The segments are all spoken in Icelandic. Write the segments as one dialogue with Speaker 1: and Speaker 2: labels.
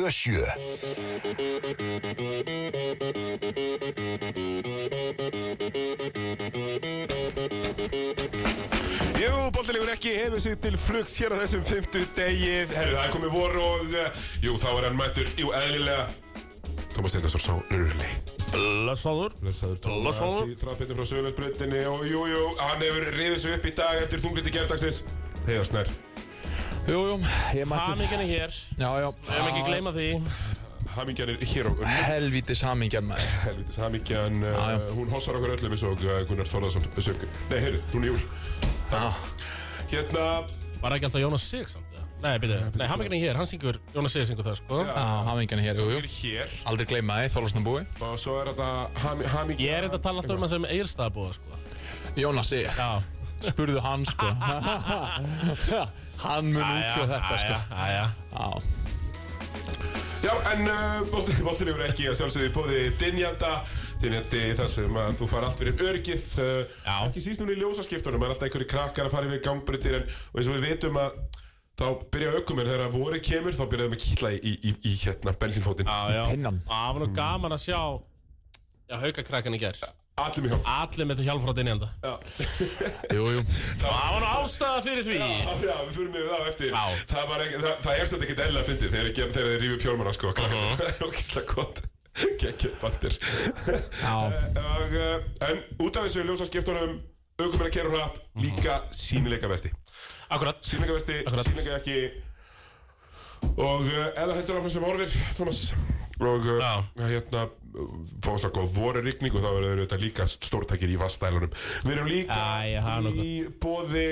Speaker 1: 77
Speaker 2: Jú, bollilegur ekki hefur sig til flugs hér á þessum fymtu degi Herðu, það er komið vor og eh, Jú, þá er hann mættur, jú, eðlilega Tómas Steindarsson sá Rurli
Speaker 3: Blessaður
Speaker 2: Blessaður Tómas
Speaker 3: Blessaður.
Speaker 2: í þraðbyrnum frá Söðlandsbröndinni Og jú, jú, hann hefur riðið sig upp í dag eftir þungliti gerðdagsins Heiðar Snær
Speaker 4: Jú, jú, ég mætti
Speaker 3: Hamingjan er hér
Speaker 4: Já, já Ah,
Speaker 3: Við hefum ekki gleyma því
Speaker 2: Hamingjan er hér á Örnum
Speaker 4: Helvítis hamingjan maður
Speaker 2: Helvitis Hamingjan,
Speaker 4: já.
Speaker 2: uh, hún hossar okkur öllum eins og uh, Gunnar Þorðarsson Sörg. Nei, heyrðu, hún er júl
Speaker 4: Já,
Speaker 2: Hérna,
Speaker 3: Var ekki alltaf Jónas Sig samt eða? Nei, byrju, nei, hamingjan er hér, hann syngur, Jónas Sig syngur það sko
Speaker 4: já, hamingjan er hér, jú,
Speaker 2: hún er
Speaker 4: jú
Speaker 2: hér
Speaker 4: Aldrei gleyma þið, Þorlásna búi
Speaker 2: Og svo er þetta ham, Hamingjan
Speaker 3: Ég er enda að tala alltaf um það sem Egilstaða búa sko
Speaker 4: Jónas ég
Speaker 3: Já
Speaker 4: Spurðu hann sko Hann mun útfjóð þetta sko
Speaker 3: Æja,
Speaker 4: Já,
Speaker 2: Já, en uh, boltilegur ekki að sjálfsögðu í bóði Dynjanda Dynjandi þar sem að þú far allt fyrir örgið uh,
Speaker 3: Já.
Speaker 2: Ekki síst núna í ljósaskiptunum Það er alltaf einhverju krakkar að fara yfir gangbritir En og eins og við vitum að þá byrja aukumenn Þegar að voru kemur þá byrjaðum að kýtla í, í, í, í hérna bensínfótinn
Speaker 3: já, já
Speaker 4: Pinnan.
Speaker 3: Það var nú gaman að sjá Já, haukakrakkan í ger
Speaker 2: Allir mig hjá
Speaker 3: Allir með þetta hjálp frá dinjanda
Speaker 4: jú, jú
Speaker 3: Það var nú ástæða fyrir því
Speaker 2: Já, við fyrir mig við það á eftir
Speaker 3: Já.
Speaker 2: það, var ekki, það, það er svolítið ekkert eðlilega fyndið þegar, þegar, þegar þeir rífið pjólmana sko
Speaker 3: Mhm.
Speaker 2: krakkarnir. Það er ógislega gott Gekkið bandir og, uh, En út af þessu ljósaskiptunum Aukumenn að kera hratt
Speaker 3: Mhm.
Speaker 2: Líka sínileika vesti
Speaker 3: Akkurat
Speaker 2: Sínileika vesti,
Speaker 3: Akkurat.
Speaker 2: sínileika ekki Og uh, eða heldur áfram sem horfir Thomas Og uh,
Speaker 3: Já.
Speaker 2: hérna Fáðslega góð voru rigning Og þá eru þetta líka stórtækir í vastælunum Við erum líka
Speaker 3: Æ, ég hafa nú
Speaker 2: í bóði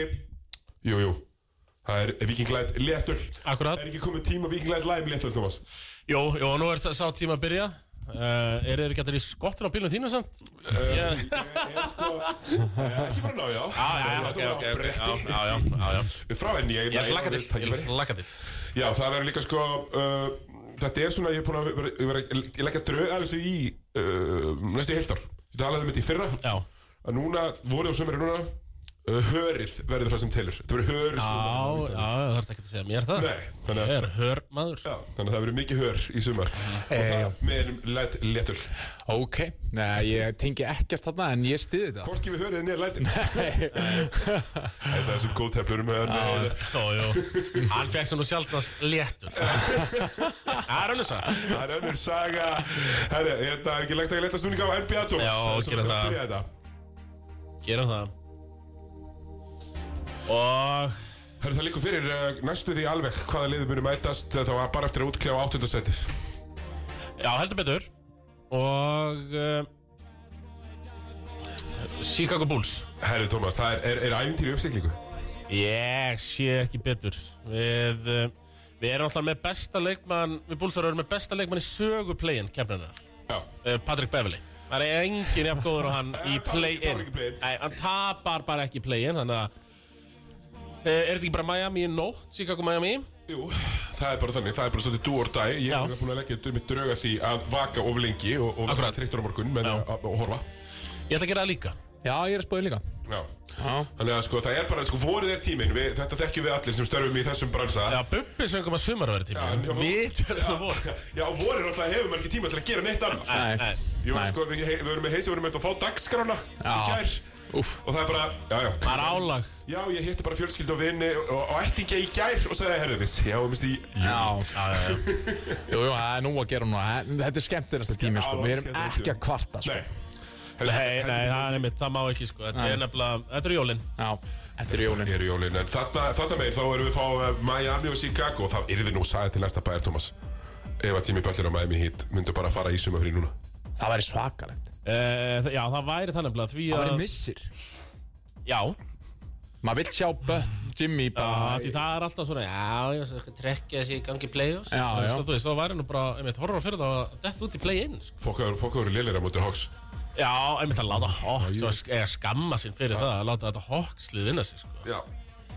Speaker 2: Jú, jú Það er vikinglætt léttul
Speaker 3: Akkurat
Speaker 2: Er ekki komið tíma vikinglætt læm léttul, Thomas?
Speaker 3: Jó, jó, nú er sá tíma að byrja Uh, er þeir ekki allir í skottin á bílunum þínu samt? Ég-
Speaker 2: Ég er sko eh, Ekki bara ná, já
Speaker 3: Já, já, já,
Speaker 2: Þetta
Speaker 3: ok,
Speaker 2: var
Speaker 3: ok, ok,
Speaker 2: bretti.
Speaker 3: já, já, já, já, já.
Speaker 2: Frá henni Ég
Speaker 3: Ég slaka til,
Speaker 2: tækifæri.
Speaker 3: ég slaka til
Speaker 2: Já, það verður líka sko uh, Þetta er svona, ég er búin að vera, vera, Ég leggja dröð af þessu í uh, Næstu heildar Ég talaði um þetta í fyrra
Speaker 3: Já,
Speaker 2: Að núna, voru og sömur er núna uh, Hörið verður það sem telur Þetta verður hörið
Speaker 3: já, já, það þarf ekki að segja mér það
Speaker 2: Nei, þannig að
Speaker 3: Ég er hör maður
Speaker 2: Já, þannig að það verður mikið hör í sumar Og
Speaker 4: já.
Speaker 2: það með einum læt léttul
Speaker 4: Ok, neða, ég tengi ekkert þarna en ég stiði þetta
Speaker 2: Hvorki við hörið niður lætin Þetta er sem góð teflur um hann eh,
Speaker 3: Jó, jó, hann fekk svo nú sjaldnast léttur Það er önnur sá
Speaker 2: Það er önnur saga Herri, þetta er ekki lagt að leta stundinga á NBA Thomas
Speaker 3: Já,
Speaker 2: Svo
Speaker 3: gera
Speaker 2: við
Speaker 3: það.
Speaker 2: byrja þetta.
Speaker 3: Gerum það Og
Speaker 2: Herri, það líka fyrir uh, næstu því alveg hvaða liðið muni mætast eh, þá var bara eftir að útkljá áttundasætið
Speaker 3: Já, heldur betur Og uh, Chicago Bulls
Speaker 2: Herri, Thomas, það er, er, er ævintýri í uppsiglingu
Speaker 3: Ég sé ekki betur Við uh, Við erum alltaf með besta leikmann Við búlsar erum með besta leikmann í sögu play-in kemnina
Speaker 2: Já,
Speaker 3: uh, Patrick Beverly Það er engin jafn góður á hann í
Speaker 2: Hann tapar ekki- tapar
Speaker 3: play-in
Speaker 2: ekki play-in.
Speaker 3: Nei, hann tapar bara ekki í play-in Þannig að uh, Er þetta ekki bara Miami í nótt? Chicago Miami?
Speaker 2: jú, það er bara þannig, það er bara svolítið dú or dæ Ég
Speaker 3: Já.
Speaker 2: hef búin að leggja mitt drauga því að vaka of lengi og, og
Speaker 3: Akkurat.
Speaker 2: vera þreyttur á morgun með að, að, að horfa
Speaker 3: Ég ætla að gera það líka
Speaker 4: Já, ég er að spóði líka
Speaker 2: Já
Speaker 4: Já,
Speaker 2: Þannig að sko, það er bara, sko, vorið er tíminn við, Þetta þekkjum við allir sem störfum í þessum bransa
Speaker 3: Já, Bubbi söngum að sumar verið
Speaker 2: en
Speaker 3: tíma
Speaker 2: ég-
Speaker 3: Við um verðum
Speaker 2: Já,
Speaker 3: að voru
Speaker 2: Já, vorið er alltaf hefur maður ekki tíma til að gera neitt annað
Speaker 4: Nei.
Speaker 3: Nei,
Speaker 2: Jú,
Speaker 4: Nei.
Speaker 2: sko, við, við erum með heisi, við erum með að fá dagskrána í
Speaker 4: Já.
Speaker 2: gær
Speaker 4: úff
Speaker 2: og það er bara, já, já,
Speaker 3: Það er álag
Speaker 2: já, ég hitti bara fjölskyldu og vinni og, og ættingi í gær og sagði, herðu, við sjáum í júni.
Speaker 4: Já,
Speaker 3: Já, já, já.
Speaker 4: jú, jú, það er nú að gera núna En Þetta er skemmtilegasta tími, sko Við erum ekki að kvarta, sko
Speaker 2: Nei,
Speaker 3: Nei, nei, það er mitt, það má ekki sko Þetta er nefnilega, þetta er jólin
Speaker 4: Já, þetta er jólin
Speaker 2: Eru jólin, en þarna, þarna megin þá erum við að fá eh, Miami og Chicago og það yrði nú sagði til næsta bæjar, Thomas Ef að Jimmy Butler og Miami Heat myndu bara að fara í sumafrí núna
Speaker 4: Það væri svakalegt
Speaker 3: Uh, já, það væri það nefnilega því
Speaker 4: Það
Speaker 3: að
Speaker 4: væri missir
Speaker 3: Já,
Speaker 4: Maður vill sjá Bött, Jimmy
Speaker 3: já
Speaker 4: bara
Speaker 3: því það er alltaf svona Já, ég skal trekkja þessi í gangi play-offs
Speaker 4: Já,
Speaker 3: Og
Speaker 4: já.
Speaker 3: Svo þú veist, þá væri nú bara, einmitt, horfa fyrir það að Dett út í play-in, sko
Speaker 2: Fokkaður eru lélir á móti Hawks
Speaker 3: Já, einmitt að láta Hawks og sk- eiga skamma sinn fyrir það Að láta þetta Hawkslið vinna sig, sko
Speaker 2: Já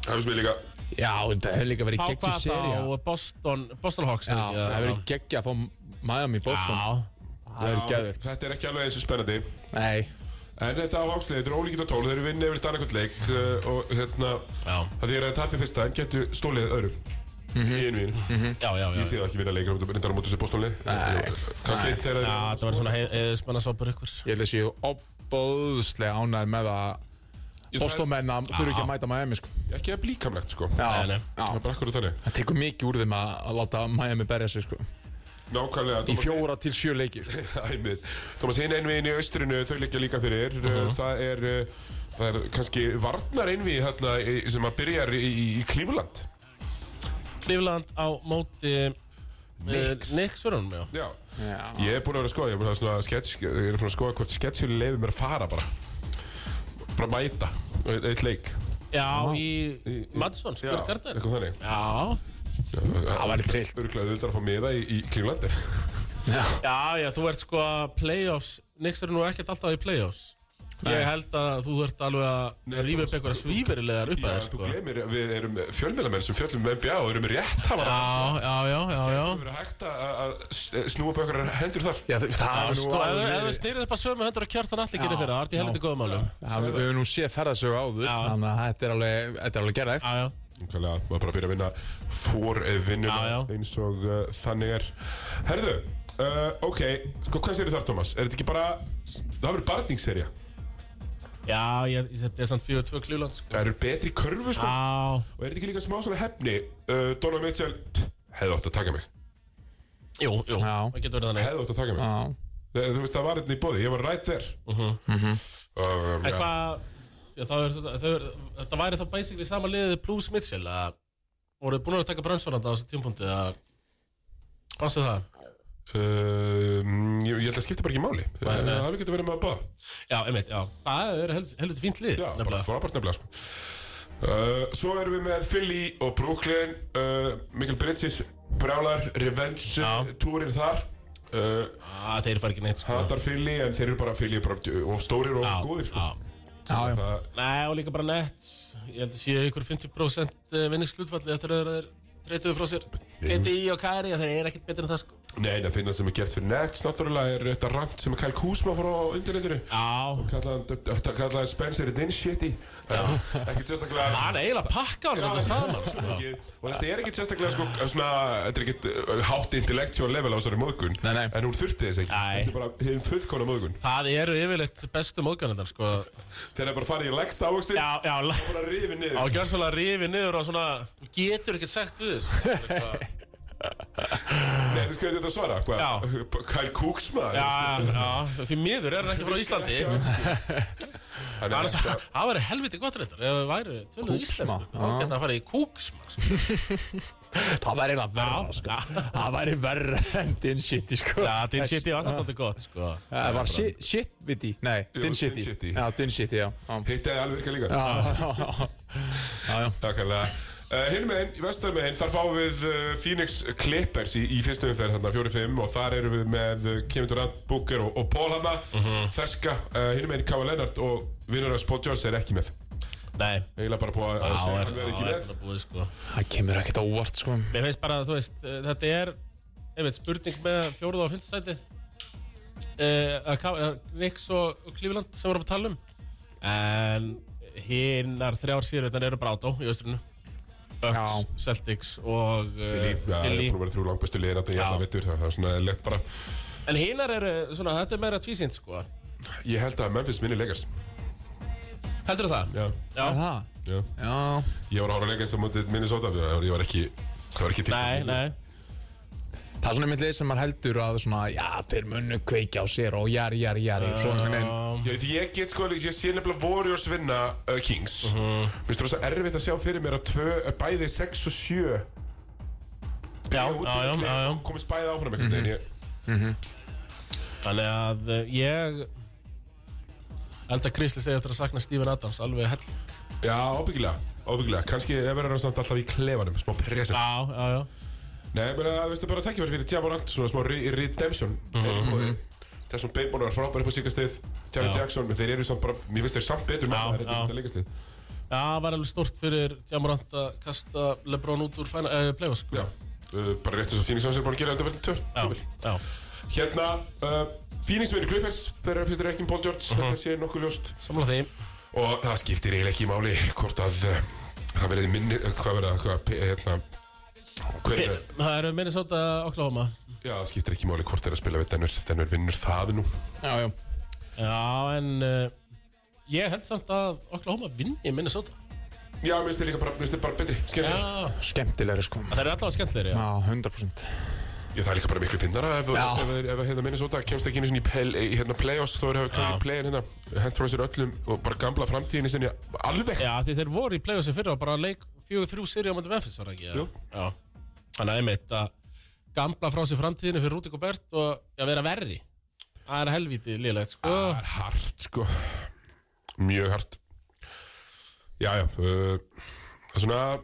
Speaker 2: Það finnst mér líka
Speaker 4: Já, þetta hefur líka verið
Speaker 3: Þá
Speaker 4: geggju
Speaker 3: hvað
Speaker 4: seri
Speaker 3: þá Boston, Boston Hawks
Speaker 4: Já, það hefur verið geggju að fá Miami Boston
Speaker 3: Já,
Speaker 4: Það hefur verið geggjuð
Speaker 2: Þetta er ekki alveg eins og spennandi
Speaker 4: Nei,
Speaker 2: En þetta á Hawkslið, þetta er ólíkitt á tól Þeir eru vinnið yfir þetta annarkvæmt leik uh, Og eh, hérna
Speaker 3: já
Speaker 2: Það því er að tapja fyrsta en getur stólið öðrum í einu mínu
Speaker 3: Já, já, já
Speaker 2: Ég sé það ekki vinna leikur reyndar á mótu sér bóstónlið Kannski einn þegar
Speaker 3: Já, það var svona heiðismannasvapur ykkur
Speaker 4: Ég held að séu opbóðslega ánæður með að Bostómenn að þurfi ekki að mæta Miami sko.
Speaker 2: Ekki að blíkamlegt sko
Speaker 3: Nei, nei.
Speaker 2: Það er bara akkur úr þannig
Speaker 4: Það tekur mikið úr þeim að, að láta Miami berja sig sko.
Speaker 2: Nákvæmlega
Speaker 4: Í fjóra til sjö leiki sko.
Speaker 2: Æmið. Thomas, hinn einviðin í austrinu, þau liggja líka fyrir. Það er, uh, það er kannski varnar einvið þarna í- sem að byrjar í, í Cleveland.
Speaker 3: Klífland á móti Nix Nix verður hún, já
Speaker 2: Já. Ég er búinn að vera að skoða, ég er búinn að, svona sketch, ég er búinn að skoða hvort sketsjuli leiði mér að fara bara. Bara mæta, eitt, eitt leik.
Speaker 3: Já, í Madison, Square Garden
Speaker 2: eitthvað þannig.
Speaker 3: Já,
Speaker 4: Það væri trillt
Speaker 2: Örgulega auðvitað að fá miða í, í Clevelandir.
Speaker 3: já, já, þú ert sko að playoffs Nix eru nú ekkert alltaf í playoffs Ég held að þú ert alveg að rýfa upp einhverja svífurilegar upp
Speaker 2: Já,
Speaker 3: að þér
Speaker 2: þú
Speaker 3: sko Já,
Speaker 2: glemir, við erum fjölmélamenn sem fjöllum um með NBA og erum rétt hafa. Ja.
Speaker 3: já, já, já, já
Speaker 2: Það verður hægt að- að að snúa bökkar hendur þar.
Speaker 4: Já, það það hefur nú
Speaker 3: Sko, ef
Speaker 4: áður
Speaker 3: ef þú
Speaker 4: verið-
Speaker 3: snýrið upp að sömu hendur að kjartan allir gerir fyrir það, það ert í helviti góðum álum
Speaker 4: það hefur- við höfum nú séð ferðasögu áður
Speaker 3: Já.
Speaker 4: Þannig að þetta er alveg, þetta er alveg gerðegt
Speaker 3: Já, já,
Speaker 2: Nákvæmlega, maður bara byrja að vinna fór
Speaker 3: Já, já.
Speaker 2: vinnuna eins og uh, þannig er Herðu, uh, ok, sko hvað séri þar Thomas? Er þetta ekki bara, það verður barningsserja
Speaker 3: já, ég, þetta er samt 4-2 klífland sko
Speaker 2: Það eru betri í körfu sko
Speaker 3: Já,
Speaker 2: Og er þetta ekki líka smá svona hefni uh, Donald Mitchell, t- hefði átt að taka mig
Speaker 3: jú, jú,
Speaker 4: Já.
Speaker 3: það getur verið þannig
Speaker 2: Hefði átt að taka mig
Speaker 4: Já.
Speaker 2: Þe- Þú veist, það var hérna í bóði, ég var right there Og, um,
Speaker 3: Mhm, En
Speaker 2: ja,
Speaker 3: hvað, já, þá er þetta, þau eru- þetta væri þá basically sama liðið plus Mitchell að voru búin að taka brönnsvarnanda á þessu tímpunkti að Vastu það?
Speaker 2: um, ég, ég held að skipta bara ekki máli Uh, Það hefði getur verið með að báða
Speaker 3: Já, einmitt, já, það er hel- helviti fínt lið
Speaker 2: Já, bara
Speaker 3: nefnilega.
Speaker 2: frábært nefnilega sko. uh, Svo erum við með Philly og Brooklyn uh, Mikkel Bridges, Brjálar, Revenge
Speaker 3: Já.
Speaker 2: Túrin þar uh,
Speaker 3: Já, þeir fara ekki neitt sko.
Speaker 2: Hatar Philly en þeir eru bara Philly er bara of stórir og
Speaker 3: Já,
Speaker 2: of góðir sko.
Speaker 3: já.
Speaker 4: Já, já.
Speaker 2: Það-
Speaker 3: Nei, og líka bara nett Ég held að séu ykkur 50% vinningslutfalli eftir að þeir treytuðu frá sér KTI og Kari, þeir eru ekkert betur en það sko
Speaker 2: Nei, það finna sem er gert fyrir Nets náttúrulega er þetta rant sem er Kyle Kuzma fór á internetinu
Speaker 3: Já,
Speaker 2: kallaði Spencer a din shitty ekkert sérstaklega
Speaker 3: hann er eiginlega pakka hann þetta saman sko.
Speaker 2: og þetta er ekkert sérstaklega sko, svona, þetta er ekkert uh, hátt intellectual level á þessari móðgun
Speaker 4: Nei, nei.
Speaker 2: en hún þurfti þess ekki
Speaker 3: Nei.
Speaker 2: þetta er bara hinn fullkona móðgun
Speaker 3: Það eru yfirleitt bestu móðgjörnendar sko
Speaker 2: þeir eru bara farið í leggsta ávöxtin
Speaker 3: Já, já, la-
Speaker 2: og bara rifið niður
Speaker 3: á gjörnsvöla rifi niður og svona þú Getur ekkert sagt við sko. þessu
Speaker 2: nei, þú skoðu þetta að svara hva?
Speaker 3: Já.
Speaker 2: Kyle Kooksma
Speaker 3: Já, já, því miður er hann ekki frá Íslandi Annars,
Speaker 2: annars
Speaker 3: það væri helviti gott reyndar Ef það væri sko. töluð
Speaker 4: Kúksma,
Speaker 3: íslensku Þá
Speaker 4: já.
Speaker 3: geta það farið í kúksma sko.
Speaker 4: Það væri eitthvað verra
Speaker 3: Já,
Speaker 4: sko.
Speaker 3: já.
Speaker 4: Það væri verra en Din City sko.
Speaker 3: Já, Din City var samt alltaf gott sko.
Speaker 4: Það var shit, shit viti Nei,
Speaker 2: Jú,
Speaker 4: Din
Speaker 2: Din
Speaker 4: City
Speaker 2: City.
Speaker 4: Já, Din City, já Já,
Speaker 2: hitti alveg virka líka
Speaker 4: já, já. já, já.
Speaker 2: Nákvæmlega. Uh, Hinn meginn, í vestar meginn, þar fáum við uh, Phoenix Clippers í, í fyrstu umferð þarna 4-5 og þar erum við með uh, Kevin Durant, Booker og, og Paul hana,
Speaker 3: Mhm.
Speaker 2: ferska. Uh, Hinn meginn Kava Leonard og vinnur hans Paul George er ekki með.
Speaker 3: Nei,
Speaker 2: Eiginlega bara búið að-
Speaker 3: þá
Speaker 2: að segja
Speaker 3: er
Speaker 2: hann verið ekki
Speaker 3: það
Speaker 2: með.
Speaker 3: búið sko.
Speaker 4: Það kemur ekkert óvart sko.
Speaker 3: Mér finnst bara, þú veist, eh, þetta er einmitt spurning með fjóruð og fyrstastætið uh, Nix og og Cleveland sem við erum að tala um en hinnar þrjár síðuröðnar eru bara átó í austrinu Bucks, Celtics og eh,
Speaker 2: Philly, já, það er
Speaker 3: Philly.
Speaker 2: búin að vera þrjú langbæstu liðin að ég
Speaker 3: Já.
Speaker 2: ætla að vittur, það er svona lett bara.
Speaker 3: En hinnar eru, svona, þetta er meira tvísýnt sko
Speaker 2: Ég held að Memphis minni leikast.
Speaker 3: Heldur það?
Speaker 2: Já,
Speaker 4: Er
Speaker 3: Já,
Speaker 4: Það
Speaker 2: já.
Speaker 4: Já
Speaker 2: Ég var að hóra leikast á mótið Minnesota, ég var ekki, það var ekki tilbúin.
Speaker 3: nei, nei
Speaker 4: Það er svona einmitt leið sem maður heldur að svona, já, þeir munnu kveikja á sér og jari, jari, jari, svo einhvern veginn.
Speaker 3: Um,
Speaker 2: Já, því ég get sko, ég sé nefnilega Warriors vinna uh, Kings
Speaker 3: Mhm.
Speaker 2: Mér finnst þú rosa erfitt að sjá fyrir mér að tvö, uh, bæði 6 og 7
Speaker 3: Já, já, já, já, já. Mhm.
Speaker 2: Komist bæði áfram einhvern veginn ég,
Speaker 3: Þannig að eh, ég held að Krisli segi eftir að sakna Steven Adams alveg hell
Speaker 2: Já, ábyggilega, ábyggilega Kanski verður hann samt alltaf í klefanum, smá presens
Speaker 3: Já, já, já
Speaker 2: Nei, ég meina, þú veistu bara tækifæri fyrir Tjabonant Svona smá re redemption
Speaker 3: Mhm,
Speaker 2: mm -hmm. Þessum beinbónar var frábæri upp á síkastið Jared
Speaker 3: Já.
Speaker 2: Jackson, menn þeir eru samt bara Mér finnst þeir samt betur
Speaker 3: Já,
Speaker 2: með
Speaker 3: já.
Speaker 2: þetta leikastið
Speaker 3: Já, það var alveg stort fyrir Tjamurant að kasta Lebron út úr fæna, uh, play-off sko.
Speaker 2: Já, uh, bara rétt þess að Phoenix Suns er búin að gera þetta verið tör
Speaker 3: já, já.
Speaker 2: Hérna, uh, Phoenix vinnur Clippers þegar það fyrst er ekki um Paul George,
Speaker 3: Mhm.
Speaker 2: þetta sé nokkuð ljóst
Speaker 3: Samla því
Speaker 2: og það skiptir eiginlega ekki máli hvort að uh, það verði minni, uh, hvað verða, hvað, pe- hérna Hver er
Speaker 3: Það eru Minnesota Oklahoma
Speaker 2: Já, það skiptir ekki máli hvort þeir að spila við Denver Denver vinnur það nú
Speaker 4: Já, já
Speaker 3: Já, en uh, ég held samt að Oklahoma vinni Minnesota
Speaker 2: Já, mér finnst þeir líka bara, mér finnst þeir bara betri Skemmt ja.
Speaker 3: Já,
Speaker 4: Skemmtilegri sko
Speaker 3: það er allavega skemmtilegri já.
Speaker 4: Já, 100%
Speaker 2: Ég það er líka bara miklu finnara ef,
Speaker 4: Já.
Speaker 2: ef, ef, ef hérna Minnesota kemst ekki inn í svona í pel- í hérna play-offs þá er það klart í play-in hérna hent frá sér öllum og bara gamla framtíðin í sinni alveg
Speaker 3: já, því þeir voru í play-offs í fyrra og bara leik fjögur þrjú seri á mæti Memphis var það ekki eða?
Speaker 2: Jú.
Speaker 3: Já, þannig að einmitt að gambla frá sér framtíðinu fyrir Rúti Gobert og já, vera verri Það er helvítið liðlegt, sko
Speaker 2: Það er hart sko Mjög hart Já, já uh, Það er svona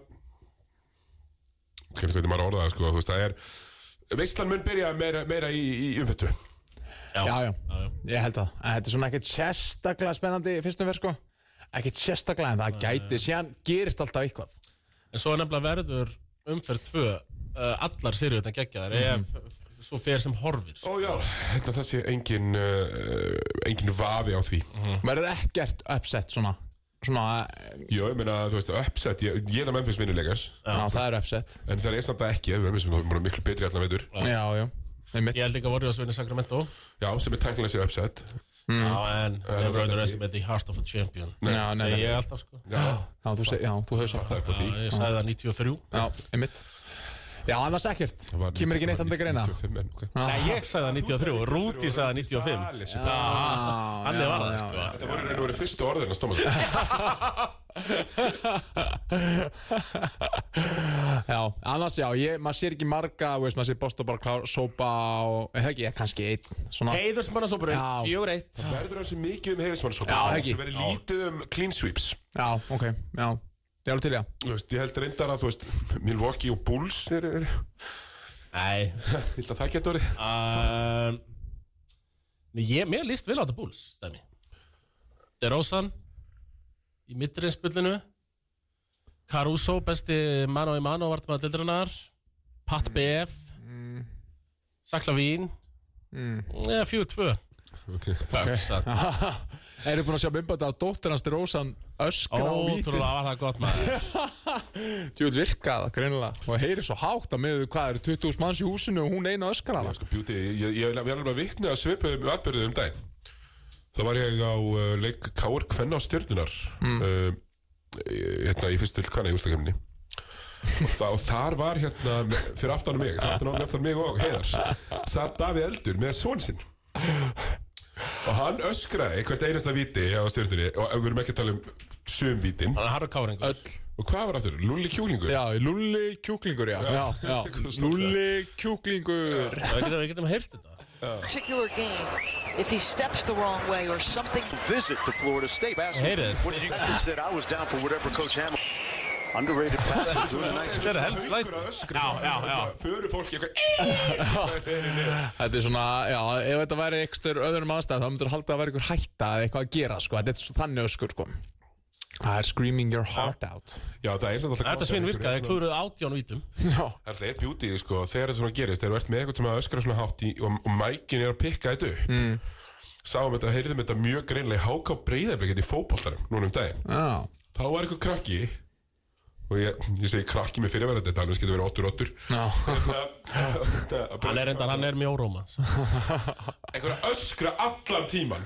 Speaker 2: Hvernig hvernig maður að orða það sko Þú veist, það er Veistlan mun byrja meira, meira í, í umfættu
Speaker 4: Já, já, ég held það En þetta er svona ekkert sérstaklega spennandi í fyrstu verð sko Ekkert sérstaklega en það gæti Síðan gerist alltaf eitthvað
Speaker 3: En svo er nefnilega verður umferð tvö uh, allar seri utan geggjaðar ef svo fer sem horfir sko.
Speaker 2: Ó já, þetta það sé engin uh, Engin vafi á því
Speaker 4: Verður ekkert upset svona Svona, eh,
Speaker 2: Jó, ég meina, þú veist, upset Ég, ég er að Memphis vinnuleikars
Speaker 4: já, það er upset
Speaker 2: En það er samt að ekki Memphis er bara miklu betri allan veitur
Speaker 4: Já, já, einmitt
Speaker 3: Ég held líka að voru að vinna Sacramento
Speaker 2: Já, sem er tæknilega sér upset
Speaker 3: Já, en
Speaker 2: það
Speaker 3: never
Speaker 2: er
Speaker 3: underestimate the heart of a champion
Speaker 4: Já, nei,
Speaker 3: Það
Speaker 4: nei,
Speaker 3: er
Speaker 4: já,
Speaker 3: ég alltaf, sko
Speaker 4: þú, seg, já, þú hefur sagt
Speaker 2: Það er
Speaker 4: það
Speaker 2: bara því
Speaker 3: Já, Ég sagði það 93
Speaker 4: Já, einmitt Já, annars ekkert Kemur ekki neitt andur greina
Speaker 2: 95 en, ok.
Speaker 3: Nei, ég sagði það 93 Rúti sagði það 95
Speaker 2: Alice,
Speaker 4: Ah,
Speaker 2: Þetta
Speaker 3: Þannig var það, sko
Speaker 2: voru reynið að vera fyrstu orðin að stóma
Speaker 4: Já, annars já, ég, maður sér ekki marga þú veist, maður sér Boston bara klár, sópa og eða ekki, ég kannski einn svona,
Speaker 3: Heiðursmannasópurinn
Speaker 4: Já.
Speaker 3: 4-1
Speaker 2: Verður það sem mikið um hefismann svo
Speaker 4: Já, ekki.
Speaker 2: sem verður lítið um clean sweeps
Speaker 4: Já, ok, já, ég er alveg til já
Speaker 2: Þú veist, ég held reyndar að, þú veist, Milwaukee og Bulls er, er,
Speaker 3: Nei
Speaker 2: held að það geta orðið
Speaker 3: um, nei, ég, Mér líst vel á þetta búls dæmi. DeRozan Í middurinsbyllinu Caruso, besti mano í mano Vartmaður dildrannar Pat BF Saklavín Eða 4-2 Bucks, að-
Speaker 4: Eru búin að sjá mymbandi að dóttir hans til Rósan öskra á víti
Speaker 3: Ótrúlega var það gott maður
Speaker 4: Tjóð virkaða, greinilega og heyri svo hátt að miður hvað eru 20.000 manns í húsinu og hún eina öskra
Speaker 2: Já,
Speaker 4: hana
Speaker 2: sko, beauty, ég, ég, ég verður bara vitni að svipuðum atbyrðum um daginn Þá var ég á uh, leik Káur Kvenna á stjörnunar mm. hérna í fyrstu hvaðna í úslakefninni og þa- og þar var hérna me- fyrir aftan mig, fyrir aftan, aftan mig og heiðar satt Davíð Eldur með son sinn og hann öskraði hvert einasta víti á stjörnunni og við erum ekki að tala um sömvítin
Speaker 3: Hann er harður káringur
Speaker 4: Öll
Speaker 2: og hvað var aftur? Lulli kjúlingur?
Speaker 4: Já, lulli kjúklingur, já, já, já. Lulli kjúklingur
Speaker 3: Við getum, við getum heyrt þetta
Speaker 1: particular game, if he steps the wrong way or something
Speaker 5: visit to Florida State basketball.
Speaker 3: Hate it.
Speaker 5: What did you guys said? I was down for whatever Coach Hamilton. Underrated class. Doing a nice
Speaker 3: Þetta er helst
Speaker 2: Haukur að
Speaker 3: læt
Speaker 2: öskra
Speaker 3: Já,
Speaker 2: svona,
Speaker 3: já, já
Speaker 2: hérna, Föru fólki eitthvað
Speaker 4: Þetta er svona, já, ef þetta væri eitthvað öðrum aðstæðum þá myndur halda að vera eitthvað hætta eða eitthvað að gera, sko, þetta er svo þannig öskur, sko Það er screaming your heart out
Speaker 2: Já, það er samt alltaf
Speaker 3: Þetta svinn virkaði, þeir klúruðu átján vítum
Speaker 4: Já,
Speaker 2: Það er alltaf er bjútið, sko, þegar þetta svona gerist Þegar þú ert með eitthvað sem að öskra svona hátt í Og, og mækin er að pikka þetta upp mm. Sáum þetta, heyrðum þetta mjög greinlega Háká breyðarblikið í fótboltarum núna um daginn
Speaker 4: já,
Speaker 2: Þá var eitthvað krakki Og ég, ég segi krakki með fyrirverðan Þetta annars getur verið Hérna, ottur ottur
Speaker 4: já,
Speaker 2: Hann
Speaker 3: Hann er reyndar, hann er mjög óróma
Speaker 2: Eitthvað hérna, að öskra allan tíman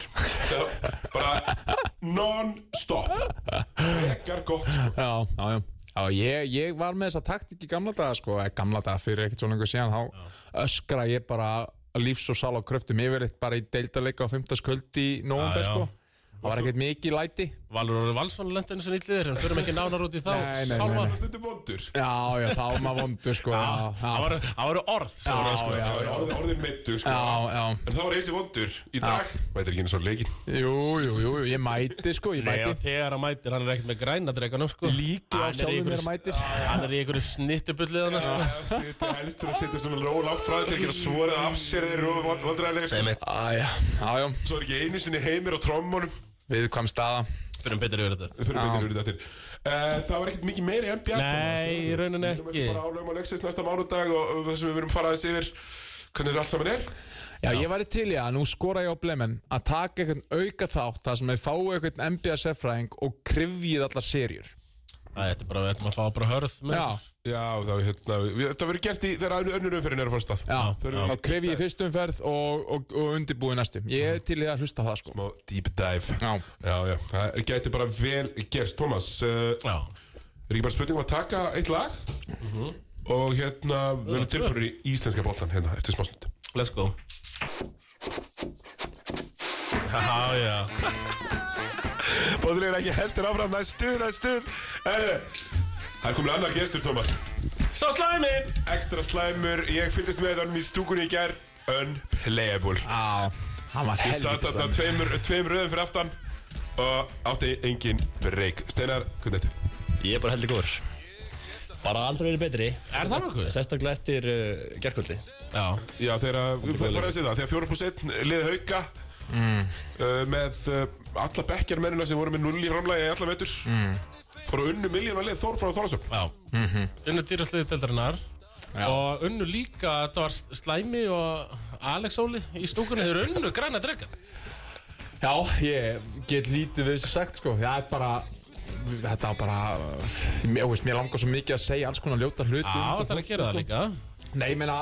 Speaker 2: Bara non-stop Ekkar gott, sko
Speaker 4: já, já, já. Já, ég, ég var með þessa taktik í gamla daga, sko, eða gamla daga fyrir ekkert svo lengur síðan, þá öskra ég bara lífs og sál á kröftum yfirleitt bara í deildarleika á 15. kvöld í nóvumber,
Speaker 3: Já, já.
Speaker 4: sko. Það var ekkert mikið læti.
Speaker 3: Valur Óri Valsson lendi eins og nýtliðir En förum ekki nánar út í þá
Speaker 4: Nei, nei, nei,
Speaker 3: Sálma.
Speaker 4: nei.
Speaker 2: Stundum vondur
Speaker 4: Já, já, þá var maður vondur, sko. Já,
Speaker 3: Það
Speaker 4: já,
Speaker 3: voru- það voru orð sko. sem voru öskur.
Speaker 4: já, já,
Speaker 2: Orðin, orðin meittu, sko
Speaker 4: já, já.
Speaker 2: En það var eisi vondur í dag Mætir ekki eins og leikinn
Speaker 4: Jú, jú, jú, jú, ég mæti, sko, ég
Speaker 3: Nei, og
Speaker 4: mæti.
Speaker 3: þegar hann mætir, hann er ekkert með græna dreganum sko.
Speaker 4: Líklega
Speaker 3: Hann er í
Speaker 4: sjálfur
Speaker 3: einhverju-
Speaker 4: mér mætir.
Speaker 3: Hann er í einhverju snittubullið hann sko.
Speaker 2: Sittir helst svona, sittir svona ló langt frá þetta Ekki að svora af sér þeir eru vandræðilega sko.
Speaker 3: Nei,
Speaker 4: Æja, já, já,
Speaker 2: Svo er ekki einu sinni heimir á trommunum
Speaker 4: viðkvæm staða.
Speaker 3: fyrir um betur yfir þetta
Speaker 2: Fyrir beitir úr þetta uh, Það var ekkert mikið meiri NBA
Speaker 3: Nei, í rauninni ekki.
Speaker 2: Við erum bara álöfum að leksins næsta mánudag og, og það sem við verum faraðis yfir Hvernig þetta allt saman er
Speaker 4: Já, ég væri til í að nú skora ég á blemen að taka einhvern auka þátt þar sem þeir fáu einhvern NBA sérfræðing og krifjið allar serjur.
Speaker 3: Æ, Þetta er bara, við ætlum að fá bara hörð með
Speaker 4: Já,
Speaker 3: þetta.
Speaker 2: Já, þá, hérna, við- þetta verður gert í þegar önnu- önnur umferðin er að fara af stað
Speaker 4: Já,
Speaker 2: Þeir eru
Speaker 4: þá
Speaker 2: að
Speaker 4: kref ég í fyrstu umferð og, og, og undirbúi næstu Ég er til í að hlusta á það sko
Speaker 2: Má deep dive
Speaker 4: Já.
Speaker 2: já, já. það gæti bara vel gerst Thomas, uh,
Speaker 3: Já,
Speaker 2: er ekki bara spurning um að taka eitt lag Mhm. og hérna við erum
Speaker 3: tvö.
Speaker 2: tilbúinir í íslenska boltan hérna eftir smá stund
Speaker 3: let's go Já, já
Speaker 2: Bóðilegur ekki heldur áfram, það er stuð, það er stuð Eh, Herðu, Það er komin annar gestur, Thomas
Speaker 3: Sá slæmið
Speaker 2: Ekstra slæmur, ég fylgdist með honum í stúkunni í gær Unplayable
Speaker 4: Já, hann var
Speaker 2: Ég satt
Speaker 4: helvítið
Speaker 2: þarna
Speaker 4: slæmur
Speaker 2: tveim, tveim röðum fyrir aftan Og átti engin break Steinar, hvernig þetta?
Speaker 6: Ég er bara heldur góður Bara aldrei verið betri
Speaker 3: Er það nokkuð?
Speaker 6: Sérstaklega eftir uh, gerkvöldi
Speaker 3: Já,
Speaker 2: Já, þegar að, við fórum að segja það Þegar 4 pluss 1 liði hauka uh, Með uh, alla bekkjarmennina sem voru með 0 í framlægi Alla vetur mm. Fóru unnu miljónar lið Þór frá Þólasöp
Speaker 3: já
Speaker 4: Mhm.
Speaker 3: Unnu dýrasliði deildarinnar Og unnu líka, þetta var slæmi og Alex Óli í stúkunni Þeir unnu græna drega
Speaker 4: Já, ég get lítið við þessu sagt sko Það er bara Þetta var bara Mér, veist, mér langar svo mikið að segja alls konar ljóta hluti sko.
Speaker 3: Já, það er að gera það líka
Speaker 4: Nei, ég meina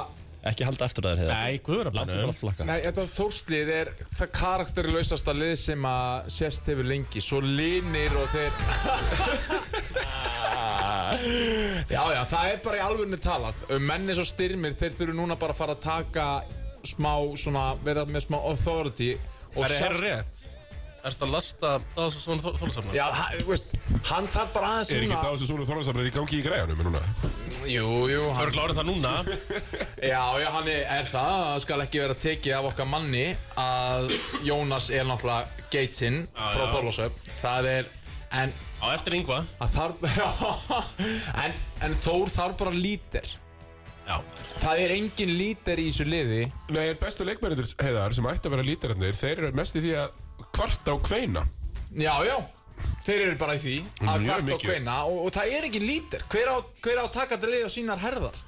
Speaker 6: Ekki halda eftir hérna. það hér
Speaker 3: Nei,
Speaker 6: Láttu bara
Speaker 3: guðurablanum
Speaker 6: allt flakka
Speaker 4: Nei, þetta þórslið er það karakterlausasta lið sem að sérst hefur lengi Svo linir og þeir Já, já, það er bara í alvörinu talað Um menni svo styrmir, þeir þurfu núna bara að fara að taka smá, svona, vera með smá authority og
Speaker 3: Er það
Speaker 4: sjálfs-
Speaker 3: rétt? Ertu að lasta það sem svona þólasafnar?
Speaker 4: Já, hann, þú veist, hann þarf bara aðeins
Speaker 2: Er ekki
Speaker 4: svona-
Speaker 2: dáðs og Sónu Þólasöp Er í gangi í græðanum núna?
Speaker 4: Jú, jú,
Speaker 3: Það
Speaker 4: hann,
Speaker 3: eru klárið það núna
Speaker 4: já, já, hann er, er það Það skal ekki vera tekið af okkar manni að Jónas er náttúrulega geitinn frá
Speaker 3: já.
Speaker 4: Þorlósöf Það er, en
Speaker 3: Á eftir yngva
Speaker 4: að þarf já, en, en Þór þarf bara lítir
Speaker 3: Já,
Speaker 4: Það er engin lítir í þessu liði
Speaker 2: Nei, en bestu leikmennir heiðar sem ætti að vera lítararnir Þeir eru mest í því að kvarta og kveina
Speaker 4: Já, já Þeir eru bara í því að
Speaker 2: Mjög
Speaker 4: kvarta og
Speaker 2: mikið.
Speaker 4: kveina og, og það er engin lítir hver á, hver á að taka þetta lið á sínar herðar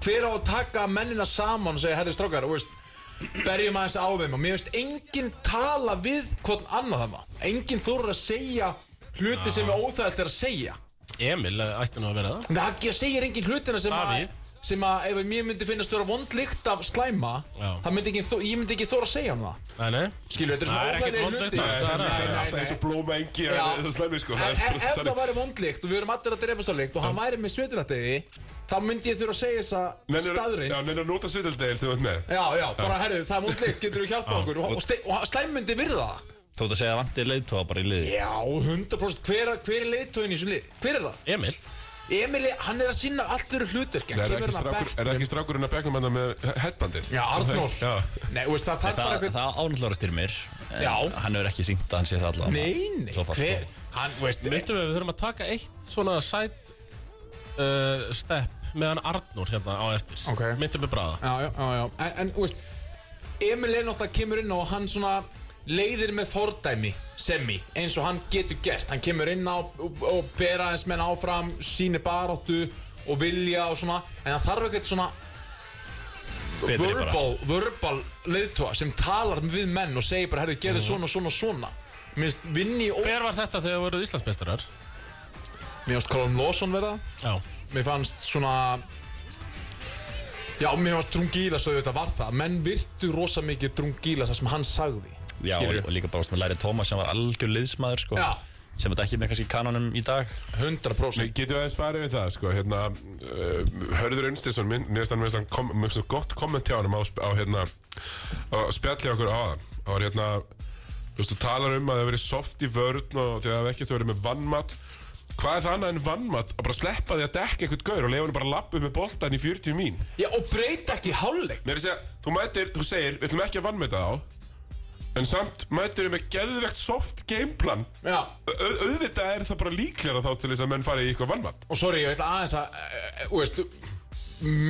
Speaker 4: Hver á að taka mennina saman og segja herri strókar og veist berjum aðeins á þeim og mér veist enginn tala við hvort annað það maður enginn þóra að segja hluti sem er óþægt er að segja
Speaker 3: Emil eh, ætti nú að vera það
Speaker 4: En Það ekki- segir engin hlutina sem að
Speaker 3: Davíð.
Speaker 4: sem að ef mér myndi finnast vera vondlikt af slæma
Speaker 3: Já.
Speaker 4: það myndi ekki, þó- ég myndi ekki þóra að segja um það
Speaker 3: Nei, nei
Speaker 4: skilur, þetta er
Speaker 3: Það
Speaker 4: svona
Speaker 3: er ekkert
Speaker 4: óþægilegir
Speaker 3: vondlykt
Speaker 4: hlutir.
Speaker 3: af
Speaker 2: Það er
Speaker 3: Nei, nei,
Speaker 2: alltaf eins og blóma engi
Speaker 4: Já.
Speaker 2: Það er slæmi sko
Speaker 4: En en ef
Speaker 2: þannig.
Speaker 4: það væri vondlikt og við erum allir að drefast á likt og hann væri með sviturættiði þá myndi ég þurfa að segja þessa
Speaker 2: Nennir- Já,
Speaker 4: staðrind
Speaker 2: neina nota svitaldegil sem þú ert með
Speaker 4: Já, já, bara herru, það er vondlikt, getur þú hjálpa okkur og, og, ste- og slæm myndi virða það
Speaker 6: Þú ert að segja að vantir leiðtóa bara í liði
Speaker 4: Já, 100% hver, hver er leiðtóin í þessum lið? Hver er það?
Speaker 3: Emil
Speaker 4: Emil, hann er að sinna allir hlutverk
Speaker 2: Nei,
Speaker 4: hann
Speaker 2: Er það
Speaker 4: kemur
Speaker 2: ekki
Speaker 4: hann að
Speaker 2: strákur-
Speaker 4: bekk-
Speaker 2: er það ekki strákurinn að bekknum hann með headbandið?
Speaker 4: Já, Arnór
Speaker 2: Já.
Speaker 4: Nei, þú veist, það þarf bara
Speaker 6: Það,
Speaker 4: eitthvað
Speaker 6: það ánallara styrmir en
Speaker 4: Já.
Speaker 6: Hann hefur ekki syngt að hann sé það allavega
Speaker 4: Nei, nei,
Speaker 6: Svo fast,
Speaker 4: hver,
Speaker 6: sko.
Speaker 4: hann, veist,
Speaker 3: Myndum við að við þurfum að taka eitt svona sæt uh, step meðan Arnur hérna á eftir
Speaker 4: Ok.
Speaker 3: Myndum við bara það
Speaker 4: já, já, já, já, en, en, þú veist, Emil er náttúrulega kemur inn á og hann svona leiðir með fordæmi, semi, eins og hann getur gert, hann kemur inn á og, og bera eins menn áfram, síni baráttu og vilja og svona, en það þarf ekkert svona
Speaker 6: Betri bara.
Speaker 4: verbal, verbal leiðtóa sem talar við menn og segir bara, herru,
Speaker 6: Mhm.
Speaker 4: gerðu svona, svona, svona, minnst vinni og...
Speaker 3: Hver var þetta þegar voruð Íslandsmeistarar?
Speaker 4: Mér finnst Colin Lawson verða,
Speaker 3: Já
Speaker 4: mér fannst svona já, mér fannst Drungílas að þetta var það, menn virtu rosa mikið Drungílas það sem hann sagði
Speaker 6: Já, og, og líka bara veist, með læri Tómas sem var algjör liðsmaður sko
Speaker 4: Já.
Speaker 6: Sem þetta ekki með kannski í kanonum í dag
Speaker 4: 100%
Speaker 2: Nei, getum við aðeins farið við það, sko, hérna, uh, Hörður Unstinsson, minn, mér finnst hann með kom, með svona gott komment hjá hann á, sp- á, hérna, á spjalli okkur á það. Það var, hérna, þú veist, þú talar um að það hefur verið soft í vörn og þegar það hefur ekkert verið með vannmatt. Hvað er það annað en vannmatt? Að bara sleppa því að dekka eitthvað gaur og leifa hann bara lappu með boltan í 40 mín.
Speaker 4: já, og breyta ekki hálfleik
Speaker 2: Mér er að segja, þú mætir, þú segir, við ætlum ekki að vannmeta þá, en samt mætir við með geðvegt soft gameplan.
Speaker 4: já,
Speaker 2: Au- auðvitað er það bara líklega þá til þess að menn fari í eitthvað vannmatt
Speaker 4: og sorry, ég ætla aðeins að eh, eh, þú veist,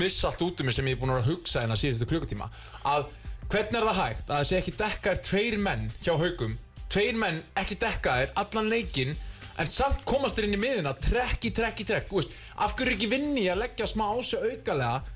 Speaker 4: missa allt út um mig sem ég er búin að vera að hugsa hérna síðustu klukkutíma að hvernig er það hægt að þessi ekki dekkaðir tveir menn hjá haugum tveir menn ekki dekkaðir allan leikinn en samt komast þér inn í miðina trekk í trekk í trekk þú veist, af hverju ekki vinni að leggja smá á sig aukalega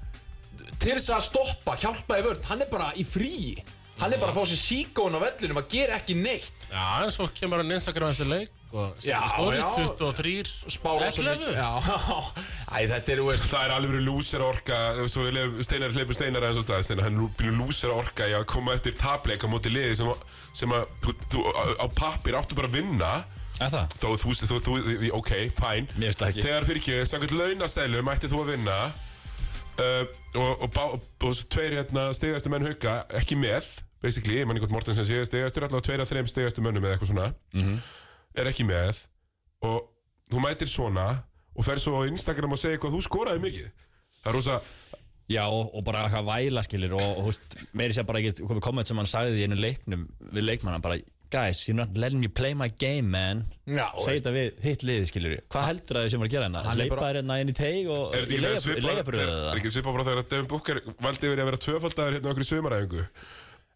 Speaker 4: til þess að stoppa, hjálpa í vörn hann er bara í fríi hann er bara að fá sér síkón á vellinum að gera ekki neitt
Speaker 3: Já, en svo kemur hann Instagram eftir leik sko,
Speaker 4: Já,
Speaker 3: stóri,
Speaker 4: já.
Speaker 3: 23
Speaker 4: Spára svo mikið
Speaker 3: 11
Speaker 4: Já, æ, þetta er, þú veist
Speaker 2: Það er alveg lúsera orka Svo við lef, steinar hleypum steinar aðeins og stað Steinar, hann býr lúsera orka í að koma eftir tapleik á móti liði sem, að- sem að þú, þú, á, á pappir áttu bara að vinna
Speaker 6: Er það?
Speaker 2: Þó þú, þú, þú, þú ok, fæn
Speaker 6: Mér finnst það ekki.
Speaker 2: Þegar fyrir ekki, samkvæmt launasælum ætti þú að vinna uh, og, og, bá, og, og svo tveir hérna stegastu menn hauka ekki með, basically, ég manni hvort Mortensen sé stegastur, allavega tveir að þreim stegastu mönnum eða eitthvað svona,
Speaker 6: Mhm.
Speaker 2: er ekki með og þú mætir svona og fer svo á Instagram og segir hvað þú skoraði mikið það er rosa,
Speaker 6: Já, og, og bara eitthvað væla skilir og, og húst, meiri sér bara ekki komið komment sem hann sagði í einu leiknum við leikmanna bara Guys, you're not letting me play my game, man
Speaker 4: Já,
Speaker 6: Segð þetta við þitt liði, skilur Hvað heldur að þið sem var að gera hérna?
Speaker 4: Hann er
Speaker 6: Leipa
Speaker 4: bara-
Speaker 6: þér hérna inn í teig og
Speaker 2: er þetta
Speaker 6: í
Speaker 2: ekki
Speaker 6: leiga- í
Speaker 2: svipað
Speaker 6: leigabröðu
Speaker 2: er
Speaker 6: eða?
Speaker 2: er ekki svipað bara þegar að Devin Booker valdi yfir að vera tvöfaldaður hérna okkur í sömaræfingu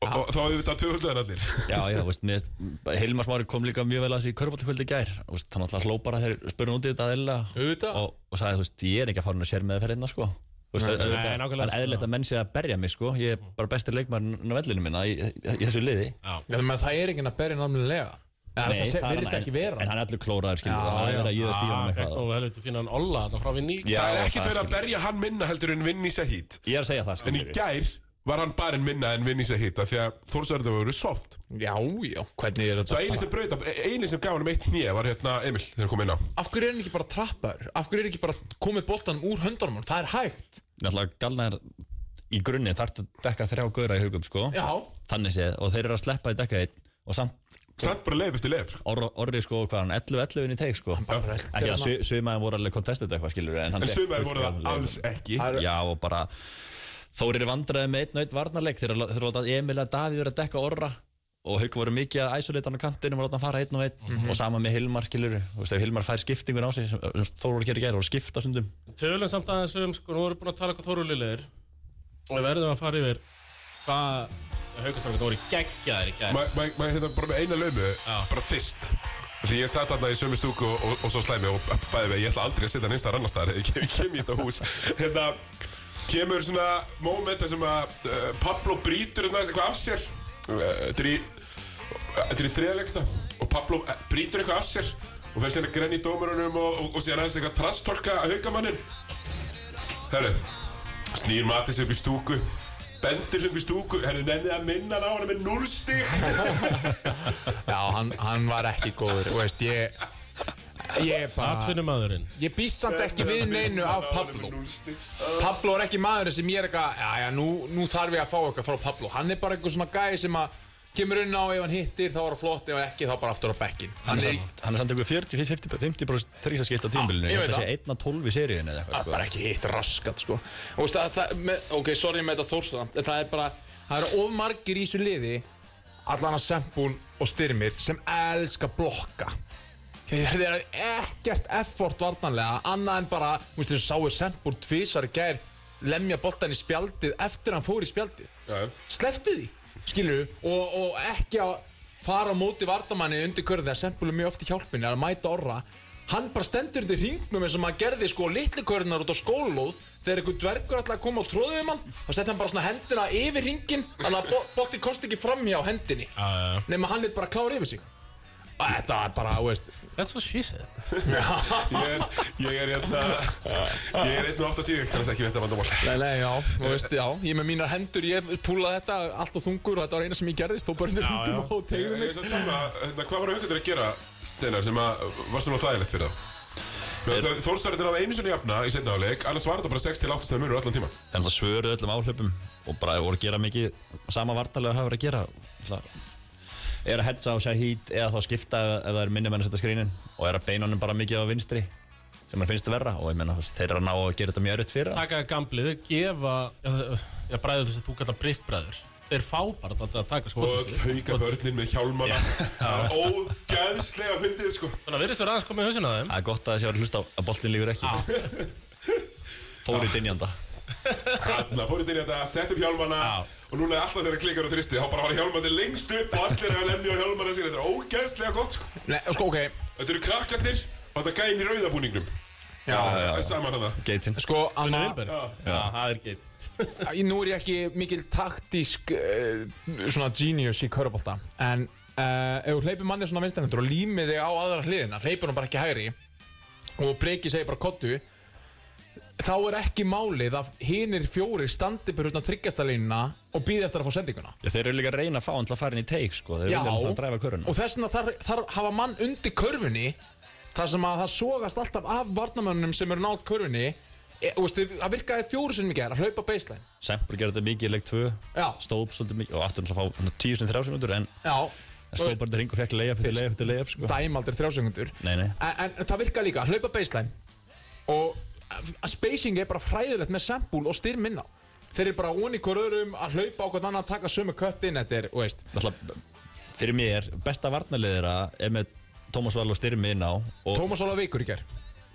Speaker 2: og, og þá hefur þetta tvöfaldaðarnir
Speaker 6: Já, já, þú veist, mér veist Hilmar Smári kom líka mjög vel að þessu í körbáttakvöldi gær Þú veist, hann alltaf hló bara þegar spurði út í þetta eðlilega
Speaker 4: Auðvitað.
Speaker 6: og, og sagði, þú veist, ég er ekki að fara hann að sér með það ferðina, sko Þú veist, auðvitað-
Speaker 3: nei,
Speaker 6: það
Speaker 3: nákvæmlega,
Speaker 6: er eðlilegt að menn sé að berja mig, sko Ég er bara bestir leikmarinn á vellinu minna í, í, í þessu liði
Speaker 4: Já, menn það er enginn að berja námlega Það
Speaker 6: Nei, það er
Speaker 4: verðist
Speaker 6: hann-
Speaker 4: ekki vera
Speaker 6: En hann er allur klóraður, skilur
Speaker 4: Já,
Speaker 6: Það er
Speaker 4: já.
Speaker 6: verið að jöðast í honum
Speaker 3: Það fekk
Speaker 6: eitthvað
Speaker 3: nú Ah, helviti fínan olla þarna frá við nýk
Speaker 6: Já,
Speaker 2: það er ekkert verið að
Speaker 6: skilur.
Speaker 2: berja hann minna heldur en vinn í sehít
Speaker 6: Ég er að segja það,
Speaker 2: en í
Speaker 6: skilur
Speaker 2: gær var hann barinn minna en vinn í sehít því að Þórsarður voru soft
Speaker 4: Já, já, hvernig er
Speaker 2: svo
Speaker 4: þetta
Speaker 2: eini sem brauta, eini sem gaf hann um eitt nýja var hérna Emil þegar hann kom inn á
Speaker 4: Af hverju er hann ekki bara trappaður? Af hverju er ekki bara komið boltanum úr höndunum? honum? Það er hægt
Speaker 6: Náttúrulega galnar í grunni þarf að dekka þrjá góðra í hugum, sko
Speaker 4: Já,
Speaker 6: Þannig séð, og þeir eru að sleppa í dekka þitt Og samt
Speaker 2: samt bara leif eftir leif sko.
Speaker 6: Orri, orri sko, hvað hann, 11-11 inn í teik sko
Speaker 4: bara
Speaker 6: Ekki að su- sumaðin voru alveg contested eitthvað skilur En, hann
Speaker 2: en
Speaker 6: fékk
Speaker 2: sömaður
Speaker 6: fullt
Speaker 2: voru
Speaker 6: af
Speaker 2: það
Speaker 6: leikmönnum.
Speaker 2: alls ekki
Speaker 4: Það
Speaker 6: Já og bara Þórir vandræði með einn nöyt varnarleik Þeir eru að láta Emil að Davíð vera að dekka orra Og Hauk voru mikið að isolate hann á kantinum og láta hann fara einn og einn Og sama með Hilmar skilur Þú veist ef Hilmar fær skiptingun á sig sem- sem Þórir gerir gæri og skipta stundum
Speaker 3: Tölum samt aðeins um, sko, nú erum við búin að tala hvað þórulilegir og við verðum að fara yfir hvað haugastrangar voru geggjaðir í gær
Speaker 2: maður hérna bara með eina laumu bara þist því ég satt hann í sömu stúku og, og, og svo slæmi og bæði mig, ég ætla aldrei að setja hann einstakar annars þar ég kem, ég kem í þetta hús hérna kemur svona moment þar sem að uh, Pablo brýtur hérna eitthvað af sér uh, þetta er í þetta er í þriðaleikna og Pablo uh, brýtur eitthvað af sér og fer sérna grenn í dómarunum og, og, og síðan aðeins eitthvað trastorka að haugamannin herru Snýr Matis upp í stúku Bendir upp í stúku Herðu nennið að minna hann á hann með 0 stík
Speaker 4: já hann, hann var ekki góður Þú veist, ég Ég bara
Speaker 3: Atvinnumadurinn
Speaker 4: Ég býst samt ekki við neinu af Pablo Pablo er ekki maður sem ég er eitthvað Já, já, nú, nú þarf ég að fá eitthvað frá Pablo Hann er bara eitthvað svona gæði sem að Kemur inn á ef hann hittir, þá er það flott Ef ekki, þá bara aftur á bekkin
Speaker 6: Hann er, hann er samt ykkur 40-50% þrísaskilt á tímbilinu
Speaker 4: ég
Speaker 6: Ég
Speaker 4: veit
Speaker 6: held að
Speaker 4: það.
Speaker 6: sé 1-12 í seríunni eða eitthvað
Speaker 4: Það er bara ekki hitt raskat sko Og veist, að, það, með, Ok, sorry með þetta Þórstra en Það er bara, það eru of margir í þessu liði Allan að Sempún og Styrmir Sem elska blokka Þeir þeir eru ekkert effort varnanlega Annað en bara, þú veist þessu sáu Sempún Tvísar í gær lemja boltan í spjaldið Eftir hann fór í spjaldið Sleftu því, skilur og, og ekki að fara á móti vardamanni undir körði að Sempul er mjög oft í hjálpinni að mæta orra hann bara stendur undir hringnum eins og maður gerði sko litlu körðunar út á skólóð þegar einhver dvergur ætlaði að koma og tróði um hann þá setti hann bara svona hendina yfir hringin þannig að bo- bolti komst ekki fram hjá hendinni
Speaker 3: já, já.
Speaker 4: nema hann er bara klár yfir sig og þetta er bara, þú veist
Speaker 3: That's what she said
Speaker 2: Ég er, ég er hérna Ég er 1.80 Kannast ekki veit að vandamál
Speaker 4: Nei, nei, já, þú veist, já, ég með mínar hendur, ég púlaði þetta allt og þungur og þetta var eina sem ég gerði, stóð bara undir hringum og
Speaker 2: Ég
Speaker 4: tegði
Speaker 2: er
Speaker 4: mig
Speaker 2: þess að sama hérna, Hvað var haugandur að gera Steinar sem að Var svona þægilegt fyrir þá Þórsarðin að einu sinni jafna Í setna áleik Annars var þetta bara 6 til 8 stæð munur allan tíma
Speaker 6: Þannig að svöruðu öllum áhlaupum og bara voru að gera mikið sama vartalega hafa verið að gera Þannig að er að hetsa á sér hít eða þá skipta ef ef það er minni menn að setja skrínin og er að beina honum bara mikið á vinstri sem hann finnst verra og ég menna þeir eru að ná að gera þetta mjög erfitt fyrir hann.
Speaker 3: Takaði gamblið, gefa já, já, bræður þess að þú kallar prikkbræður þeir fá bara þetta að taka
Speaker 2: Og
Speaker 3: skotið sig
Speaker 2: hauga börnin með hjálmana Það er Ógæðslega fyndið sko
Speaker 3: Þannig að virðist vera aðeins komið í hausina á þeim
Speaker 6: Það er gott að þessi var að hlusta á að boltin lífur ekki
Speaker 4: Ah.
Speaker 6: Þóri dinjanda
Speaker 2: Þarna fór ég til í þetta, sett upp hjálmana og núna er alltaf þegar klikkar og þristi þá bara var hjálmandi lengst upp og allir er að lemja á hjálmana sín þetta er ógeðslega gott sko.
Speaker 4: Nei, sko, ok,
Speaker 2: Þetta eru krakkandir og þetta gæðin í rauðabúningnum
Speaker 4: já,
Speaker 2: Það er saman að það
Speaker 6: Geitin
Speaker 4: sko,
Speaker 3: Gunnar
Speaker 4: annað
Speaker 3: Vilberg. Já, það er geit
Speaker 4: eh, Æ, Nú er ég ekki mikil taktísk uh, svona genius í körubolta en uh, ef þú hleypir manni svona vinstendur og límið þig á aðra hliðina hleypir hann bara ekki hægri og breki segir bara kottu þá er ekki málið að hinir fjóri standi hérna per utan þryggjastalínina og býði eftir að fá sendinguna
Speaker 6: Já, þeir eru líka að reyna að fá hann til að fara inn í teik sko. Þeir
Speaker 4: Já,
Speaker 6: vilja hann að dræfa köruna
Speaker 4: og þess vegna þar, þar hafa mann undir körfunni þar sem að það sogast alltaf af varnamönnum sem eru nátt körfunni e, og veistu, það virkaði fjóri sinni mikið að hlaupa baseline
Speaker 6: Sempur gerði þetta mikið í leik 2
Speaker 4: Já.
Speaker 6: Stóp svolítið mikið og aftur hann að fá hann 10 sinni 3 sinútur en
Speaker 4: Já,
Speaker 6: Stóp bara hring og fekk leiðap til leiðap til leiðap sko.
Speaker 4: dæmaldir þrjásengundur
Speaker 6: Nei, nei.
Speaker 4: en, en það virka líka, hlaupa baseline og að spacing er bara fræðilegt með sambúl og styrm inn á þeir eru bara ón í hver öðrum að hlaupa á hvern annan að taka sömu kött inn þetta er, þú veist
Speaker 6: Náttúrulega, Fyrir mér, besta varnarliðir er með Tómas Val og Styrmi inn á og,
Speaker 4: Tómas Óla veikur í ger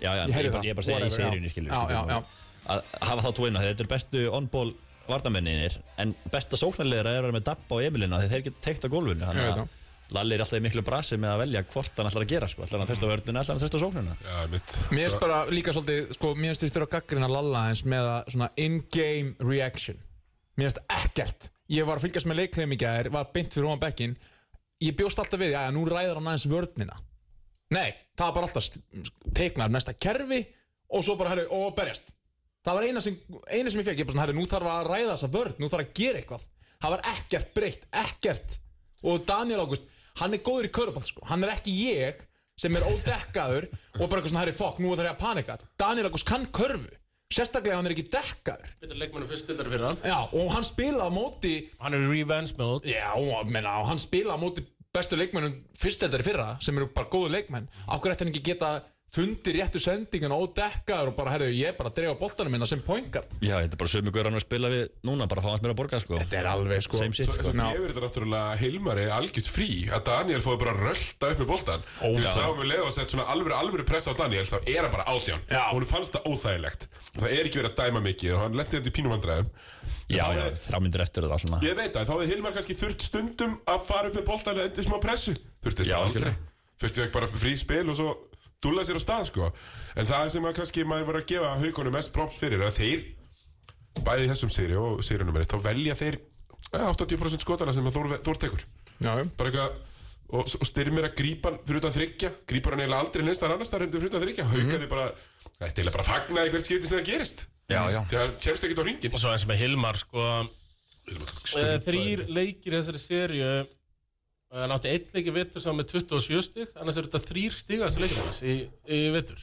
Speaker 6: já, já,
Speaker 4: Ég
Speaker 6: ég,
Speaker 4: heyrði
Speaker 6: ég, bara-
Speaker 4: það.
Speaker 6: ég bara segja í
Speaker 4: Whatever, já.
Speaker 6: seríunni skilur
Speaker 4: Já,
Speaker 6: skilur,
Speaker 4: já,
Speaker 6: bara.
Speaker 4: já.
Speaker 6: að hafa þá tvoina þetta eru bestu on-ball varnamenninir en besta sóknarliðir er að vera með Dabba og Emilina þegar þeir geta teikt á gólfinu
Speaker 4: Ég veit
Speaker 6: þannig
Speaker 4: það.
Speaker 6: að Lalli er alltaf í miklu brasi með að velja hvort hann ætlar að gera sko. ætlar hann að testa vörnina, ætlar hann að testa sóknina
Speaker 2: Já, mitt
Speaker 4: Mér finnst
Speaker 2: Svo-
Speaker 4: bara líka svolítið, sko, mér finnst þér að gaggrina Lalla eins með að svona in-game reaction Mér finnst ekkert Ég var að fylgjast með leikleim í gær, var beint fyrir ofan bekkin Ég bjóst alltaf við, já, nú ræðar hann aðeins vörnina Nei, það var bara alltaf st- teiknar næsta kerfi og svo bara, herru, og berjast Það var eina sem, eina sem ég fekk, ég bara svona, herru, nú þarf að ræða þessa vörn, nú þarf að gera eitthvað Það var ekkert breytt, ekkert Og Daniel Ágúst, hann er góður í köruball, sko Hann er ekki ég sem er ódekkaður og bara eitthvað svona, herru, fokk, nú þarf ég að panika Daniel Ágúst kann körfu, sérstaklega ef hann er ekki dekkaður
Speaker 3: Betur leikmennu fyrst spildar fyrir hann
Speaker 4: Já, og hann spilaði á móti,
Speaker 3: Hann er í revenge mode
Speaker 4: já, menna, og hann spilaði á móti bestu leikmennum fyrsteldari fyrra sem eru bara góðu leikmenn Ákveð ætti hann ekki geta fundið réttu sendingin og ódekkaður og bara, herru, ég er bara að dreifa boltanum minna sem poingat
Speaker 6: Já, þetta er bara sömu guður hann er að spila við núna bara að fá hans mér að borga sko.
Speaker 4: Þetta er alveg, sko
Speaker 6: Same shit
Speaker 2: Svo, svo
Speaker 6: sko.
Speaker 4: Ná.
Speaker 2: gefur þetta náttúrulega Hilmari algjört frí að Daniel fóði bara að rölda upp með boltan Því við
Speaker 4: já.
Speaker 2: sáum við leið og sett svona alvöru, alvöru pressa á Daniel þá er hann bara átján
Speaker 4: Já.
Speaker 2: og hún fannst það óþægilegt það er ekki verið að dæma mikið og hann lendi þetta í pínumandræðum
Speaker 6: Já, já, þrjá myndir eftir þetta svona
Speaker 2: Ég veit það, þá hefði Hilmar kannski þurft stundum að fara upp með boltan eða endið smá pressu þurfti
Speaker 6: Já,
Speaker 2: þetta aldrei
Speaker 6: algjörlega.
Speaker 2: þurfti ekki bara frí spil og svo dúla sér á stað sko en það sem að kannski maður var að gefa haugunum mest props fyrir að þeir bæði í þessum sýri og sýrinum er þá velja þeir eh, 80% skotana sem að Þór, Þór tekur
Speaker 4: Já,
Speaker 2: bara eitthvað og, og styrmir að grípa hann fyrir utan þryggja grípa hann eiginlega aldrei neins þar annars þar hendur fyrir utan
Speaker 6: Mhm.
Speaker 2: þryggja haukaði bara, þetta er eiginlega bara að fagna í hvert skipti sem það gerist
Speaker 6: Já, já.
Speaker 2: því það kemst ekkert á ringin
Speaker 3: Og svo eins með Hilmar sko Eh, Þrýr leikir í þessari sériu hann átti einn leik í vetur sem var með 27 stig annars eru þetta þrýr stigast leikir hans í, í vetur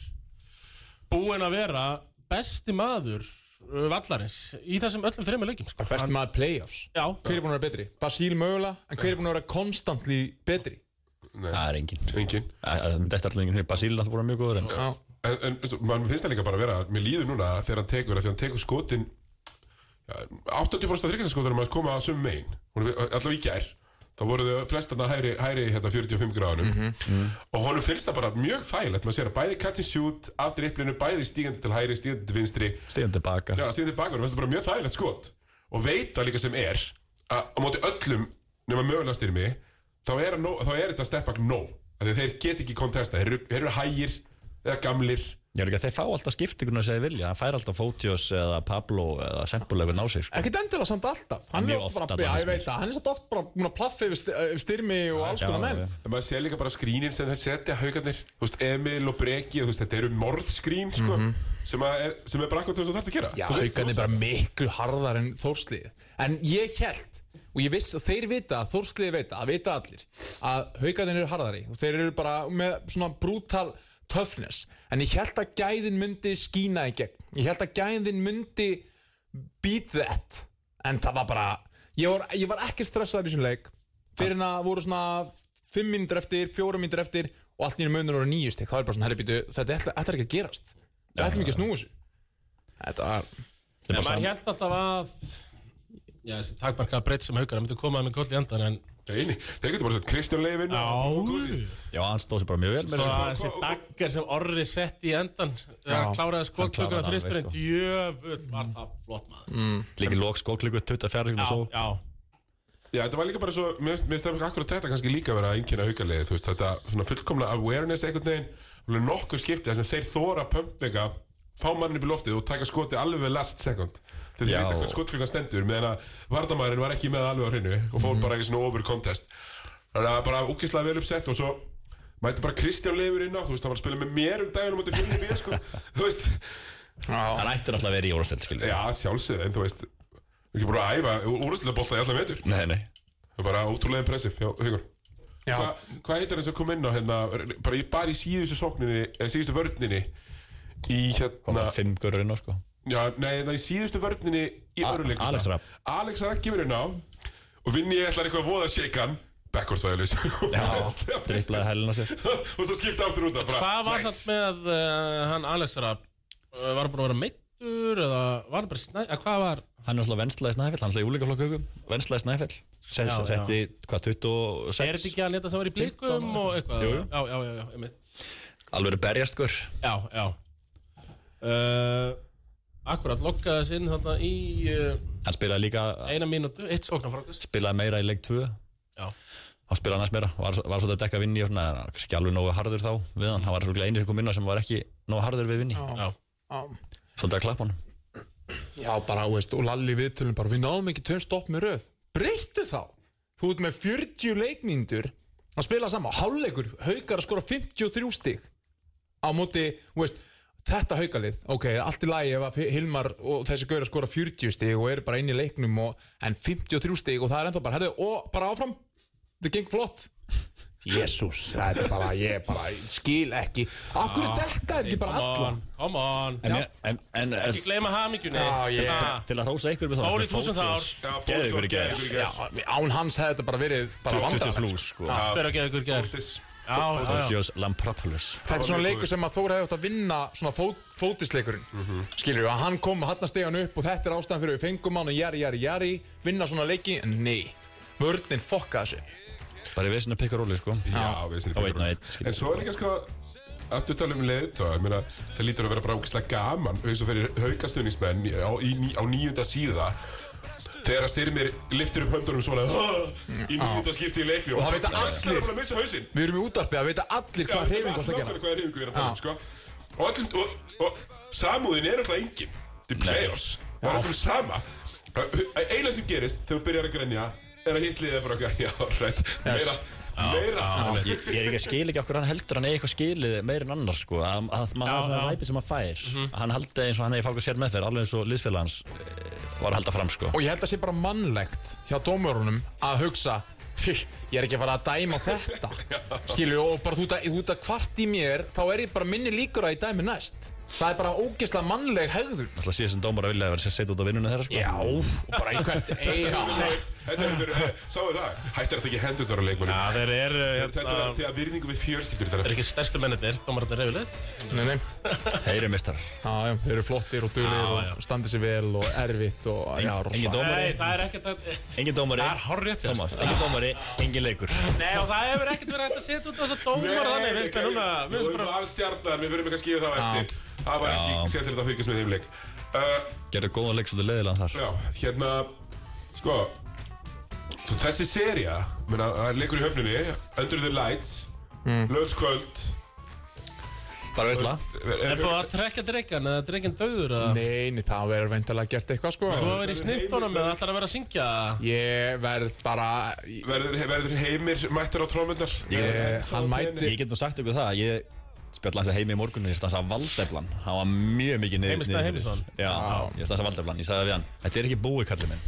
Speaker 3: búinn að vera besti maður eh, vallarins í þessum öllum þreymur leikim sko.
Speaker 4: besti maður playoffs
Speaker 3: Já,
Speaker 4: Hver er búin að vera betri? Basíl mögulega, en hver er búin að vera konstantli betri?
Speaker 6: Það er engin
Speaker 2: engin
Speaker 6: Þetta er alltaf engin Basíl er alltaf bara mjög góður en
Speaker 4: Já,
Speaker 2: En, en svo, mann finnst það líka bara að vera, mér líður núna þegar hann tekur, þegar hann tekur skotin ja, 80% af þryggjastaskotunum að koma að sum megin, Hún er- allavega í gær þá voru þau flestarna hæri, hæri hérna 45 gráðunum og honum finnst það bara mjög þægilegt, maður sér að bæði cut and shoot af dripplinu, bæði stígandi til hæri stígandi til vinstri,
Speaker 6: Stíðan tilbaka
Speaker 2: já, stígandi til bakar, finnst það bara mjög þægilegt skot og veit það líka sem er að á móti öllum nema mögulega styrmi þá er, hann nóg, þá er þetta steppag nóg af því að þeir get ekki kontesta, þeir eru, þeir eru hægir eða gamlir
Speaker 6: Ég er líka að þeir fá alltaf skiptinguna sem þeir vilja Hann fær alltaf Fótios eða Pablo eða Sempul eitthvað ná sig sko.
Speaker 4: ekkert endilega samt alltaf Hann er
Speaker 6: Mjög
Speaker 4: oft
Speaker 6: oft
Speaker 4: bara, já
Speaker 6: allavega,
Speaker 4: ég
Speaker 6: finnst mér.
Speaker 4: veit það Hann er samt oft bara búin að plaffa yfir st- yfir styrmi og alls
Speaker 6: Já,
Speaker 4: konar menn
Speaker 6: já.
Speaker 2: En maður sér líka bara skrínin sem þeir setja haugarnir, þú veist, Emil og Breki þú veist, þetta eru morðskrín, sko sem, að er, sem er bara akkur þess að þú þarf að gera
Speaker 4: Mhm. Já,
Speaker 2: Þú veist,
Speaker 4: haugarnir
Speaker 2: þú
Speaker 4: bara miklu harðar en þórslið En ég held Og ég viss, og þeir vita, þórslið vita, það vita allir Að haugarnir eru harðari Og þeir eru bara með svona brutal toughness En ég held að gæðin myndi skína í gegn Ég held að gæðin myndi beat that En það var bara Ég var, ég var ekki stressaður í þessum leik Fyrir en að voru svona 5 mínútur eftir, 4 mínútur eftir Og allt nýjum munur voru nýjust Það er bara svona, herri býtu, þetta ætlar ætlar ekki að gerast Við ætlum ekki að snúa þessu Þetta var
Speaker 6: Þetta
Speaker 3: en
Speaker 6: er bara
Speaker 3: maður
Speaker 6: sam-
Speaker 3: held alltaf að já, þessi takmarkaða breytt sem haukar hann myndi koma með koll í andan en
Speaker 2: veist, eini. þeir getur bara sett Kristján Leifin
Speaker 6: Já, hann stóð sér bara mjög vel með
Speaker 3: Svo
Speaker 6: þessu sko.
Speaker 3: að þessi daggar sem orri sett í endan þegar
Speaker 4: Já.
Speaker 3: hann kláraði skotklökun
Speaker 6: kláraði
Speaker 3: að
Speaker 6: það alveg,
Speaker 3: þristurinn
Speaker 6: sko.
Speaker 3: djöfull var það flott maður
Speaker 6: Líka lók skóklíku 24 sekundar svo
Speaker 3: Já, já
Speaker 2: Já, þetta var líka bara svo, mér finnst- mér finnst akkur að þetta kannski líka vera að einkenna haugarliði, þú veist, þetta svona fullkomna awareness einhvern veginn, alveg nokkur skipti þar sem þeir þóra pumpvega fá mannin upp í loftið og taka skoti alveg við last second þegar þeir
Speaker 6: Já.
Speaker 2: vita hvern skotklukkan stendur meðan að vardamærin var ekki með alveg á hreinu og fór bara í svona over contest Þannig að bara úkislega vel uppsett og svo mætti bara Kristján Leifur inn á, þú veist, hann var að spila með mér um daginn á móti fjölni við, sko, þú veist,
Speaker 4: Já,
Speaker 6: Hann ættir alltaf að vera í órastöld, skilur
Speaker 2: já, sjálfsögðu, en þú veist, við ekki búin að æfa úrvæslega bolta í allan vetur,
Speaker 6: Nei, nei
Speaker 2: það er bara ótrúlega impressiv, já, hugur.
Speaker 4: já,
Speaker 2: Hva, hvað heitir hann sem kom inn á hérna, bara í, bara í síðustu sókninni, eða síðustu vörninni, í
Speaker 6: Kom
Speaker 2: hérna,
Speaker 6: bara fimm görur inn á, sko
Speaker 2: já, nei, það í síðustu vörninni í
Speaker 6: A-
Speaker 2: öruleikum.
Speaker 6: Alex Rapp.
Speaker 2: Alex Rapp kemur inn á og vinn ég ætlar eitthvað að voða að shake hann, backward violence. Já,
Speaker 6: Dripplaði hælinn á sér
Speaker 2: og svo skipta aftur út af, bara,
Speaker 3: Hvað var
Speaker 2: nice.
Speaker 3: það með uh, hann Alessara? Uh, var hann búin að vera meittur eða var hann bara snæ... Að hvað var...
Speaker 6: Hann er alltaf venslaði snæfell, hann er alltaf í úlíka flokk hugum Venslaði snæfell Set-
Speaker 3: Já, já.
Speaker 6: Setti, hvað, 26
Speaker 3: Er þetta ekki hann þetta sem var í
Speaker 6: 15
Speaker 3: blikum
Speaker 6: ára.
Speaker 3: og eitthvað?
Speaker 6: Jú, jú.
Speaker 3: Já, já, já, já, einmitt.
Speaker 6: Alveg er berjast, sko. hver
Speaker 3: Já, já. Uh, akkurat, lokkaði þess inn þarna í uh,
Speaker 6: Hann spilaði líka,
Speaker 3: eina mínútu, eitt sóknarfrákast.
Speaker 6: spilaði meira í leik 2
Speaker 3: Já.
Speaker 6: hann spilaði næst meira, var, var svolítið að dekka vinni og svona, en hann var kannski alveg nógu harður þá við hann, hann var svolítið eini sem kom inn á sem var ekki nógu harður við vinni,
Speaker 3: Já.
Speaker 4: já.
Speaker 6: svolítið að klappa hann
Speaker 4: Já, bara, þú veist, og Lalli í viðtölum bara, við náðum ekki tveim stopp með röð. Breyttu þá! Þú ert með 40 leikmíndur að spila saman. Hálfleikur, haukar að skora 53 stig á móti, þú veist, þetta haukalið. Ok, allt í lagi ef að Hilmar og þessi gaur að skora 40 stig og eru bara inn í leiknum og, en 53 stig og það er ennþá bara, herðu, og bara áfram. Þetta geng flott. Jésús, þetta er bara, ég bara skil ekki. Af hverju dekka ekki bara
Speaker 3: Come
Speaker 4: alla?
Speaker 3: on, come on.
Speaker 6: en, ég- en, en, en
Speaker 3: Ekki gleyma hamingjunni.
Speaker 4: Já, ég-
Speaker 3: Ah,
Speaker 6: til að rósa ykkur með það
Speaker 3: Fór í þúsund ár.
Speaker 2: Já,
Speaker 6: Geðu
Speaker 2: Fólks
Speaker 6: ykkur
Speaker 2: og
Speaker 6: í gær.
Speaker 2: geðu ykkur í
Speaker 4: Já,
Speaker 2: gær.
Speaker 4: án hans hefði þetta bara verið bara
Speaker 6: 20
Speaker 4: vandræðalegt.
Speaker 6: plus sko
Speaker 3: Ah, Hver að geða ykkur gerð?
Speaker 2: Fólks-
Speaker 3: Já, já, já.
Speaker 6: Þorsios Lampropoulos
Speaker 4: Þetta er
Speaker 2: var
Speaker 4: svona
Speaker 2: mjög
Speaker 4: leikur sem að Þór hefði átt að vinna svona fót, fótisleikurinn mm -hmm. Skilur við, að hann kom hann að stegja hann upp og þetta er ástæðan fyrir við fengum hann og jari, jari, jari vinna svona leiki, en nei vörninn fokka þessu
Speaker 6: bara í vesinu að pikka róli sko
Speaker 2: Já, við sinni
Speaker 6: Á einn og einn, skilur.
Speaker 2: En svo er líka sko Aftur tala um leiðtóa, ég meina, það lítur að vera bara ógislega gaman Þú veist þú fyrir haukastunningsmenn á, í, ní- á níunda síða Þegar að styrmir liftur upp höndunum svona "Ah", Í níunda skipti í leikni
Speaker 4: Og það vita allir.
Speaker 2: Það er bara að missa hausinn
Speaker 4: Við erum í útarpið að veita allir
Speaker 2: Já,
Speaker 4: hvað
Speaker 2: við
Speaker 4: hreyfing
Speaker 2: veitum
Speaker 4: átt
Speaker 2: allir
Speaker 4: að gera
Speaker 2: nákvæmlega Hvað reyfingu er að tala um, sko Og, öllum, og, og samúðin er alltaf engin Til play-offs Það er alltaf sama Eila sem gerist þegar þú byrjar að grenja Er að hitlið er bara okkar Já, rætt Meira Meira
Speaker 6: ég, ég er ekki að skil ekki okkur hann heldur hann eigi eitthvað skilið meir en annars sko að, að maður hafa
Speaker 3: já.
Speaker 6: svona
Speaker 3: Mhm.
Speaker 6: væpi sem hann fær hann haldi eins og hann hefði fáið sér meðferð alveg eins og liðsfélag hans eh, var að halda fram sko
Speaker 4: Og ég held að sé bara mannlegt hjá dómurunum að hugsa "Fí, Ég er ekki að fara að dæma þetta Skilur, og bara þú ert að- þú ert að kvart í mér þá er ég bara minni líkur að ég dæmi næst Það er bara ógeðslega mannleg hegðun
Speaker 6: alltaf síðan sem dómar að vilja að vera sér sett út á vinnunni þeirra sko
Speaker 4: Já, og bara einhvern Já,
Speaker 2: Þetta er þetta, sáu það? Hættir þetta ekki hendutur á
Speaker 3: Já,
Speaker 2: leikmönnum?
Speaker 3: þeir eru,
Speaker 2: Þetta
Speaker 3: hérna,
Speaker 2: er til að virðingu við fjölskyldur
Speaker 3: þeir
Speaker 2: þeirra.
Speaker 3: eru ekki stærstu mennirnir, dómararnir yfirleitt.
Speaker 4: nei, nei
Speaker 6: þeir eru mistarar
Speaker 4: Já, já, þeir eru flottir og duglir
Speaker 3: já.
Speaker 4: og standi sér vel og erfitt og já,
Speaker 6: engin
Speaker 4: rosa
Speaker 6: dómari
Speaker 3: Nei, það er ekkert að...
Speaker 6: Engin dómari
Speaker 3: Það er hárrétt, já.
Speaker 6: Tómas, Engin dómari, engin leikur
Speaker 3: Nei, og það hefur ekkert verið hægt að setja út þessa dómar þannig, við spilum núna, við
Speaker 2: Við
Speaker 3: spilum
Speaker 2: erum
Speaker 3: bara...
Speaker 2: allstjarnar, við verðum ekki að skýja það á eftir. Það var ekki sér til þetta að fyrkast með þeim leik. Uh,
Speaker 6: Gerðu góðan leik svolítið leiðilega þar
Speaker 2: Já, hérna, sko, svo þessi seria, menna, það er leikur í höfninni, Under the Lights,
Speaker 3: Hmm.
Speaker 2: mm. Löðskvöld.
Speaker 6: Bara veistla
Speaker 3: Er búið að trekja drengan, eða drengin döður, eða...
Speaker 4: Nei, nei, það verður veintilega gert eitthvað sko
Speaker 3: Þú að vera í snittunum, eða ætlar að vera að syngja...
Speaker 4: Ég verð bara ég,
Speaker 2: Verður, verður heimir mættur á trómundar?
Speaker 4: Hann mæti
Speaker 6: Ég get nú sagt ykkur það Ég spjall hans að heimi í morgunum Ég stansa að valdeflan Hann var mjög mikið niður
Speaker 3: Heimir Snær
Speaker 6: niður-
Speaker 3: Heimisson?
Speaker 6: Já, ég stansa að valdeflan Ég sagði við hann Þetta er ekki búið kallið minn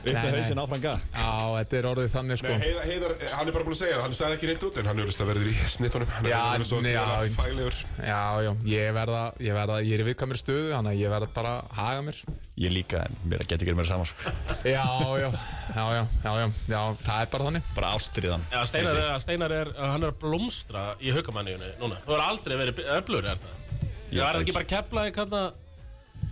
Speaker 6: Upp með
Speaker 4: nei.
Speaker 6: hausin áfram gag
Speaker 4: Á, þetta er orðið þannig sko
Speaker 2: Nei, heiðar, heiðar, eh, hann er bara búin að segja það, hann sagði ekki reynd út en hann er auðvitað verður í snittunum, hann er
Speaker 4: Já,
Speaker 2: auðvitað svo
Speaker 4: nei, já,
Speaker 2: að
Speaker 4: ég-
Speaker 2: fælegur.
Speaker 4: Já, já, ég verða, ég verða, ég er í viðkvæmur stöðu Þannig að ég verða bara að haga mér
Speaker 6: Ég líka En mér geti ekki mér saman sko.
Speaker 4: Já, já, já, já, já, já, já Það er bara þannig
Speaker 6: Bara ástriðan
Speaker 3: Já, Steinar er, Steinar er, hann er að blómstra í haukamannjunni núna. Þú hefur aldrei verið öflur, er það?
Speaker 6: Ég
Speaker 3: Ég var
Speaker 6: veit.
Speaker 3: ekki bara að kepla í kanna...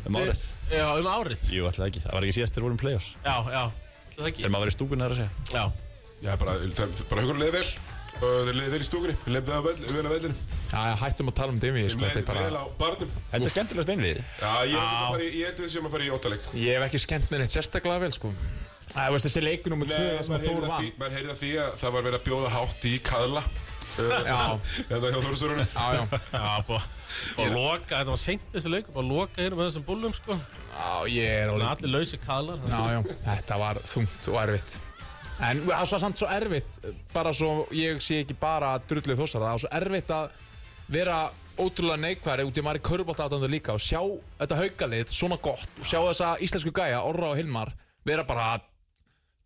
Speaker 6: Um árið
Speaker 3: Já, um árið.
Speaker 6: Jú, alltaf ekki Það var ekki síðast þegar við vorum play-offs
Speaker 3: Já, já. ætli Það ekki.
Speaker 6: Þegar maður var í stúkunni þar að segja
Speaker 3: Já.
Speaker 2: Já, bara, það, bara haugur leiði vel og þeir leiði vel í stúkunni, þeir leiði vel, vell- vel á vellinu
Speaker 4: Já, já, hættum að tala um Demi,
Speaker 2: Þeir
Speaker 4: sko,
Speaker 2: leiði
Speaker 4: þetta er bara
Speaker 2: vel á barnum
Speaker 6: Þetta er skemmtilegast einvið
Speaker 2: Já, ég held að fara í- ég held að við séum að fara í óttaleg
Speaker 4: Ég hef ekki skemmt mér neitt sérstaklega vel, sko Æ, veist, þessi leikur nummer 2, það sem að Þór vann
Speaker 2: Menn heyrði að því að það var verið að bjóða hátt í kaðla
Speaker 4: Já,
Speaker 2: Þetta hjá Þórsörunum
Speaker 4: já, já
Speaker 3: Já, búið að loka, þetta var seint þessi leikur, búið að loka hérna með þessum bullum, sko.
Speaker 4: Já, ég er alveg
Speaker 3: Allir lausi kallar.
Speaker 4: Já, já, þetta var þungt og erfitt En það er svo samt svo erfitt, bara svo ég sé ekki bara drullið þossar, það er svo erfitt að vera ótrúlega neikværi út í maður í körbólt aðdöndu líka og sjá þetta haukalið svona gott og sjá þessa íslensku gæja, Orra og Hilmar, vera bara að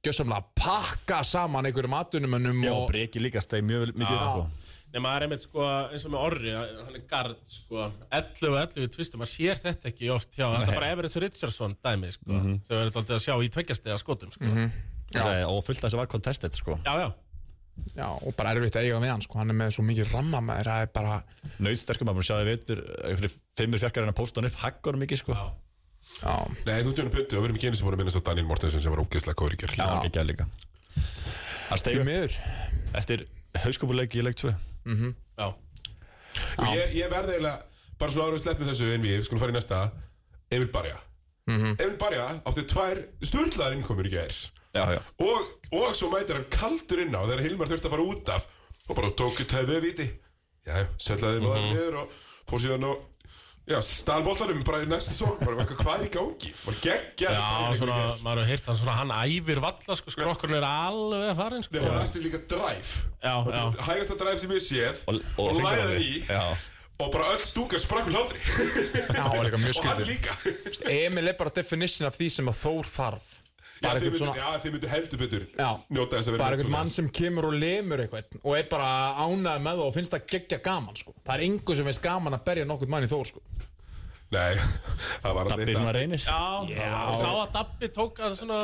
Speaker 4: gjössamlega pakka saman einhverjum atvinnumönnum
Speaker 6: Já,
Speaker 4: og...
Speaker 6: breki líka stegi mjög mikið upp sko.
Speaker 3: Nei, maður er einmitt sko, eins og með orri, hann er gard, sko, 11 og 11 við tvistum, maður sér þetta ekki oft hjá, þetta er bara Everett Richardson dæmi, sko, sem við erum alltaf að sjá í tveggjastega skotum, sko.
Speaker 6: Það er- Og fullt af þessu var contested sko.
Speaker 3: Já, já,
Speaker 4: Já, og bara erfitt að eiga við hann, sko, hann er með svo mikið ramma með það er bara...
Speaker 6: Nauðsterkum að maður sjáði veitur einhverjir Fimmur fjarkar en að posta hann upp Haggar mikið sko.
Speaker 4: Já,
Speaker 2: Nei, þú tjónum pöntu, við erum ekki einu sem voru að minnast á Daniel Mortensen sem var ógeðslega góður í gerð
Speaker 6: Já, ekki ekki líka Það
Speaker 4: því
Speaker 6: stegi
Speaker 4: miður.
Speaker 6: eftir hauskopuleik í leik 2
Speaker 3: já.
Speaker 2: Og ég, ég verði eiginlega, bara svona ára við sleppum þessu en við, skulum fara í næsta Emil Barja
Speaker 6: Mhm.
Speaker 2: Emil Barja átti tvær sturlaðar innkomur í gerð
Speaker 6: Já, já
Speaker 2: og, og svo mætir hann kaldur inn á þegar Hilmar þurfti að fara út af og bara tók í tæfið viti já, sellaði maður
Speaker 6: Mhm.
Speaker 2: niður og fór síðan og já, stálbóllanum bara í næstu sók bara eitthvað, hvað er í gangi var geggjað
Speaker 3: Já, svona, maður hefur heyrt hann svona, hann æfir valla, sko, skrokkurinn er alveg að fara, sko.
Speaker 2: Nei, hann ætti líka dræf
Speaker 3: Já, já.
Speaker 2: hægasta dræf sem ég séð
Speaker 6: Og-
Speaker 2: og,
Speaker 6: og
Speaker 2: og,
Speaker 6: fingrarnir.
Speaker 2: lagði í
Speaker 6: Já.
Speaker 2: og bara öll stúka sprakk úr hlátri
Speaker 4: Já, hann var líka mjög
Speaker 2: og hann
Speaker 4: skrítið.
Speaker 2: líka
Speaker 4: Emil er bara definition af því sem að Þór þarf.
Speaker 2: já,
Speaker 4: Bara
Speaker 2: þeir
Speaker 4: eitthvað
Speaker 2: myndu,
Speaker 4: svona
Speaker 2: já, þeir myndu heldur betur
Speaker 4: Já.
Speaker 2: njóta þess að vera
Speaker 4: bara
Speaker 2: með
Speaker 4: einhvern mann
Speaker 2: svoleiðis.
Speaker 4: sem kemur og lemur eitthvað og er bara ánægð með það og finnst það geggja gaman sko. það er yngur sem finnst gaman að berja nokkurn mann í þór sko.
Speaker 2: nei, það var
Speaker 6: Dabbi svona reynir
Speaker 3: Já, já. Sá að Dabbi tók að svona,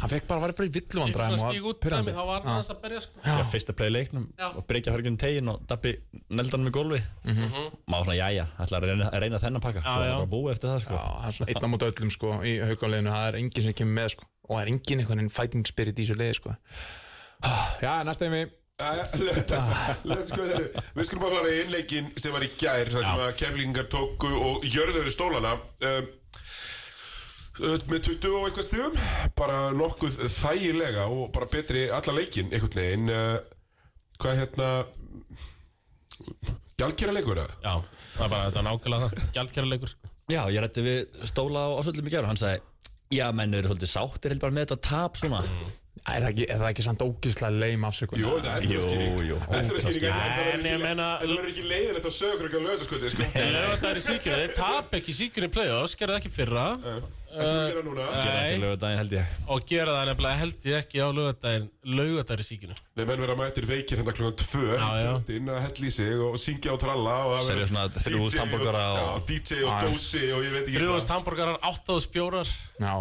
Speaker 4: hann fekk bara að vera bara í
Speaker 3: svona
Speaker 4: villuvandræðum
Speaker 3: stíg út dæmi, þá var hann aðeins að berja, sko.
Speaker 6: Já, fyrsta play í leiknum
Speaker 3: Já.
Speaker 6: og breykja hörgjum tegin og Dabbi neldanum í gólfi mm -hmm. Má svona, jæja, ætla að reyna, að reyna þennan pakka Svo
Speaker 3: Mhm.
Speaker 6: er
Speaker 3: já.
Speaker 6: það bara búið eftir það sko.
Speaker 4: það er svona einna mútu öllum sko, í haukáleginu, það er enginn sem kemur með sko. og það er enginn einhvern veginn fighting spirit í þessu liði sko. Ah, já, næsta einmi
Speaker 2: Jæja, Let's let's go there. Við skulum bara fara í innleikin sem var í gær þar sem að keflingar tóku og jörðuðu stólana um, með 20 og eitthvað stigum bara nokkuð þægilega og bara betri alla leikin einhvern veginn uh, hvað hérna Gjaldkera leikur það?
Speaker 3: Já, það er bara, þetta er nákvæmlega það, gjaldkerralegur, sko.
Speaker 6: Já, ég rætti við Stóla og Ásvöldum í gæru og hann sagði Já, menn, við erum svolítið sáttir held bara með þetta tap svona
Speaker 4: Æ, er það ekki, er það ekki samt ógislega leim afsökun
Speaker 2: Jú, þetta er
Speaker 6: Jú, jú.
Speaker 2: eftirskýring Eftirskýring en það verður
Speaker 3: En
Speaker 2: ekki-
Speaker 3: ég meina-
Speaker 2: en það verður ekki leiðin þetta sögur ekki að löða sko þetta sko
Speaker 3: En ef þetta er í síkjunni, þeir tap ekki síkjunni í play-offs, gerðu það ekki í fyrra
Speaker 2: Þetta er að gera núna
Speaker 6: Gerðu
Speaker 3: Nei.
Speaker 6: ekki lögudaginn held ég
Speaker 3: og gera það nefnilega held ég ekki á laugardaginn, laugardaginn í síkjunni.
Speaker 2: Nei, menn vera mættir veikir hérna klukkan tvö
Speaker 3: já.
Speaker 2: Tjóttinn að hella í sig og syngja og tralla og það
Speaker 6: Selja
Speaker 2: verður
Speaker 6: svona þrjú
Speaker 2: DJ
Speaker 6: hamborgara
Speaker 2: og- Já,
Speaker 6: og-
Speaker 2: DJ og dósi og ég veit ekki hvað.
Speaker 3: Brúðast hambúrgarar, 8000 bjórar,
Speaker 4: já,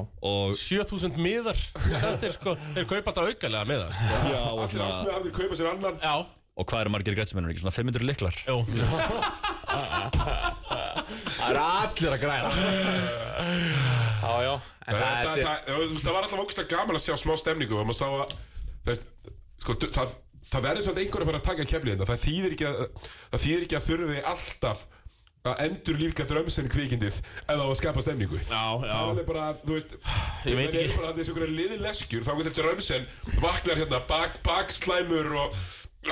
Speaker 3: 7000 miðar Þetta er sko, þeir kaupa alltaf aukalega miða sko.
Speaker 6: Já, og,
Speaker 2: Allir
Speaker 6: svona,
Speaker 2: ásmiðafnir kaupa sér annan
Speaker 3: Já,
Speaker 6: og hvað eru margir grætsmennur ekki? Svona 500 liklar
Speaker 3: jú
Speaker 4: það er allir að græða já, já en
Speaker 2: Þetta-
Speaker 4: það er
Speaker 2: það- þú veist, Það var alltaf ógustlega gaman að sjá smá stemningu og maður sá að þú veist, sko, du- það, það verður svona einhver að fara að taka keflið þetta það þýðir ekki að, það þýðir ekki að þurfi alltaf að endur lífka drömsin kvikindið ef það á að skapa stemningu
Speaker 3: Já, já,
Speaker 2: Það er bara, þú veist
Speaker 3: Ég veit
Speaker 2: Það
Speaker 3: ekki.
Speaker 2: er bara þessi okkur liðleskjur Þá getur Drömsen vaknar hérna bak, Bakslæmur og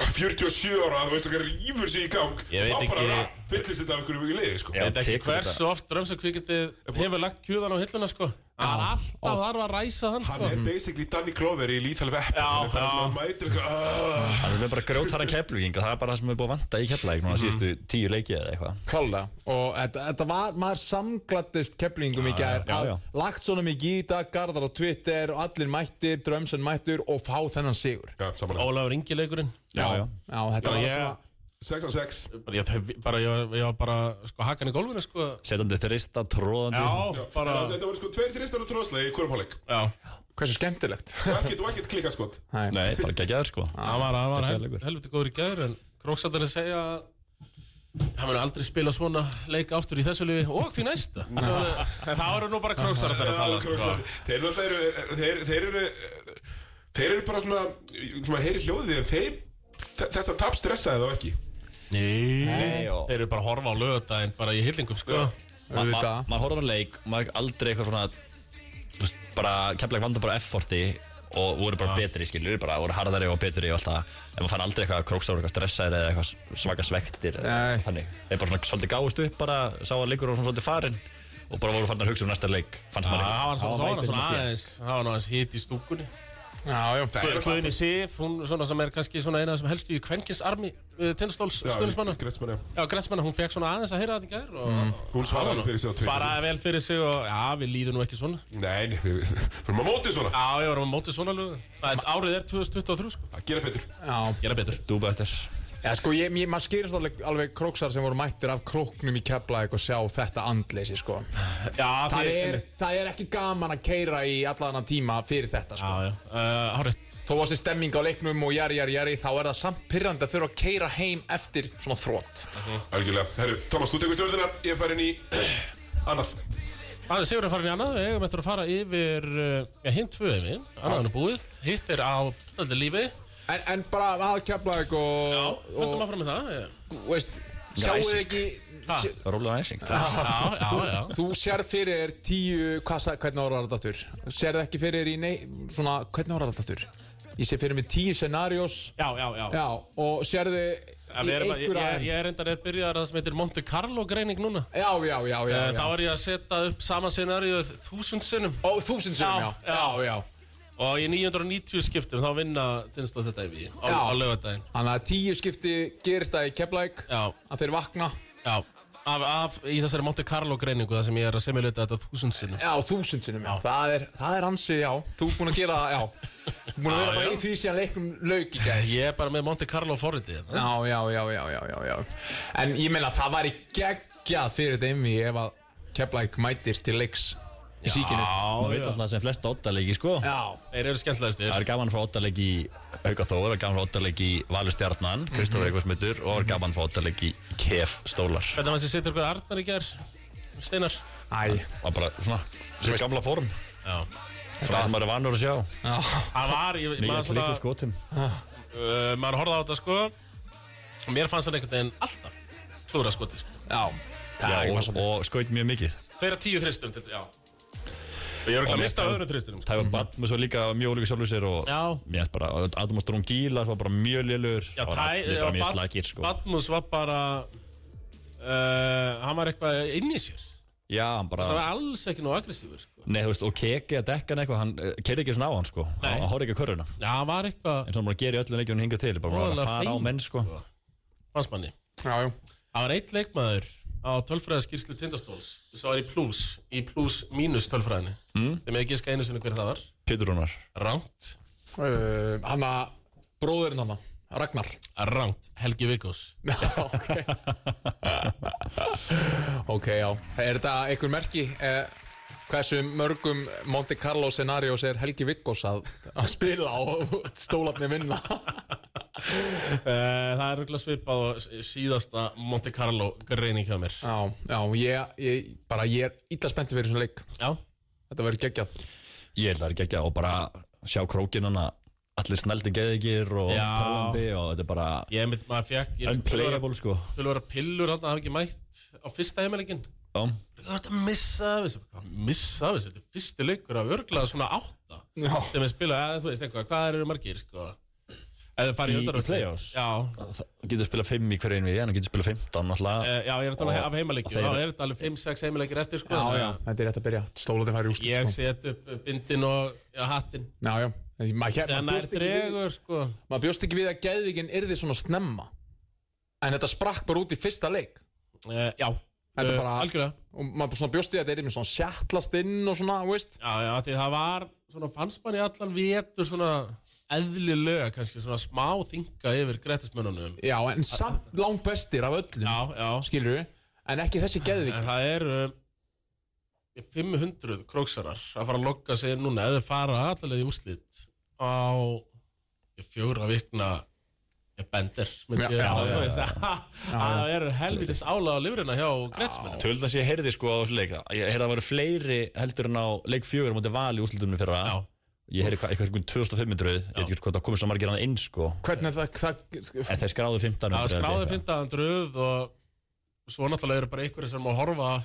Speaker 2: 47 ára Þú veist okkar rýfur sig í gang
Speaker 3: Ég veit
Speaker 2: Þá
Speaker 3: ekki-
Speaker 2: bara fyllist þetta af einhverju mikið liði sko.
Speaker 3: þetta er ekki
Speaker 6: tekur
Speaker 3: hversu
Speaker 6: þetta.
Speaker 3: oft drömsakvikindið hefur lagt kjúðan á hilluna sko Það er alltaf þarf að ræsa hann
Speaker 2: Hann
Speaker 3: sko
Speaker 2: er basically Danny Glover í Lethal Weapon
Speaker 3: Já,
Speaker 2: Hann er bara
Speaker 3: já.
Speaker 2: að mæta eitthvað ah.
Speaker 6: Það er bara grjótara kefluginga, það er bara það sem er búið að vanta í keflæk Núna síðustu tíu leiki eða eitthvað
Speaker 4: Klálega, og þetta, þetta var, maður samglattist keflingum í gær
Speaker 6: já, já.
Speaker 4: að lagt svona mikið í dag, Garðar á Twitter og allir mættir, drömsen mættur og fá þennan sigur
Speaker 2: Já, samanlega
Speaker 3: Ólafur Ingi leikurinn
Speaker 6: Já, já.
Speaker 4: þetta var
Speaker 3: ég-
Speaker 4: svona
Speaker 2: 6 á 6
Speaker 3: Bara Ég þau- bara, ég- ég var bara sko hakan í gólfinu sko
Speaker 6: Setandi þrista, tróðandi
Speaker 3: Já, bara
Speaker 2: Þetta voru sko tveir þristar og tróðslega í hverjum hálfleik
Speaker 3: Já,
Speaker 4: hversu skemmtilegt
Speaker 2: Og ekkert og ekkert sko. klikka skot
Speaker 4: Nei.
Speaker 6: Nei, bara geggjaður sko
Speaker 3: hann var, hann var
Speaker 6: Þetta er
Speaker 3: hel,
Speaker 6: leikur.
Speaker 3: helviti góður í gæður en Króksættarinn segja að hann mun aldrei spila svona leik aftur í þessu lifi og því næsta en það eru nú bara Króksættarinn að tala sko.
Speaker 2: Þeir náttúrulega eru þeir, þeir eru Þeir eru bara svona Svona heyri hljóðið En þeir Þess að tap stressaði þá ekki
Speaker 3: Nei, þeir eru bara að horfa á lögadaginn bara í hillingum sko
Speaker 6: maður ma
Speaker 4: Auðvitað.
Speaker 6: maður horfður á leik maður er aldrei eitthvað svona þú veist, bara kemleik vandar bara efforti og voru bara betri skilur bara voru harðari og betri og allt það en maður fann aldrei eitthvað króksáður eitthvað stressaður eða eitthvað svaka svektir eða
Speaker 4: Nei.
Speaker 6: þannig þeir bara svona svolítið gáðust upp bara sá að leikur og svona svolítið farinn og bara voru fann að hugsa um næsta leik fannst
Speaker 3: Það
Speaker 6: maður
Speaker 3: var
Speaker 6: ekki
Speaker 3: svona, svona, svona
Speaker 6: væpið sem að
Speaker 3: aðeins, það var nú aðeins hitt í stúkunni
Speaker 4: já, Já, já, það er
Speaker 3: Guðni Sif, hún svona sem er kannski svona eina af þessum helstu í kvenkisarmi uh, tindastóls stuðnismanna
Speaker 2: Gretsmann, já
Speaker 3: Já, Gressmanna, hún fekk svona aðeins að heyra þetta í gær og
Speaker 2: Hún svaraði nú fyrir sig á Twitter.
Speaker 3: Svaraði vel fyrir sig og já, við líðum nú ekki svona
Speaker 2: Nei, nei, við erum að móti svona
Speaker 3: Já, ég var á móti svona lögu Það er- Árið er 2023 sko
Speaker 2: Að gera betur
Speaker 4: Já,
Speaker 3: Gera betur
Speaker 6: Dúba eftir
Speaker 4: Já, sko, ég, ég, maður skýrist alveg, alveg króksar sem voru mættir af króknum í Keflæk og sjá þetta andleysi, sko.
Speaker 3: Já,
Speaker 4: Það
Speaker 3: þið-
Speaker 4: er, það er ekki gaman að keira í allan að tíma fyrir þetta, sko.
Speaker 3: Já, já, uh, hárið
Speaker 4: Þó að þessi stemming á leiknum og jari, jari, jari, þá er það samt pyrrandi að þurfa að keira heim eftir svona þrótt.
Speaker 2: Algjörlega Herru, Thomas, þú tekur stjórnina Ég fær inn í annað
Speaker 3: Það er Sigurður farin í annað, við eigum eftir að fara yfir, uh, já, hinn tvö er við, annaðan er búið, hitt er á svolítið lífi,
Speaker 4: En, en bara að Keflæk og,
Speaker 3: já, höldum
Speaker 4: og,
Speaker 3: áfram með það, eh,
Speaker 4: veist, sjáu þið ekki... Sjá,
Speaker 6: Rólega æsing Það
Speaker 3: já, já, já,
Speaker 4: þú sérð fyrir þér tíu, hvað, sa- hvernig ára þetta aftur? Sérð ekki fyrir þér í nei, svona, hvernig ára þetta aftur? Ég sé fyrir mig tíu scenarios
Speaker 3: já, já, já, já.
Speaker 4: Já, og sérðu í
Speaker 3: Ég, ég,
Speaker 4: einhver
Speaker 3: ég,
Speaker 4: aðeim
Speaker 3: ég er endar er byrjaðar að það sem heitir Monte Carlo greining núna
Speaker 4: Já, já, já, já,
Speaker 3: já,
Speaker 4: já.
Speaker 3: Eh, Þá er ég að setja upp sama scenaríu þúsund sinnum
Speaker 4: Ó, þúsund sinnum, já,
Speaker 3: Já,
Speaker 4: já, já
Speaker 3: og í 990 skiptum þá vinna Tinslóð þetta yfir á,
Speaker 4: Já.
Speaker 3: á laugardaginn
Speaker 4: Þannig að tíu skipti gerist það í Keflæk
Speaker 3: Já.
Speaker 4: Að þeir vakna
Speaker 3: Já, af, af í þessari Monte Carlo greiningu þar sem ég er að semjuleita þetta þúsund sinnum
Speaker 4: Já, þúsund sinnum, já, Það, er, það er ansi, já Þú ert búin að gera það, já Þú ert búin að
Speaker 3: Já,
Speaker 4: vera bara
Speaker 3: já.
Speaker 4: í því síðan leikum lauk í gæð
Speaker 3: Ég er bara með Monte Carlo forritið hérna.
Speaker 4: Já, já, já, já, já, já, já En ég meina það væri geggjað fyrir þetta einmi Ef að Keflæk mætir til leiks í síkinu
Speaker 6: veit
Speaker 3: Já, já,
Speaker 6: alltaf sem flest oddalegi sko
Speaker 4: Já,
Speaker 3: þeir eru skemmtilegastir
Speaker 6: Það er gaman að fá oddalegi í Auka Þór, það er gaman að fá oddalegi í Valur Stjarnan,
Speaker 3: Mhm.
Speaker 6: Kristófur mm Eikvarsmyndur og það er gaman að fá oddalegi í Kef Stólar.
Speaker 3: Hvernig fannst ég setja ykkur Arnar í gær? Steinar?
Speaker 4: æ,
Speaker 6: Það er bara svona, sér gamla form,
Speaker 3: Já.
Speaker 6: svona sem maður er vanur að sjá.
Speaker 3: Það var, ég,
Speaker 6: Mikið sko.
Speaker 3: maður
Speaker 6: að klíku
Speaker 3: svona,
Speaker 6: skotum.
Speaker 3: uh, maður horfði á þetta sko og mér fannst hann einhvern veginn alltaf klúra skotið sko.
Speaker 4: já Það
Speaker 6: Já,
Speaker 4: er
Speaker 6: og,
Speaker 4: ekki maður
Speaker 6: og skaut mjög mikið.
Speaker 3: Tveira tíu þristum til, já. Og ég er ekki
Speaker 6: Og
Speaker 3: að
Speaker 6: mér
Speaker 3: mista
Speaker 6: fannst-
Speaker 3: öðru þristinum sko.
Speaker 6: Tæfa mm Batmus var líka mjög ólíka sjálfur sér og
Speaker 3: Já.
Speaker 6: mér finnst bara, Adam og Strón Gílar var bara mjög lélur.
Speaker 3: Já,
Speaker 6: það var
Speaker 3: tæ, uh,
Speaker 6: allir bara mjög slagir sko.
Speaker 3: Batmus var bara, uh, hann var eitthvað inn í sér.
Speaker 6: Já, hann bara...
Speaker 3: Það var alls ekki nóg aggressífur sko.
Speaker 6: Nei, þú veist, og keki að dekka hann eitthvað, hann kerði ekki svona á hann sko,
Speaker 3: Nei.
Speaker 6: hann horfði ekki að körfuna
Speaker 3: Já, hann var eitthvað,
Speaker 6: eins og hann bara gerir í öllum leikjunum hingað til, bara maður að
Speaker 3: Voðalega
Speaker 6: fara á
Speaker 3: feimin,
Speaker 6: menn sko
Speaker 3: fannst manni.
Speaker 4: Já, já
Speaker 3: Það var eitt leikmaður á tölfræðaskýrslu tindastóls sem var í plus, í plus mínus tölfræðinni. Mm. Þeim hefði giska einu sinni hver það var.
Speaker 6: Pétur Rúnar
Speaker 3: Rangt.
Speaker 4: uh, hann að bróðurinn hann Ragnar
Speaker 3: Rangt. Helgi Vikkos.
Speaker 4: ok ok já er þetta einhver merki eh, hversu mörgum Monte Carlo scenarios er Helgi Viggos að, að spila og stólarni vinna
Speaker 3: Uh, það er röglega svipað og s- síðasta Monte Carlo greining hjá mér.
Speaker 4: já já ég, ég bara ég er illa spenntið fyrir svona leik
Speaker 3: Já.
Speaker 4: þetta verður geggjað
Speaker 6: Ég held að það er ekki ekki og bara sjá krókin hann að allir snældi geðigir og
Speaker 3: Já.
Speaker 6: talandi og þetta er bara
Speaker 3: Ég mynd, maður fekk, ég fekk
Speaker 6: unplayable sko
Speaker 3: Fyrir að vera pillur hann, það hafi ekki mætt á fyrsta heimilegin.
Speaker 6: Já,
Speaker 3: Það var þetta að missa af þessu. Hvað Missa af þessu, þetta er fyrsti leikur af örglaða svona átta.
Speaker 4: já
Speaker 3: sem er spila, eða þú veist eitthvað, hvað eru margir sko eða farið
Speaker 6: Í- í
Speaker 3: undanúrslit.
Speaker 6: playoffs?
Speaker 3: já,
Speaker 6: það það getur spilað 5 í hverju einu við en hann getur spilað 15
Speaker 3: e,
Speaker 6: alltaf
Speaker 3: já, ég er að tala
Speaker 6: Og
Speaker 3: af heimaleikjum
Speaker 6: þeir-
Speaker 3: þá er þetta alveg 5-6 heimaleikir eftir sko
Speaker 4: já
Speaker 3: þannig
Speaker 4: já
Speaker 3: að
Speaker 4: þetta er rétt að byrja stólarni fær í úrslit
Speaker 3: ég
Speaker 4: sko.
Speaker 3: set upp bindin og já, hattin
Speaker 4: já já En maður hér-
Speaker 3: þannig
Speaker 4: maður bjóst
Speaker 3: er
Speaker 4: ekki við-
Speaker 3: dregur sko
Speaker 4: maður bjóst ekki við að geðvíkinn yrði svona snemma en þetta sprakk bara út í fyrsta leik
Speaker 3: e, já,
Speaker 4: Þetta
Speaker 3: Eh,
Speaker 4: bara-
Speaker 3: algjörlega
Speaker 4: og maður svona bjóst í að þetta yrði með svona sjattlast inn og svona, þú veist
Speaker 3: já, já, því það var, svona fannst manni allan vetur svona eðlilega kannski svona smá þinga yfir grættismönunum
Speaker 4: já, en samt langbestir af öllum
Speaker 3: já, já,
Speaker 4: skilur við, en ekki þessi geðvik
Speaker 3: en það er um, 500 króksarar að fara að logga sig núna eða fara allalega í úrslit á fjóra vikna ég bender myndi
Speaker 4: Já,
Speaker 3: ég-
Speaker 4: já,
Speaker 3: þú
Speaker 4: já,
Speaker 3: veist, það er helvitis álag á lifrina hjá gretsmennum
Speaker 6: Tölð þess ég heyrði sko á þessu leik Ég heyrði að það væru fleiri heldur en á leik 4 mútið val í úslutunum fyrir
Speaker 3: Já.
Speaker 6: að Ég heyrði hvað- eitthvað einhvern 2500 Ég veit ekki hvað það komið svo margir hann inn sko
Speaker 4: hvernig er það, það
Speaker 6: En þeir skráðu 15
Speaker 3: það skráði fyndaðan dröð og svo náttúrulega eru bara einhverjir sem að horfa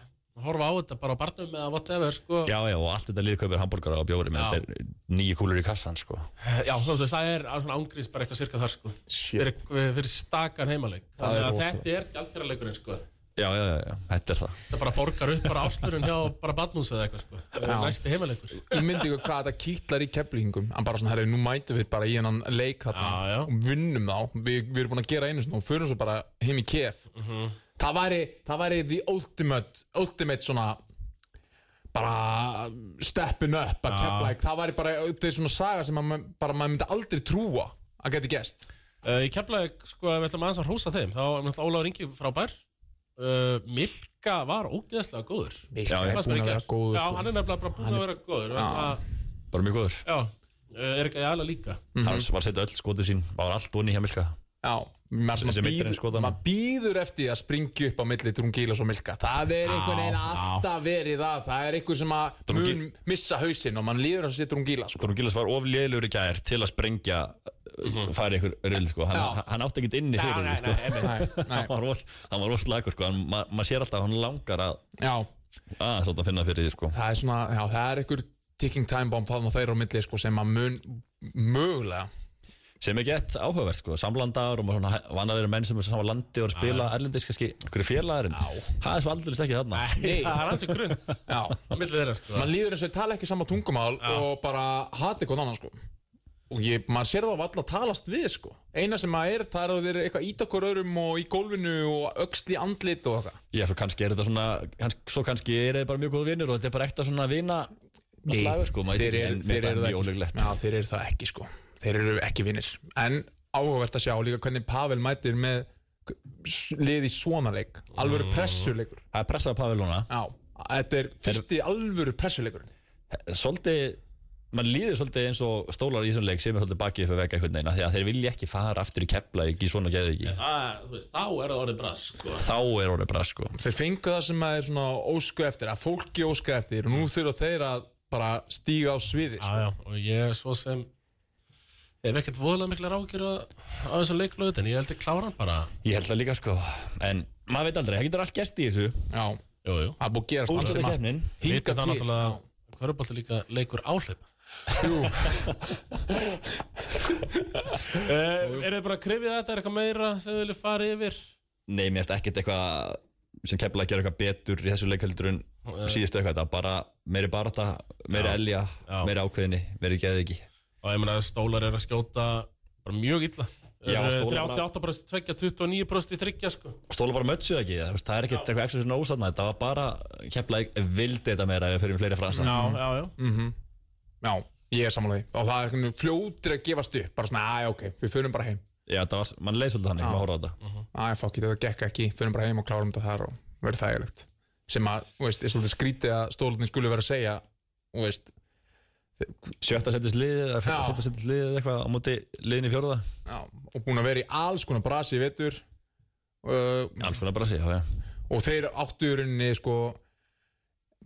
Speaker 3: horfa á þetta bara á barnum eða whatever sko.
Speaker 6: Já, já, og allt þetta liðkaupir hambúrgara og bjóri með
Speaker 3: Já.
Speaker 6: þetta er nýju kúlur í kassan, sko.
Speaker 3: Já, þú veist, það er svona ángriðs bara eitthvað cirka þar sko. fyrir, fyrir stakan heimaleik þannig
Speaker 4: er
Speaker 3: að
Speaker 4: rosalegt.
Speaker 3: þetta er gjaldkerraleikurinn sko.
Speaker 6: já, já, já, já, þetta er það
Speaker 3: Það bara borgar upp bara afslurinn hjá bara badnús eða eitthvað sko.
Speaker 4: Já.
Speaker 3: Næsti heimalegur
Speaker 4: Ég myndi ykkur hvað þetta kýtlar í keflingum En bara svona, herri, nú mætum við bara í hennan leik þarna
Speaker 3: Já, já.
Speaker 4: Og vinnum þá Vi, Við erum búin að gera einu svona og förum svo bara heim í kef
Speaker 3: Mhm.
Speaker 4: það, væri, það væri the ultimate Ultimate svona Bara steppin up að kefla Það væri bara, þetta er svona saga sem að, bara maður myndi aldrei trúa að geti gest
Speaker 3: Uh, ég kemla, sko, ef við ætlum aðeins að hrósa þeim þá er náttúrulega Ólaður Ingi frábær uh, Milka var ógeðslega góður
Speaker 4: Milka
Speaker 3: Ég
Speaker 4: er
Speaker 3: fannst
Speaker 4: búin
Speaker 3: mér í gær.
Speaker 4: að vera góður,
Speaker 3: Já,
Speaker 4: sko.
Speaker 3: hann er nefnilega bara búin að vera góður að,
Speaker 6: bara mjög góður
Speaker 3: Já, uh, er ekki aðla líka
Speaker 6: mm -hmm. var að setja öll skotu sín, var allt vonni hjá Milka
Speaker 4: Já, maður
Speaker 6: Þessi
Speaker 4: sem
Speaker 6: meiddirinn
Speaker 4: býður,
Speaker 6: skotanna.
Speaker 4: maður býður eftir að springi upp á milli Drungilas og Milka Það er einhvern veginn alltaf verið það Það er einhver sem að
Speaker 6: Drungi-
Speaker 4: mun missa hausinn og mann líður að sé Drungilas sko.
Speaker 6: Drungilas var of lélugur í gær til að sprengja mm -hmm. færi ykkur rill sko. hann,
Speaker 4: Já.
Speaker 6: hann átti ekkert inni fyrir
Speaker 3: nei,
Speaker 6: rill sko.
Speaker 3: nei, einmitt.
Speaker 6: hann var ros- hann var roslagur sko. Hann- ma- maður sér alltaf að hann langar að
Speaker 4: Já,
Speaker 6: að svona finna fyrir því sko.
Speaker 4: það er svona, já, það er einhver ticking time bomb þarna þeirra á milli sko, sem að mun mögulega
Speaker 6: sem er gett áhugavert sko. samlandar og maður svona hæ- vannar eru menn sem er saman landi og er að spila erlendis kannski hverju félagurinn það er svo aldrei ekki þarna
Speaker 3: Nei, það er alveg grunnt
Speaker 4: Já,
Speaker 3: á milli þeirra, sko
Speaker 4: mann líður eins og ég tala ekki sama tungumál og bara hati eitthvað annan sko og ég, maður sér það á alla talast við sko eina sem maður er, það er að þeir eru eitthvað ít okkur öðrum og í gólfinu og öxli andlit og eitthvað
Speaker 6: já, svo kannski er þetta svona kannski, svo kannski er þetta bara mjög góð vinnur og þetta er bara ekta svona vina slagur sko. maður
Speaker 4: þeir,
Speaker 6: veit ekki,
Speaker 4: er,
Speaker 6: en mér
Speaker 4: þeir, eru það ekki,
Speaker 6: finnst það mjög ólíklegt
Speaker 4: já, þeir eru það ekki sko Þeir eru ekki vinnir En áhugavert að sjá líka hvernig Pavel mætir með lið í svona leik Alvöru
Speaker 3: Mm.
Speaker 4: pressuleikur
Speaker 6: það er pressað Pavel núna
Speaker 4: Já, þetta er fyrsti alvöru pressuleikur
Speaker 6: svolítið mann líður svolítið eins og stólar í þessum leik sem er svolítið bakið fyrir vega einhvern veginn af því að þeir vilja ekki fara aftur í kepla ekki svona geðu ekki
Speaker 3: Það, Ah, þú veist, þá er það orðið bras, sko
Speaker 6: þá er orðið bra sko
Speaker 4: Þeir fengu það sem að er svona ósku eftir Að fólki ósku eftir og nú þurfa þeir að bara stíga á sviði sko.
Speaker 3: Já, já, og ég er svo sem hef ekkert voðlega mikla rákjur á á þessu leiklöðu, en ég held ég klára hann bara
Speaker 6: ég held það líka sko en maður veit aldrei, það getur allt gerst í þessu
Speaker 4: Já,
Speaker 3: Jú, jú
Speaker 4: það er búið að gerast allt sem allt.
Speaker 6: úrstæðakeppnin
Speaker 3: Hingað
Speaker 4: Hingað
Speaker 3: það
Speaker 4: til
Speaker 3: náttúrulega, hverjubolti líka leikur áhlaup Uh, er þið bara að krifja þetta, er eitthvað meira sem þið viljið fara yfir?
Speaker 6: nei, mér finnst ekkert eitthvað sem kepla að gera eitthvað betur í þessu leikhaldur en síðustu eitthvað, það er bara meiri barata, meiri elja, meiri ákveðinni meiri geðu ekki
Speaker 3: Og ég meina að stólar eru að skjóta bara mjög illa.
Speaker 6: Já,
Speaker 3: Eru
Speaker 6: Stólar bara-
Speaker 3: 38% 2, 29% í 3, sko.
Speaker 6: stóla bara mötsu ekki, þú veist, það er ekkert eitthvað ekstra ósanna, þetta var bara kepla vildi þetta meira ef við fyrir fleiri frasa
Speaker 3: Já, já, já.
Speaker 4: Já, ég er samanlega Og það er einhvern veginn fljótir að gefast upp Bara svona, aðja, ok, við förum bara heim
Speaker 6: Já, það var, mann leið svolítið þannig, maður horfði á þetta
Speaker 4: aðeins fokk í þetta gekk ekki, förum bara heim og klárum þetta þar og verður þægilegt sem að, þú veist, er svolítið skrítið að stólunin skulle vera að segja þú veist,
Speaker 6: sjötta setjast liðið eða
Speaker 4: Já.
Speaker 6: fyrsta setjast liðið eitthvað á móti liðin í fjórða
Speaker 4: já, og búin að vera í alls konar brasi í vetur uh,
Speaker 6: alls fyrir að bara sé, já, já
Speaker 4: og þeir áttu í rauninni sko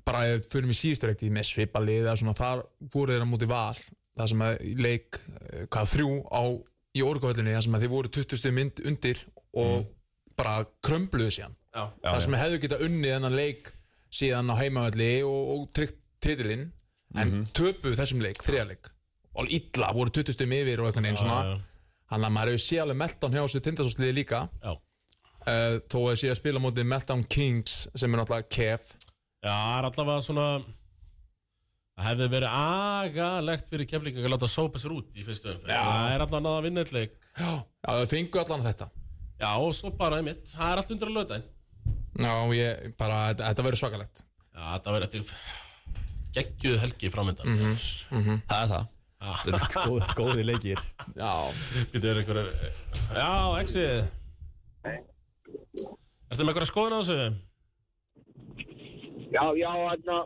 Speaker 4: bara ef förum í síðustu reikti með svipalið eða svona, þar voru þeir á móti val það sem að í leik eh, hvað þrjú á, í orguhöllinni það sem að þeir voru 20 stöðum undir og bara krömbluðu síðan
Speaker 3: já.
Speaker 4: það sem hefðu getað unnið þennan leik síðan á heimavalli og, og tryggt titilinn en töpuðu þessum leik, þriðarleik og illa, voru 20 stum yfir og eitthvað
Speaker 3: já,
Speaker 4: einn
Speaker 3: já.
Speaker 4: svona þannig að maður hefur séð alveg Meltdown hjá þessu tindastóðsliði líka
Speaker 3: Já,
Speaker 4: uh, þó að sé að spila á móti Meltdown Kings sem er náttúrulega kef
Speaker 3: Já, það er allavega svona... Það hefði verið agalegt fyrir keflinga að láta sópa sér út í fyrstu umferð.
Speaker 4: Já.
Speaker 3: Það er allavega náða að vinna eitt leik.
Speaker 4: Já, þau fengu allan þetta
Speaker 3: Já, og svo bara einmitt. Það er allt undir að löta einn.
Speaker 4: Já, ég, bara, þetta, þetta verður svakalegt
Speaker 3: Já, þetta verður þetta geggjuð helgi framöndan. Mm -hmm.
Speaker 6: það er það þetta er góð, góði leikir
Speaker 4: Já,
Speaker 3: Býtu, er einhverjar... Já, exið. Ertu með einhverja skoðun á þessu?
Speaker 7: Já, já, hérna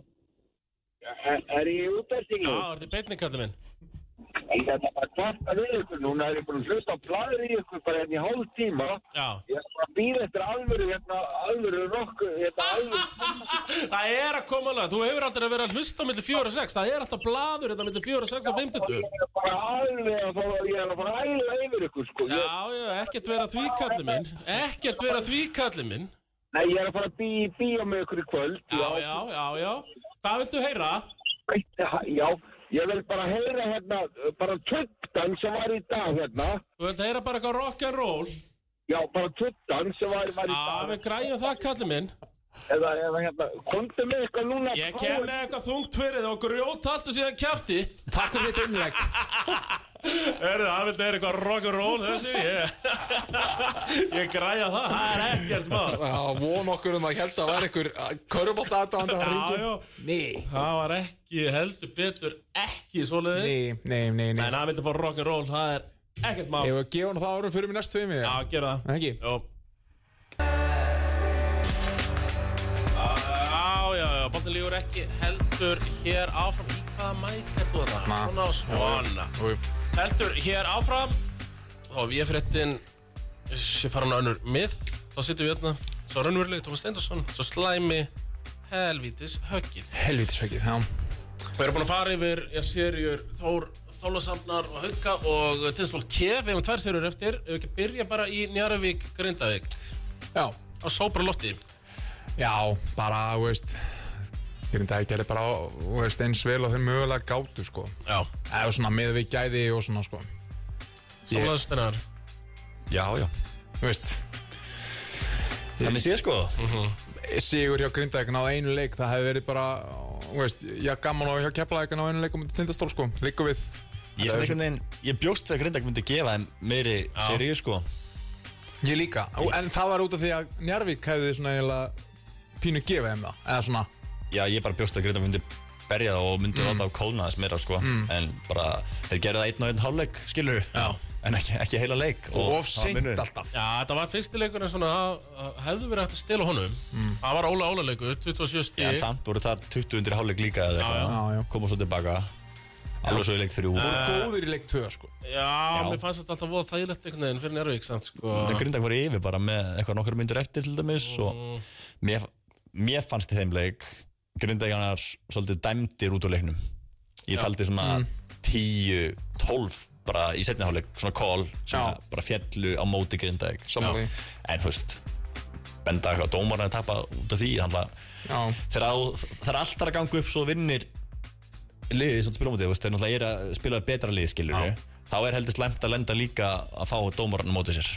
Speaker 7: Er, er ég útverst ekki?
Speaker 3: Já, ertu í beinni, kallið minn?
Speaker 7: Ég er bara að kvarta við ykkur núna er ég búin að hlusta á blæður í ykkur bara hérna í hálf tíma
Speaker 3: Já.
Speaker 7: Ég er bara að býða eftir alvöru hérna alvöru rokku hérna alvöru
Speaker 3: Það er að koma alveg, þú hefur aldrei að vera að hlusta millir 4 og 6, það er alltaf blaður hérna þetta millir 4 og 6 og 50
Speaker 7: Ég er bara alveg að fara ég er að fara að æla yfir ykkur sko
Speaker 3: Já,
Speaker 7: ég,
Speaker 3: já, ekkert vera því kallið minn Ekkert vera því kallið minn
Speaker 7: Nei, ég er að fara að bí, bíja með ykkur í kvöld
Speaker 3: Já, já, já, já Hvað viltu heyra?
Speaker 7: já, já Ég vil bara heyra hérna bara töktan sem var í dag hérna
Speaker 3: Þú vilt heyra bara eitthvað rock'n'roll
Speaker 7: Já, bara tuttan sem var, var í
Speaker 3: Já,
Speaker 7: dag.
Speaker 3: við græjum það, kallið minn
Speaker 7: Eða, eða hérna, komdu með eitthvað núna.
Speaker 3: Ég kem með eitthvað þungt fyrir það og grjót allt og síðan kjafti
Speaker 4: Takk fyrir þetta innlegg
Speaker 3: Er það, þetta er eitthvað rock'n'roll þessi Ég, ég græja það, það er ekkert mál
Speaker 4: Já, von okkur um að held að vera ykkur Körubolt aðdáðan að
Speaker 3: Já, já,
Speaker 4: Nei,
Speaker 3: það var ekki heldur betur ekki svoleiðis
Speaker 4: nei, nei, nei, nei.
Speaker 3: En hann vildi fá rock'n'roll, það er ekkert mál
Speaker 4: Ef
Speaker 3: Já,
Speaker 4: við gefum það árum fyrir mig næstu tveim við
Speaker 3: gera það
Speaker 4: Ekki?
Speaker 3: Jó Já, já, já, boltin lígur ekki heldur hér áfram Í hvaða mæk er þú þetta?
Speaker 4: Na.
Speaker 3: Svona og svona
Speaker 4: Jú, jú.
Speaker 3: Heldur hér áfram Og við fréttin Ég fara hún að önnur mið Þá sittum við hérna Svo raunverulegi Tómas Steindorsson Svo slæmi Helvítis höggið
Speaker 4: Helvítis höggið, já
Speaker 3: Við erum búin að fara yfir ég serjur Þór Þólasamnar og Hauka og Tinsból Kef, við hefum tvær serjur eftir ef við ekki byrja bara í Njarvík Grindavík
Speaker 4: Já,
Speaker 3: á sóbra lofti
Speaker 4: Já, bara, þú veist Grindaði gerði bara, þú veist, eins vel og þeir mögulega gátu, sko
Speaker 3: Já,
Speaker 4: eða svona með við gæði og svona, sko
Speaker 3: samlaðustennar
Speaker 6: Já, já
Speaker 4: Þú veist,
Speaker 6: Þannig sé sko
Speaker 4: sigur hjá Grindaði náðu einu leik, það hefði verið bara þú veist, já, gaman og hjá Keflaði náðu einu leik um tindastól, sko, líka við
Speaker 6: Ég, svona einhvern veginn- ég bjóst að Grindag myndi gefa þeim meiri seríu sko
Speaker 4: Ég líka, Ó, en það var út af því að Njarvík hefði svona eiginlega pínu gefið þeim það, eða svona
Speaker 6: Já, ég bara bjóst að Grindag myndi berja það og
Speaker 4: Mm.
Speaker 6: myndi láta á kólna þess meira sko En bara, þeir gerðu það einn og einn hálfleik, skilur
Speaker 3: Já.
Speaker 6: En ekki, ekki heila leik
Speaker 4: og of
Speaker 6: það var
Speaker 4: seint
Speaker 6: munurinn.
Speaker 4: alltaf
Speaker 3: Já, þetta var fyrsti leikur en svona að- að hefðu verið hægt að stela honum Það var Óla Óla leikur, 27 stík
Speaker 6: En samt voru það 20 undir hálfleik líka eða eitthvað
Speaker 4: Já, já.
Speaker 6: Koma svo tilbaka Alveg svo í leik þrjú
Speaker 4: og góðir í leik tvö, sko
Speaker 3: mér fannst þetta alltaf voða þægilegt einhvern veginn fyrir Njarvík samt sko
Speaker 6: En Grindag voru yfir bara með eitthvað nokkar myndir eftir til dæmis og mér, mér fannst í þeim leik Grindagjarnar svolítið dæmdir út úr leiknum Ég taldi svona
Speaker 4: Mm.
Speaker 6: 10, 12 bara í setni hálfleik, svona call sem
Speaker 4: Já.
Speaker 6: bara fjallu á móti Grindag
Speaker 4: Sammála því.
Speaker 6: En þú veist benda eitthvað dómarinn að tapa út af því þannig að
Speaker 4: Já,
Speaker 6: þegar á- þegar allt er að ganga upp svo vinnir liðið sem spila á móti, þú veist, þeir náttúrulega er að spila betra lið, skilur við þá er heldur slæmt að lenda líka að fá dómarinn á móti sér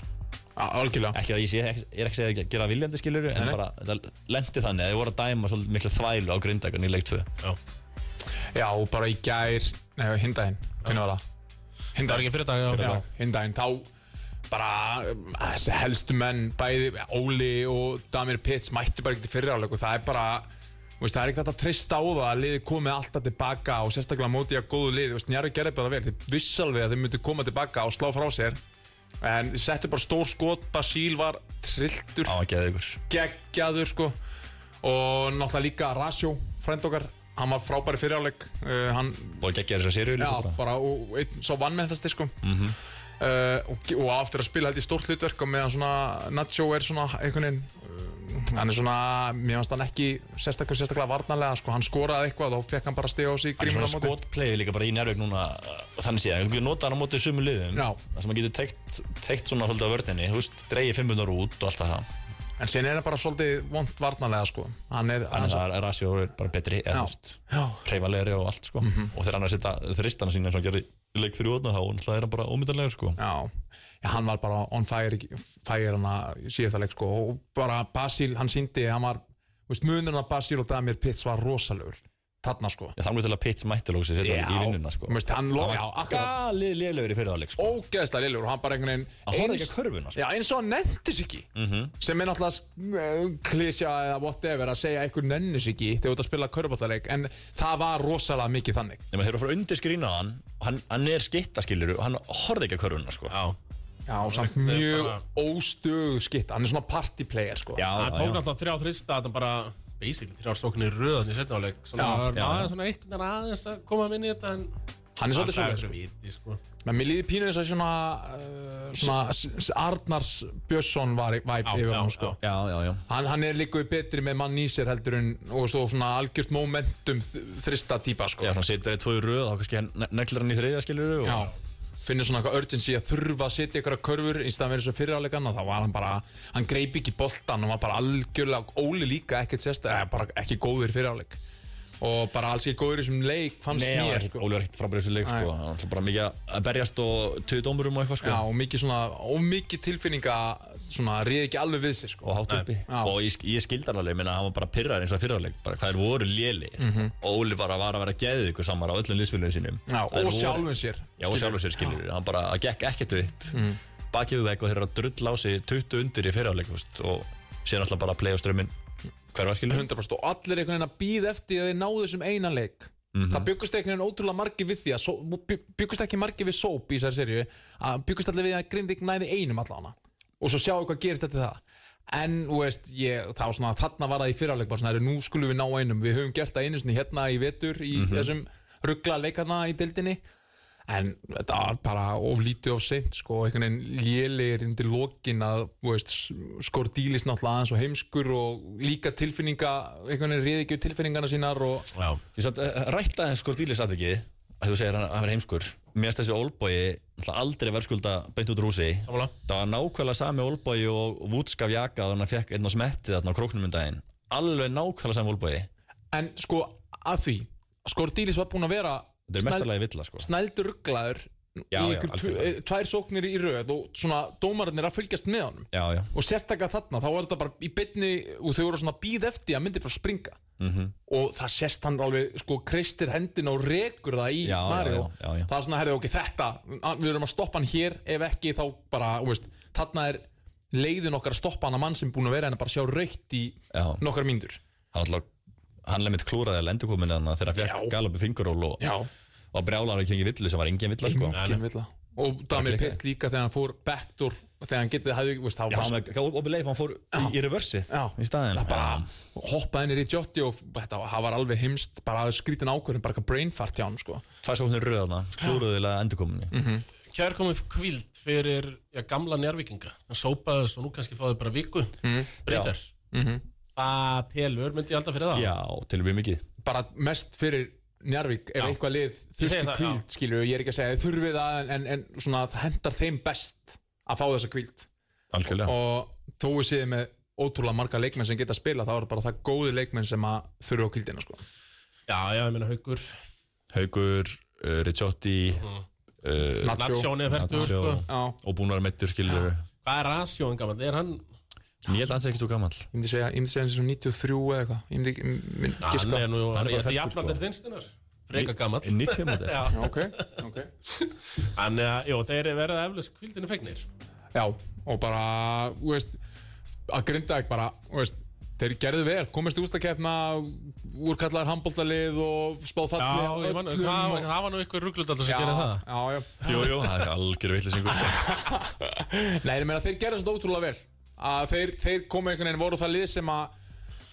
Speaker 4: á- algjörlega
Speaker 6: ekki að ég sé, ég er ekki að segja að gera viljandi skilur en bara, það lendi þannig að þið voru að dæma svolítið mikla þvælu á grindagan í leik 2
Speaker 4: Já, og bara í gær, nei, hindaginn, hvernig var það?
Speaker 3: Það var ekki fyrir dag, já,
Speaker 4: Já, hinn daginn þá bara um, þessi helstu menn bæði Óli og Damir Pitts mættu bara ekki til fyriráleik og það er bara þú veist, það er ekki þetta að treysta á það að liði komið alltaf tilbaka og sérstaklega á móti að góðu lið, þú veist, Njarvi gerði bara vel þeir vissal við að þeir myndu koma tilbaka og slá frá sér en þeir settu bara stór skot Basíl var trilltur
Speaker 6: á ekki að ykkur
Speaker 4: geggjaður sko og náttúrulega líka Rasjó frænd okkar, hann var frábæri fyriráleik uh, hann
Speaker 6: og geggja þess að séru
Speaker 4: Já, bara og og einn svo vannmennast sko. -hmm.
Speaker 6: Mhm.
Speaker 4: uh, og, og á eftir að spila held í stórt hlutverk og meðan svona Nacho er svona einhvern veginn uh, hann er svona, mér finnst hann ekki sérstaklega, sérstaklega varnarlega, sko, hann skoraði eitthvað og þá fekk hann bara stiga á sig í
Speaker 6: hann er
Speaker 4: grímuna
Speaker 6: svona
Speaker 4: á móti.
Speaker 6: skotpleiði líka bara í njárvík núna uh, þannig séð, hann nota hann á móti sumu liðum
Speaker 4: Já.
Speaker 6: það sem hann getur teikt, teikt svona svolítið á vörninni, þú veist, dreigið 500 út og allt það hann,
Speaker 4: en síðan er hann bara svolítið vond varnarlega sko. hann er, hann
Speaker 6: þannig að rasjó er bara betri eða
Speaker 4: Já.
Speaker 6: þú veist,
Speaker 4: Já. Mhm.
Speaker 6: reyfalegri og allt sko og þegar hann er að setja þristana sína eins og hann gerði í leik 3 þá náttúrulega er hann bara ómyndarlegur sko
Speaker 4: Já, já, hann var bara on fire, fire hann að síðasta leik sko og bara Basíl, hann síndi hann var, þú veist, munurinn að Basíl og Damir Pitts var rosalögur, þarna sko
Speaker 6: Ég þannig til að Pitts mætti lóksins í
Speaker 4: Já.
Speaker 6: vinnuna sko.
Speaker 4: Þú veist, hann lo- já, akkurat.
Speaker 6: galið liðlegur í fyrirháleik sko.
Speaker 4: ógeðslega lillur og hann bara einhvern
Speaker 6: Hann
Speaker 4: veginn
Speaker 6: horfði ekki að körfuna, sko. Mhm.
Speaker 4: já, eins og hann nefndis ekki sem er náttúrulega sk- klisja eða whatever að segja einhver nefndis ekki þegar þú ert að spila körbáttaleik en það var rosalega mikið þannig
Speaker 6: Nefnir þeir eru að fara undir skrína á hann og hann, hann er skittaskilur og hann horfði ekki að körfuna sko.
Speaker 3: já.
Speaker 4: já, og samt
Speaker 3: er
Speaker 4: mjög
Speaker 3: bara-
Speaker 4: óstöðu skitt hann er svona party player sko
Speaker 3: Það tók alltaf þrjá þrista að það bara basically þrjá stóknir röðan í setna áleik Svona,
Speaker 4: Já,
Speaker 3: já, já. svona einhvern veginn aðeins að koma inn í þetta en
Speaker 4: hann er
Speaker 3: Það
Speaker 4: svolítið svona
Speaker 3: er
Speaker 4: sko.
Speaker 3: svo viti, sko
Speaker 4: menn mér líði pínu eins og svona, uh, svona S- S- Arnars Björnsson var væp
Speaker 3: Já,
Speaker 4: yfir
Speaker 3: já,
Speaker 4: hann sko
Speaker 3: já.
Speaker 6: Já, já, já
Speaker 4: Hann, hann er líka betri með mann í sér heldur en og svo svona algjört momentum þ- þrista típa sko
Speaker 6: Já, hann setur þeir tvo í röð og þá kannski hann ne- neglir hann í þriðja skilur og...
Speaker 4: Já, finnir svona eitthvað urgency að þurfa að setja ykkur að körfur í staðan verið svo fyriráleikann og þá var hann bara, hann eh, greip ekki boltan og var bara algjörlega, Óli líka ekkert sérst, eða bara ekki góður fyriráleik og bara alls ekki góður í þessum leik fannst
Speaker 6: Nei,
Speaker 4: mér
Speaker 6: mér,
Speaker 4: sko.
Speaker 6: Óli var ekkert frábæri í þessu leik
Speaker 4: Nei.
Speaker 6: sko. Hann var bara mikið að- að berjast og töðu dómurum og eitthvað sko.
Speaker 4: Já, og mikið svona, og mikið tilfinninga svona, ríði ekki alveg við sig sko.
Speaker 6: og hátt uppi
Speaker 4: Já.
Speaker 6: og ég, ég skildar alveg, minna, hann var bara pyrraður eins og fyrraleg bara hvað er voru léli og Óli bara var að vera að geðið ykkur samar á öllum liðsfélagum sínum
Speaker 4: Mhm. Já,
Speaker 6: Þær
Speaker 4: og
Speaker 6: voru-
Speaker 4: sjálfum sér,
Speaker 6: já, og
Speaker 4: skilur.
Speaker 6: sjálfum sér skilur, hann bara, það gekk ekkert upp mm. bakið við vekk og þeir eru að drull á sig 20 undir í fyrraleg og sér alltaf bara að playa á strömmin hver var skilur?
Speaker 4: 100% og allir einhvern veginn að býð eftir að þeir náðu þessum eina leik það byggust einhvern veginn ótrúlega margir við því að só- bju- byggust ekki margir við sóp í þessari serju að byggust allir við að Grindvík næði einum allana og svo sjáu hvað gerist eftir það en þú veist, ég, þá svona þarna var það í fyrraleg bara svona, "Herru, nú skulum við ná einum við höfum gert það einu sinni hérna í vetur í þessum ruggla leikarna í deildinni en þetta var bara of lítið of seint sko, einhvern veginn lélegir undir lokin að þú veist, skor dílis náttúrulega aðeins og heimskur og líka tilfinninga, einhvern veginn réði ekki við tilfinningana sínar og
Speaker 3: Já,
Speaker 6: Ég satt eh, rætta þess sko dýlis atvikið að þú segir hann að vera heimskur Mér finnst þessi ólbói aldrei verðskulda beint út úr húsi
Speaker 3: Sammála.
Speaker 6: Það var nákvæmlega sami ólbói og vútskaf jaka þannig að fekk einn og smetti þarna á króknum um daginn Alveg nákvæmlega sami ólbói
Speaker 4: en sko að því, skor dílis var búin að vera
Speaker 6: Þetta er mestalagi villa sko
Speaker 4: snældur rugglaður í
Speaker 6: Já, já,
Speaker 4: einhver tv-
Speaker 6: algjörlega.
Speaker 4: eh, tvær sóknir í röð og svona dómararnir að fylgjast með honum
Speaker 6: Já, já
Speaker 4: og sérstaklega þarna, þá var þetta bara í beinni og þau voru svona býð eftir að myndi bara springa
Speaker 6: Mhm.
Speaker 4: -hmm. og það sérst hann alveg sko kreistir hendina og rekur það í
Speaker 6: Já, já,
Speaker 4: Mario,
Speaker 6: já, já, já.
Speaker 4: það er svona, herrið, ok, þetta að- við erum að stoppa hann hér, ef ekki þá bara, þú veist, þarna er leiðin okkar að stoppa hann að mann sem búin að vera en að bara sjá raukt í
Speaker 6: Já.
Speaker 4: nokkar mínútur
Speaker 6: Hann alltaf Hann lemmitt klúraði að lendukominu hann þegar
Speaker 4: Já.
Speaker 6: hann fekk galopi finguról og,
Speaker 4: Já.
Speaker 6: og brjálar ekki engi villu sem var engin villa sko
Speaker 4: Engin vill það. og Damir
Speaker 6: klikkaði.
Speaker 4: Pitt líka þegar hann fór backdoor þegar hann getið, hafði, þú veist, þá
Speaker 6: Já,
Speaker 4: bara
Speaker 6: hann var opið leif, hann fór í, í reversið
Speaker 4: Já.
Speaker 6: í staðin
Speaker 4: Það bara hoppaði henni í Jotti og þetta, það var alveg heimst bara að skrítin ákvörðin, bara eitthvað brain fart hjá hann sko.
Speaker 6: Tvær sóknir röðna, klúruðilega endukominu
Speaker 3: kjær komið kvíld fyrir já, gamla njárvikinga hann sópaði þessu og nú kannski fáið bara viku mm. breytar það telur myndi ég alltaf fyrir það
Speaker 6: Já, til við mikið
Speaker 4: bara mest fyrir Njarvík ef eitthvað lið
Speaker 3: segi
Speaker 4: þurfti
Speaker 3: það,
Speaker 4: kvíld skilur við, ég er ekki að segja þið þurfið það en, en, en svona, það hendar þeim best að fá þessa kvíld
Speaker 6: Algjörlega
Speaker 4: og þó við séum með ótrúlega marga leikmenn sem geta að spila þá eru bara það góði leikmenn sem að þurfa á kvíldina sko.
Speaker 3: já, já, ég meina haugur
Speaker 6: Haugur, uh, Ricciotti uh,
Speaker 4: Nacho.
Speaker 3: natsjóni að ferdu
Speaker 6: Nacho,
Speaker 3: sko.
Speaker 4: Já.
Speaker 6: og búin að vera meittur skilur
Speaker 3: hvað er rasjóin gammal, er hann
Speaker 6: En Ég held að hans er ekki svo gammal
Speaker 4: ég myndi segja, ég myndi segja eins og 93 eða eitthvað ég myndi, ég myndi
Speaker 3: hann
Speaker 4: giska
Speaker 3: er nú, hann
Speaker 6: Hann er bara
Speaker 3: er
Speaker 6: fertugur,
Speaker 3: jafn
Speaker 6: sko.
Speaker 3: allir þinstunar freka gammal
Speaker 6: 90 mótel
Speaker 3: Já.
Speaker 4: okay. Okay.
Speaker 3: hann, eh, jú, þeir eru verið eflust kvíldinu fegnir
Speaker 4: Já, og bara, þú veist, að grinda ekki bara, þú veist, þeir gerðu vel, komist í ústakefna, úrkallar handbóltalið og spáð
Speaker 3: já,
Speaker 4: fallið
Speaker 3: ég man, það það var nú eitthvað rugglut alltaf sem gerði það
Speaker 4: Já, já, já.
Speaker 6: Jú, jú, það er algjör vitlisingur
Speaker 4: Nei, ég meina, þeir gerðu þetta ótrúlega vel. Að þeir, þeir komu einhvern veginn, voru það lið sem að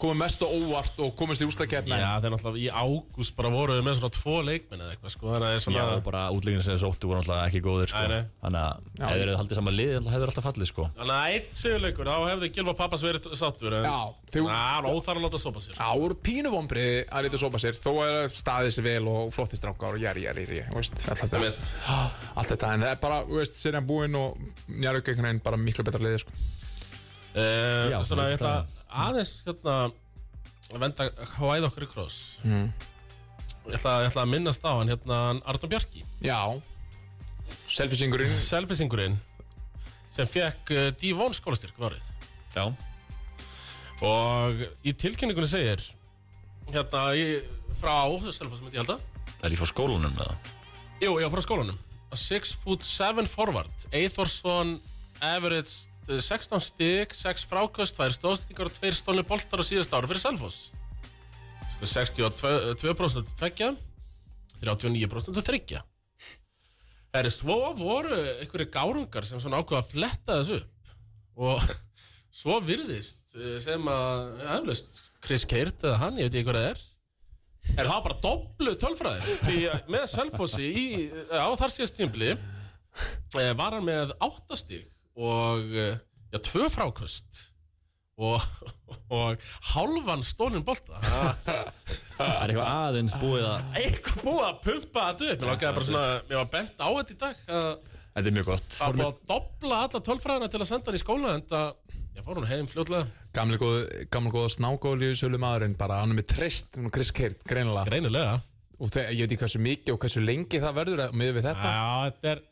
Speaker 4: komu mest á óvart og komist í ústakefna.
Speaker 3: Já, þeir náttúrulega í ágúst bara voruðu með svona tvo leikmenn eða eitthvað sko, þannig að það er
Speaker 6: Já,
Speaker 3: svona
Speaker 6: og bara útlíkinu sem þessu óttu voru náttúrulega ekki góðir sko.
Speaker 3: Nei, nei.
Speaker 6: Þannig að ef þeir eru haldið saman lið þá hefur alltaf fallið sko.
Speaker 3: Þannig að eitt sigurleikur, þá hefði Gilva pappas verið sáttur en
Speaker 4: Já, þau-
Speaker 3: hann óþar að láta sopa sér
Speaker 4: Já, voru pínu vonbriði að reyta sopa sér, þó er staðið sér vel og flottist rákar og jæri, jæri, jæri, veist, allt þetta.
Speaker 3: Einmitt.
Speaker 4: Allt þetta, en það er bara, þú veist, serið búinn og njárvík einhvern veginn bara miklu betra liðið, sko.
Speaker 3: uh,
Speaker 6: Já,
Speaker 3: Svona,
Speaker 6: það er
Speaker 3: ég ætla aðeins hérna að venda hvæð okkur í kross
Speaker 6: Mm.
Speaker 3: ég, ætla, ég ætla að minnast á hann hérna hann Arnur Bjarki,
Speaker 4: Já Selfisingurinn
Speaker 3: selfisingurinn sem fekk uh, Divón skólastyrk varðið
Speaker 6: Já,
Speaker 3: og í tilkynningunni segir hérna í, frá Selfoss myndi ég halda
Speaker 6: það er líka frá skólanum með
Speaker 3: Jú, já, frá skólanum A 6 foot 7 forward eh, Eithorsson average 16 stík, 6 frákast 2 stóðstíkar og 2 stólni boltar á síðasta ára fyrir Selfoss Sko, 62% tveggja 39% þryggja Það er svo voru einhverju gárungar sem svona ákveða að fletta þessu upp og svo virðist eh, sem að eflaust Chris Keirt eða hann, ég veit ekki hvað það er Er það bara doblu tölfræði Því að með Selfossi í, eh, á þar síðast tímbli var hann með áttastig og eh, já, tvö frákust og, og hálfan stólinn bolta Það
Speaker 6: Það er eitthvað aðeins búið að
Speaker 3: eitthvað búið að pumpa þetta upp Mér langaði bara svona, mér var bent á þetta í dag að
Speaker 6: Þetta er mjög gott
Speaker 3: það var búið að dobla alla tölfræðina til að senda hann í skóla en það Ég fór hún heim fljótlega
Speaker 4: Gamli góð, gamli góð snákólíu sölu maðurinn bara, hann er með treyst, hún er Chris Kirt, greinilega
Speaker 3: Greinilega
Speaker 4: og þegar, ég veit ekki hversu mikið og hversu lengi það verður að miður við þetta,
Speaker 3: Já, þetta er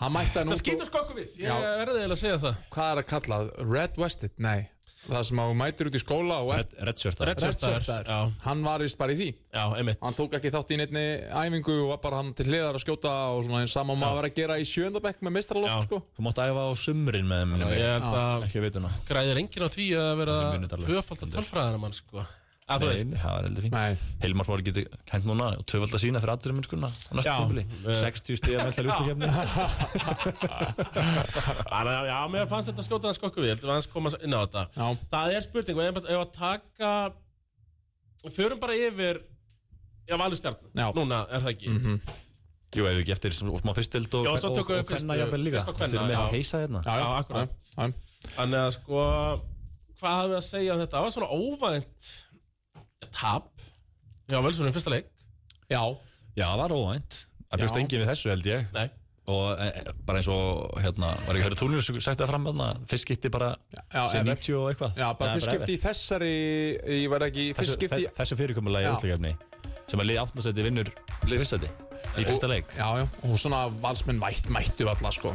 Speaker 4: hann mætti
Speaker 3: Ah.
Speaker 4: hann
Speaker 3: Það
Speaker 4: út
Speaker 3: skýtur
Speaker 4: og,
Speaker 3: skokku við Ég
Speaker 4: Já.
Speaker 3: verði eiginlega að segja það
Speaker 4: hvað er að kalla, Red Wested, nei það sem að hún mætir út í skóla og er
Speaker 6: Reddshirt
Speaker 3: Red shirt dagur.
Speaker 4: redsörtaður,
Speaker 3: Já,
Speaker 4: hann var vist bara í því
Speaker 3: já, einmitt
Speaker 4: hann tók ekki þátt í neinni æfingu og var bara hann til hliðar að skjóta og svona eins sama og maður var að gera í sjöndabekk með
Speaker 3: Já.
Speaker 4: mistralokk sko.
Speaker 6: Þú mátt æfa á sumrin með minni
Speaker 3: Ég held að
Speaker 6: Ekki að veit hana
Speaker 3: græðir enginn á því að vera
Speaker 6: Þeir munið alveg.
Speaker 3: tvöfaldar tölfræðina mann sko að þú
Speaker 6: Nei,
Speaker 3: veist
Speaker 6: það var heldur fín
Speaker 4: Nei.
Speaker 6: Hilmar Fór getur hent núna og tvöfald að sína fyrir aðdurum minnskuna á næstu
Speaker 3: Já.
Speaker 6: tímpili
Speaker 3: Eh.
Speaker 6: 60 stíða með allar útlökefni
Speaker 3: Þannig að, já, mér fannst þetta skjótaðan skokku við, ég heldur að hans koma inn á þetta.
Speaker 4: Já.
Speaker 3: Það er spurning, ef ef að taka, förum bara yfir, já, valur stjarnu,
Speaker 4: Já.
Speaker 3: núna er það ekki. Mm -hmm.
Speaker 6: Jú, ef við ekki eftir svona- og smá fyrstild og
Speaker 3: Já, svo
Speaker 6: og-
Speaker 3: tökum við
Speaker 6: og
Speaker 3: fyrstu-
Speaker 6: hvenna jafnvel líka
Speaker 3: fyrst og kvenna,
Speaker 6: Þetta er með
Speaker 3: já.
Speaker 6: að heisa hérna
Speaker 4: já,
Speaker 3: Já, akkurat.
Speaker 4: já,
Speaker 3: Þannig að, sko, hvað hafum við að segja um þetta? Það var svona óvænt tap, já, vel svona í fyrsta leik,
Speaker 4: já.
Speaker 6: Já, það var óvænt Það bjóst
Speaker 4: Já.
Speaker 6: enginn við þessu held ég
Speaker 3: nei,
Speaker 6: og e, e, bara eins og hérna, var ekki að höra túnir sem sagt það fram þarna, fyrst skipti bara
Speaker 4: já,
Speaker 6: sem
Speaker 4: Evert.
Speaker 6: 90 og eitthvað
Speaker 4: já bara
Speaker 6: Nei,
Speaker 4: fyrst skipti
Speaker 6: Evert.
Speaker 4: í þessari ég var ekki, fyrst
Speaker 6: þessu,
Speaker 4: skipti í
Speaker 6: þe- þessu fyrirkomulagi
Speaker 4: Já.
Speaker 6: í útlökefni sem að lið áttnarsæti vinnur lið fyrstæti í fyrsta leik
Speaker 4: já, já, og svona valsmenn mætt, mættu alla sko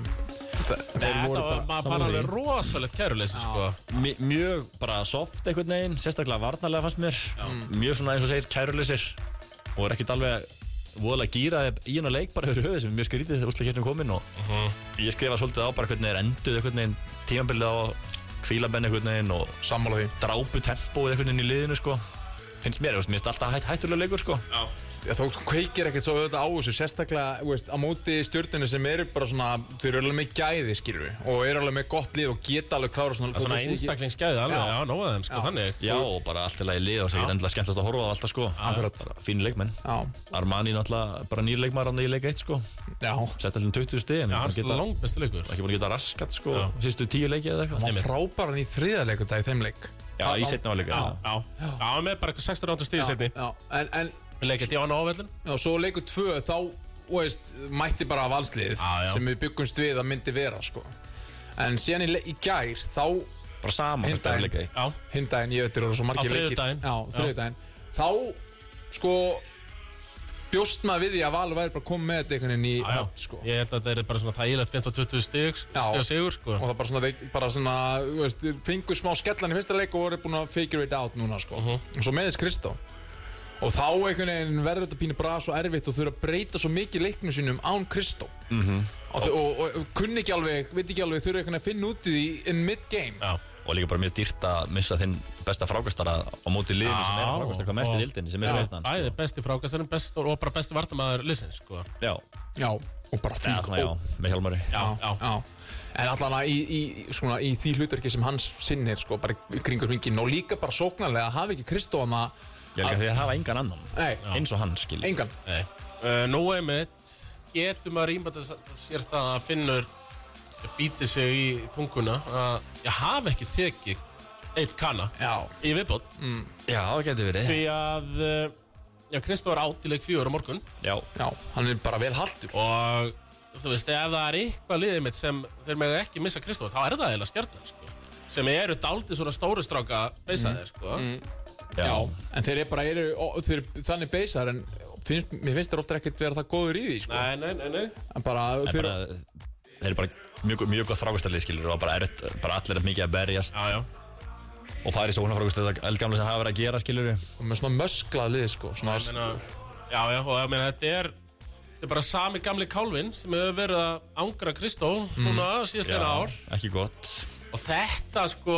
Speaker 4: Þe- þeir
Speaker 3: þetta
Speaker 4: voru
Speaker 3: var,
Speaker 4: bara
Speaker 3: maður fann alveg rosalegt kæruleysi, sko.
Speaker 6: Mi- mjög bara soft einhvern veginn sérstaklega varnarlega fannst mér mjög svona eins og segir kæruleysir og er ekkert alveg voðalega gýraði í hennar leik bara yfir höfuð sem er mjög skrítið þegar úrslækjarnir komin og ég skrifa svolítið á bara hvernig er enduð einhvern veginn tímabilið á kvílabenn einhvern veginn og
Speaker 4: sammála því
Speaker 6: drápu tempóið einhvern veginn í liðinu sko finnst mér, þú veist, mér finnst alltaf hætt, hættulega leikur sko
Speaker 4: Já, þá kveikir ekkert svo auðvitað á þessu sérstaklega þú veist, á móti stjórninu sem eru bara svona þau eru alveg með gæði skilur og eru alveg með gott lið og geta alveg klára svona,
Speaker 3: Svona
Speaker 4: og-
Speaker 3: einstaklingsgæði alveg, já, nóða þeim, sko, þannig.
Speaker 6: já, og bara allt í lagi lið og þess að ég er endilega skemmtast að horfa á alltaf sko
Speaker 4: Akkurat.
Speaker 6: Bara fínu leikmenn
Speaker 4: Já,
Speaker 6: Armani náttúrulega bara nýr leikmaður hann í leik 1 sko
Speaker 4: já, hann
Speaker 6: sett allir 20 stig en
Speaker 3: Já, hans
Speaker 6: hann geta-
Speaker 3: langt besti leikur.
Speaker 6: ekki búin að geta raskat sko síðustu tíu leikið eða eitthvað
Speaker 4: var frábæran í þriðarleikum dag í þeim leik
Speaker 6: já, í setna áleika
Speaker 3: Já, já, hann með bara eitthvað 16 rándur stíði setni.
Speaker 4: Já, en, en
Speaker 3: Leikert í án ávellin.
Speaker 4: já, svo leikur tvö þá þú veist, mætti bara valsliðið
Speaker 3: Já, já.
Speaker 4: sem við byggumst við að myndi vera sko. en síðan í, le- í gær þá
Speaker 6: bara sama
Speaker 4: Hinn
Speaker 6: hvert að
Speaker 4: daginn.
Speaker 6: leika eitt
Speaker 3: Já,
Speaker 4: hindaginn, ég veit þetta eru svo margir
Speaker 3: Á
Speaker 4: leikir
Speaker 3: þriðjudaginn.
Speaker 4: Já,
Speaker 3: Já.
Speaker 4: þriðudaginn Þá, sko bjóst maður við því að Valur væri bara komið með þetta einhvern veginn í
Speaker 3: já, já.
Speaker 4: höfn, sko.
Speaker 3: Ég held að þetta er bara svona þægilegt 15-20 stig,
Speaker 4: Já.
Speaker 3: stig sigur, sko.
Speaker 4: og það bara svona, þeir- bara svona þú veist, þeir fengu smá skellan í fyrsta leik og voru búin að figure it out núna sko.
Speaker 3: Mhm.
Speaker 4: og svo meðist Kristó og þá einhvern veginn verður þetta pínu bara svo erfitt og þau eru að breyta svo mikið leiknum sínum án Kristó
Speaker 3: Mhm.
Speaker 4: og, þau- og, og, og kunni ekki alveg, veit ekki alveg þau eru einhvern veginn að finna út í því in mid-game
Speaker 3: Já,
Speaker 6: og líka bara mjög dýrt að missa þinn besta frákastara á móti liðinu sem er að frákasta hvað mest í dildinni sem er sko. stjórnan
Speaker 3: bæði besti frákastarinn best, og bara besti vartamæður liðsins, sko.
Speaker 6: já,
Speaker 4: já, og bara því
Speaker 6: eða svona já, með Hjálmari
Speaker 3: Já, já.
Speaker 4: Já, en allan að í, í, svona, í því hlutverki sem hans sinnir sko, bara í kringur hringin og líka bara sóknarlega að hafa ekki Kristóðan að
Speaker 6: ég líka því að hafa engan annan
Speaker 4: Nei.
Speaker 6: eins og hann skil
Speaker 4: engan,
Speaker 3: Nei. Uh, Nú einmitt, getur maður ímynda sér það að finnur býti sig í tunguna að ég hafi ekki tekið eitt kanna
Speaker 4: já,
Speaker 3: í viðbót
Speaker 6: já, það getur verið
Speaker 3: því að uh, já, Kristóf var átt í leik fjögur á morgun
Speaker 6: já,
Speaker 4: já, hann er bara vel haldur
Speaker 3: og þú veist, ef það er eitthvað liðið mitt sem þeir mega ekki missa Kristóf þá er það eiginlega stjarnan sko. sem eru daldið svona stóru stráka beisaðir sko.
Speaker 6: já,
Speaker 4: Já, en þeir eru bara eru, ó, þeir eru þannig beisar en finnst, mér finnst þeir ofta ekkert vera það góður í því sko.
Speaker 3: Nei, nei, nei, nei
Speaker 4: en bara,
Speaker 6: en
Speaker 4: þeir,
Speaker 6: bara þeir eru bara mjög, mjög gott frákastarlið skilur og bara, erfitt, bara allir er mikið að berjast
Speaker 3: Já, já,
Speaker 6: og farið svona frákastar þetta eldgamla sem hafa verið að gera skilur
Speaker 4: og með svona mösklað lið sko, svona,
Speaker 3: Ég meina, uh, já, já, og ég meina þetta er þetta er bara sami gamli kálfin sem hefur verið að angra Kristó núna síðastlega ár
Speaker 6: ekki gott
Speaker 3: og þetta sko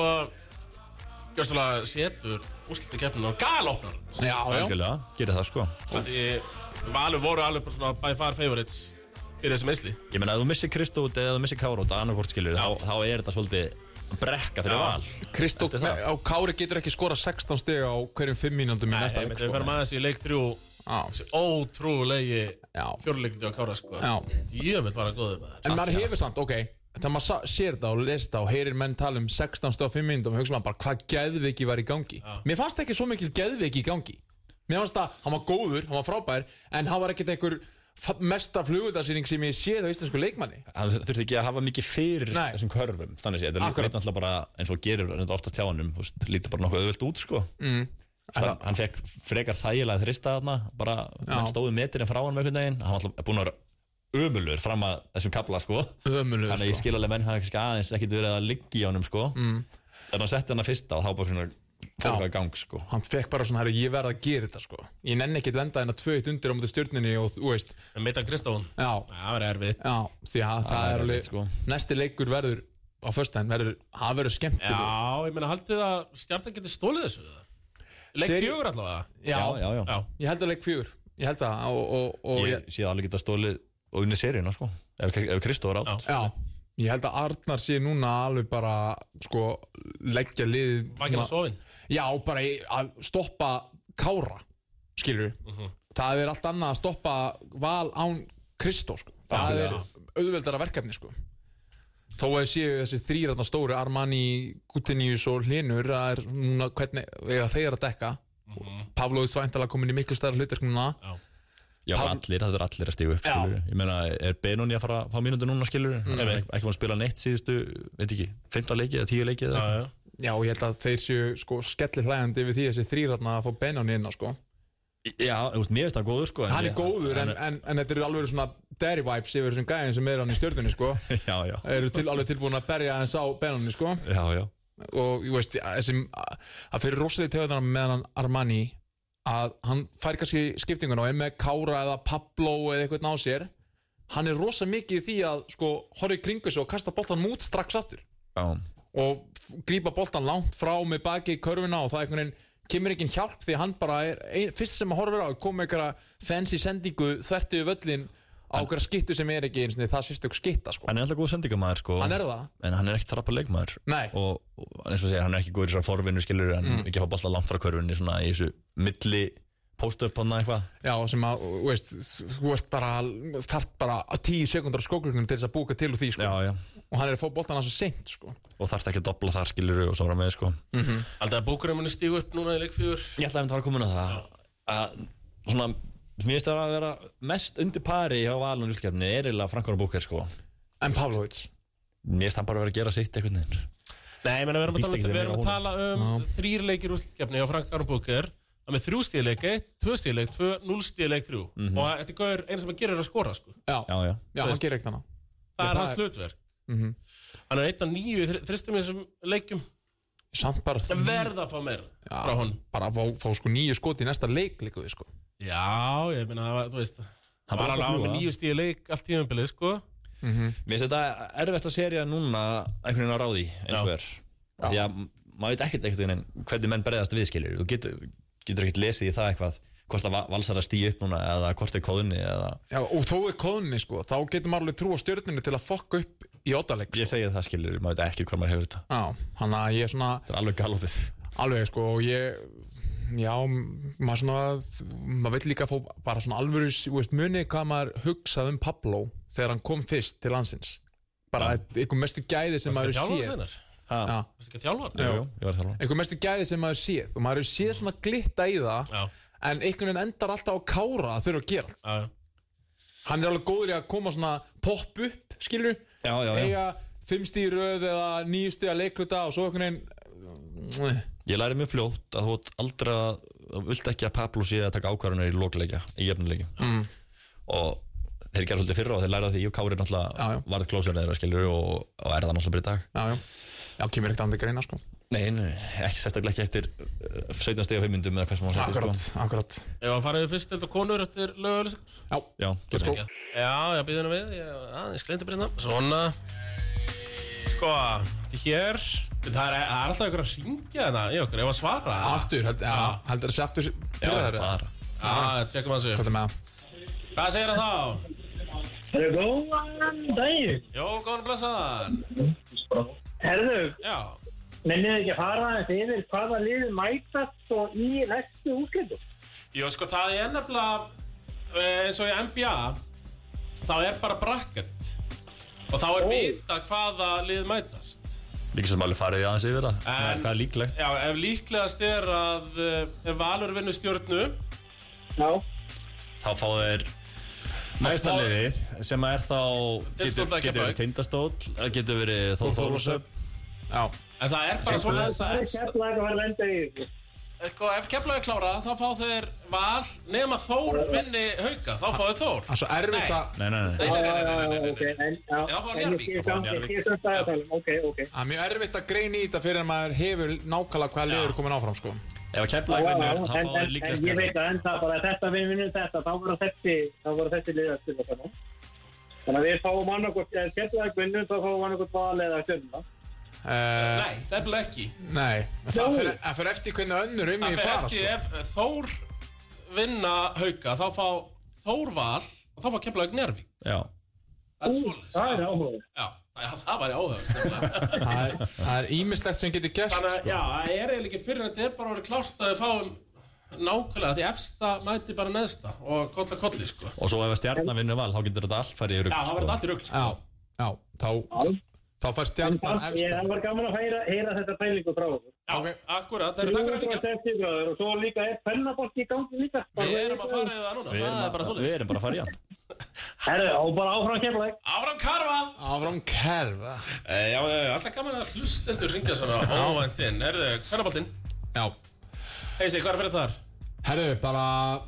Speaker 3: gjörstulega setur úrslutu keppninu og galopnar
Speaker 4: já, já,
Speaker 6: algjörlega, gerir það sko
Speaker 3: því valur voru alveg bara svona by far favorites fyrir þessi meðsli
Speaker 6: Ég meina, ef þú missir Kristó út eða þú missir Kára út að annarkvort skilur, þá, þá er þetta svolítið brekka fyrir val.
Speaker 4: Kristó
Speaker 6: Eftir það.
Speaker 4: á Kári getur ekki skora 16 stiga á hverjum 5 mínúndum í
Speaker 3: Nei,
Speaker 4: næsta
Speaker 3: ég
Speaker 4: leik
Speaker 3: myndi að
Speaker 4: sko.
Speaker 3: vera maður þessi í leik þrjú
Speaker 4: Já.
Speaker 3: þessi ótrúlegi
Speaker 4: Já.
Speaker 3: fjórleikli á Kára sko
Speaker 4: Já.
Speaker 3: Djöfell var hann góður maður
Speaker 4: En maður hefur samt, ok Þegar maður sa- sér þetta og les þetta og heyrir menn tala um 16 stöð og 5 minnum og hugsa maður bara hvað geðviki var í gangi Mér fannst ekki svo mikil geðviki í gangi Mér fannst að hann var góður, hann var frábær en hann var ekkert einhver fa- mesta flugvöldarsýning sem ég séð á íslensku leikmanni
Speaker 6: hann þurfti ekki að hafa mikið fyrir
Speaker 4: Nei.
Speaker 6: þessum körfum þannig sé, þetta
Speaker 4: Akkurat.
Speaker 6: leit náttúrulega bara eins og gerir reyndar oftast hjá hannum, þú veist, lítið bara nokkuð auðvöld út sko mm. hann, hann fekk frekar þægilega þrista þarna bara, menn stóðu metirinn frá hann með einhvern veginn hann var alltaf búin að vera ömulur fram að þessum kabla sko
Speaker 4: Ömurlegur,
Speaker 6: þannig að ég
Speaker 4: sko.
Speaker 6: skil alveg menn hann kannski aðeins ekkit verið að liggi á hannum sko mm. en hann setti hann að fyrsta og þá bara svona fór
Speaker 4: Já.
Speaker 6: hann í gang sko
Speaker 4: hann fekk bara svona, herri, ég verð að gera þetta sko ég nenni ekki að lenda hennar tvöitt undir á mútið stjórninni og þú veist,
Speaker 3: En Meitan Kristófun,
Speaker 4: já,
Speaker 3: það var erfitt
Speaker 4: já því að það,
Speaker 6: er
Speaker 4: er alveg,
Speaker 6: erfitt, sko.
Speaker 4: næsti leikur verður á föstudaginn, verður, það verður
Speaker 3: Já,
Speaker 4: skemmtileg
Speaker 3: ég meina haldið að stjartan getur stólið þessu eða? Leik
Speaker 4: Seri-
Speaker 3: fjögur allavega
Speaker 6: já, já, já.
Speaker 3: Já,
Speaker 4: ég held að leik fjögur, ég held að og, og, og ég,
Speaker 6: ég sé alveg geta stólið og unni seríuna sko ef, ef Kristóf er átt
Speaker 3: já,
Speaker 4: Já, ég held að Arnar sé núna alveg bara sko, leggja lið
Speaker 3: vakinn að sofin
Speaker 4: Já, bara í- að stoppa Kára, skilur við Það er allt annað að stoppa Val án Kristó sko. Það er auðveldara verkefni sko. Þó að séu þessi þrýrarna stóru Armani, Gutinius og Hlinur það er núna hvernig ega þeir eru að dekka mm -hmm. Pavlóði Svæntala komin í miklu stærra hlutur núna
Speaker 6: Já,
Speaker 4: Pál-
Speaker 6: allir, það er allir að stígu upp,
Speaker 4: Já.
Speaker 6: skilur Ég meina, er Benoni að fara að fá mínúti núna, skilur mm. Ekki
Speaker 3: Einmitt.
Speaker 6: ekki búin að spila neitt síðustu, veit ekki, 15 leikið eða 10 leikið eða
Speaker 3: Já, já
Speaker 4: Já, ég held að þeir séu sko, skellir hlægandi við því þessi þrýrarna að fá Benoni inn á sko.
Speaker 6: Já, þú veist, mér finnst það góður, sko en
Speaker 4: hann
Speaker 6: ég-
Speaker 4: er góður en,
Speaker 6: hann
Speaker 4: en, en þetta eru alveg svona dairy vibes yfir þessum gæðin sem er hann í stjörnunni sko
Speaker 6: er- Já, já,
Speaker 4: eru til, alveg tilbúin að berja hans á benunni sko
Speaker 6: já, já
Speaker 4: og ég veist þessi, að fyrir rosalega tegðunar með hann Armani að hann fær kannski skiptinguna og er með Kára eða Pablo eða eitthvað ná sér hann er rosa mikið í því að sko horfa í kringu sig og kasta boltan mút strax aftur
Speaker 6: Já,
Speaker 4: og f- grípa boltan langt frá með baki í körfuna og það einhvern veginn kemur enginn hjálp því að hann bara er ein, fyrst sem að horfa á kom með einhverja fancy sendingu þvertu við völlin á einhverja skittu sem er ekki eins og það sést okkur skitta sko
Speaker 6: hann er alltaf góð sendingamæður, sko
Speaker 4: Hann er það.
Speaker 6: En hann er ekki þrapa leikmaður
Speaker 4: Nei.
Speaker 6: og, og eins og segja, hann er ekki góður í þessar forvinnu, skilur Hann mm. ekki að fá alltaf langt frá körfunni, svona í þessu milli post-up hann eitthvað
Speaker 4: já sem að þú veist þú ert bara þart bara tíu sekundar á skóklunum til þess að búka til úr því sko
Speaker 6: Já, já,
Speaker 4: og hann er að fá boltan hans seint sko
Speaker 6: og þarf ekki að dobla þar, skilur og svo var með, sko
Speaker 3: Haldið að bókurum muni stígu upp núna í leik fjögur
Speaker 6: Ég ætlaði að fara að koma inn á það að svona mér finnst það að vera mest undir pari hjá Valun Júlskefni er eiginlega Frankon og Búker sko mér
Speaker 4: en Pavlovic
Speaker 6: finnst það bara að vera að gera sitt einhvern veginn
Speaker 3: Nei, ég meina við erum að
Speaker 6: Víst
Speaker 3: tala,
Speaker 6: ekki
Speaker 3: við
Speaker 6: þeir
Speaker 3: erum að
Speaker 6: meira
Speaker 3: tala um þrýr leikir úrslitgefni á Frank Aron Booker Það með þrjú stíðleik, eitt, tvö stíðleik, tvö, núl stíðleik, þrjú
Speaker 4: Mhm.
Speaker 3: Og þetta er gauður eina sem að gera er að skora sko
Speaker 4: já,
Speaker 6: já,
Speaker 4: já,
Speaker 6: já.
Speaker 4: hann gerir ekkert hana
Speaker 3: Það
Speaker 4: það
Speaker 3: er hans
Speaker 4: er-
Speaker 3: hlutverk Hann er eitt af nýju í þristum í þessum leikjum
Speaker 4: samt bara
Speaker 3: Það verða að fá meira frá honum
Speaker 4: bara fá, fá sko nýju skoti í næsta leik líka við sko
Speaker 3: Já, ég meina það var, þú veist Hann var
Speaker 6: bara
Speaker 3: alveg
Speaker 6: að
Speaker 3: á
Speaker 6: fljúga.
Speaker 3: með nýju stíu leik allt tímabilið, sko
Speaker 6: mér finnst þetta erfesta seria núna einhvern veginn á ráði eins og
Speaker 3: Já.
Speaker 6: er Af því að maður veit ekkert einhvern veginn hvernig menn breyðast við skilur þú getur, getur ekkert lesið í það eitthvað hvort að valsar að stíu upp núna eða hvort er kóðunni eða
Speaker 4: Já, og þó er kóðunni sko, þá getur maður alveg trú á stjörninu til að fokka upp í óttaleg sko.
Speaker 6: ég segi það skilur, maður veit ekkert hvað maður hefur þetta
Speaker 4: Já, hann að ég er svona
Speaker 6: þetta er alveg galopið
Speaker 4: alveg sko og ég, já, m- maður svona, maður vill líka fá bara svona alvöru, s- þú veist, munið hvað maður hugsað um Pablo þegar hann kom fyrst til landsins. Bara einhver mestu gæði sem maður
Speaker 3: Þjálfar
Speaker 4: séð.
Speaker 3: þennar
Speaker 4: Já,
Speaker 3: Það er ekki að þjálfar
Speaker 6: jú, jú, ég var að tala um
Speaker 4: einhver mestu gæði sem maður séð og maður hefur séð svona glitta í það.
Speaker 3: Já,
Speaker 4: En einhvern veginn endar alltaf á kára að þurfa að gera allt.
Speaker 3: já, já
Speaker 4: Hann er alveg góður í að koma svona popp upp, skilur
Speaker 6: Já, já, já.
Speaker 4: Eiga fimm stíð í röð eða níu stíð að leikluta og svo einhvern veginn mm,
Speaker 6: Ég læri mjög fljótt að þú átt aldrei að þú vilt ekki að Pablo sé að taka ákvarðanir í lokleikja, í jefnileikja mm. og þeir gerðu svolítið fyrra og þeir læra því og Kári
Speaker 4: Já,
Speaker 6: náttúrulega
Speaker 4: já.
Speaker 6: varð klósir þeirra skiljur og, og er það náttúrulega bara í dag
Speaker 4: Já, já Já, kemur ekkert andið greina sko
Speaker 6: Nei, nei, ekki sérstaklega ekki eftir uh, 17 stiga 5 myndum eða hvað sem hún sagði
Speaker 4: Akkurat,
Speaker 6: sko.
Speaker 4: akkurat
Speaker 3: Ef að fara við fyrst til konur eftir lögulisakar
Speaker 4: Já,
Speaker 6: Já,
Speaker 4: let's go
Speaker 6: gerðu það.
Speaker 3: Já, já, býðinu við Ég, já, ég skleinti breyna Svona Sko, til hér Það er, það er alltaf ykkur að ringja það í okkur Ef að svara
Speaker 4: Aftur, held, já, heldur þessi aftur
Speaker 6: Já,
Speaker 4: Pyrra þeirra
Speaker 6: bara
Speaker 3: Já, tjekkum að þessu
Speaker 4: Hvað er með það?
Speaker 3: Hvað segir það þá?
Speaker 7: Það er góðan daginn.
Speaker 3: Jó, góðan blessaðan
Speaker 7: Herðu,
Speaker 3: Já,
Speaker 7: mennið ekki að fara aðeins yfir hvaða liði mætast og í næstu útlætum.
Speaker 3: Jó, sko, það er nefnilega eh, eins og í NBA þá er bara bracket og þá er vita hvaða lið mætast
Speaker 6: Líka sem alveg farið í aðeins yfir það Hvað er-
Speaker 3: En-
Speaker 6: Hvað er líklegt?
Speaker 3: Já, ef líklegast er að eh, ef Valur vinnur stjórnu
Speaker 7: Já.
Speaker 6: Þá fá þeir Næsta liðið sem er þá
Speaker 3: Tindastóll eða
Speaker 6: getur, getur verið
Speaker 3: Keflavík?
Speaker 6: tindastóll, eh, getur verið Þór Þólusöp
Speaker 4: Já,
Speaker 3: En það er bara svona þess að
Speaker 7: Keflavík að fara að lenda í þessu.
Speaker 3: Sko, ef Keflavík klára, þá fá þeir val nema Þór vinni hauka, þá fá þeir Þór.
Speaker 4: það er svo erfitt
Speaker 3: Nei.
Speaker 4: að
Speaker 6: Nei, nei, nei
Speaker 3: Nei, nei, nei, nei, nei, nei,
Speaker 7: Ok,
Speaker 3: nei, nei.
Speaker 7: en já,
Speaker 3: Já, það var
Speaker 7: en ég
Speaker 3: Njarðvík,
Speaker 7: skil
Speaker 3: það var
Speaker 7: samt- ég skil
Speaker 6: Njarðvík.
Speaker 7: samt hvað það er að tala um. Ok, ok.
Speaker 4: Það er mjög erfitt að greina í þetta fyrir að maður hefur nákvæmlega hvaða liður komin áfram sko.
Speaker 6: Ef að Keflæk
Speaker 7: Já, já,
Speaker 6: vinnur, þá
Speaker 7: en-
Speaker 6: fá þeir
Speaker 7: en-
Speaker 6: líklegast
Speaker 7: En ég veit
Speaker 6: Keflavík.
Speaker 7: að en það bara þetta við vinnum þetta, þá voru þessi, þá voru þessi liða spila saman. Þannig að við fáum annarkvort, ef Keflavík vinnum, þá fáum annarkvort val eða stjórnum.
Speaker 4: Uh,
Speaker 3: Nei, nefnilega ekki.
Speaker 4: nei, en það
Speaker 7: Nú.
Speaker 4: fyrir, það fyrir eftir hvernig önnur um
Speaker 3: Það
Speaker 4: ég
Speaker 3: fer
Speaker 4: fara
Speaker 3: eftir
Speaker 4: sko.
Speaker 3: ef Þór vinna hauka, þá fá Þór val og þá fá Keflavík Njárvík.
Speaker 6: Já,
Speaker 3: Það er svolítið.
Speaker 7: Það er áhugað.
Speaker 3: Já, já, það væri áhugað.
Speaker 4: Það er- það er ímislegt sem getur gert
Speaker 3: Þannig að,
Speaker 4: sko.
Speaker 3: já, það er eiginlega ekki fyrir þetta er bara að vera klárt að við fáum nákvæmlega, því efsta mæti bara neðsta og kolla kolli, sko.
Speaker 6: og svo ef að stjarnan vinnur val, þá getur þetta allt farið í
Speaker 3: Já,
Speaker 6: rugg
Speaker 3: það verður allt í rugl, sko.
Speaker 4: Já, já, þá, þá fær stjarnan
Speaker 7: Ég- Það
Speaker 4: efst
Speaker 7: var gaman að heyra, heyra þetta pælingu frá okkur.
Speaker 3: Já,
Speaker 4: Ok.
Speaker 3: akkurat, það eru takk fyrir að ringja.
Speaker 7: Þessi bróður og svo líka er pennabolti í gangi líka.
Speaker 3: Við erum að fara í það núna,
Speaker 6: Við erum
Speaker 3: það er
Speaker 6: að-
Speaker 3: bara
Speaker 6: við
Speaker 3: svolítið.
Speaker 6: erum bara að fara í hann
Speaker 7: Herru, og bara áfram Keflavík.
Speaker 3: Áfram karfa!
Speaker 4: Áfram kerfa
Speaker 3: E, já, já, já, alltaf gaman að hlustendur ringja svona óvænt inn. Erðu, hvernaboltinn?
Speaker 4: Já,
Speaker 3: Heisi, hvað er fyrir þar?
Speaker 4: herru, bara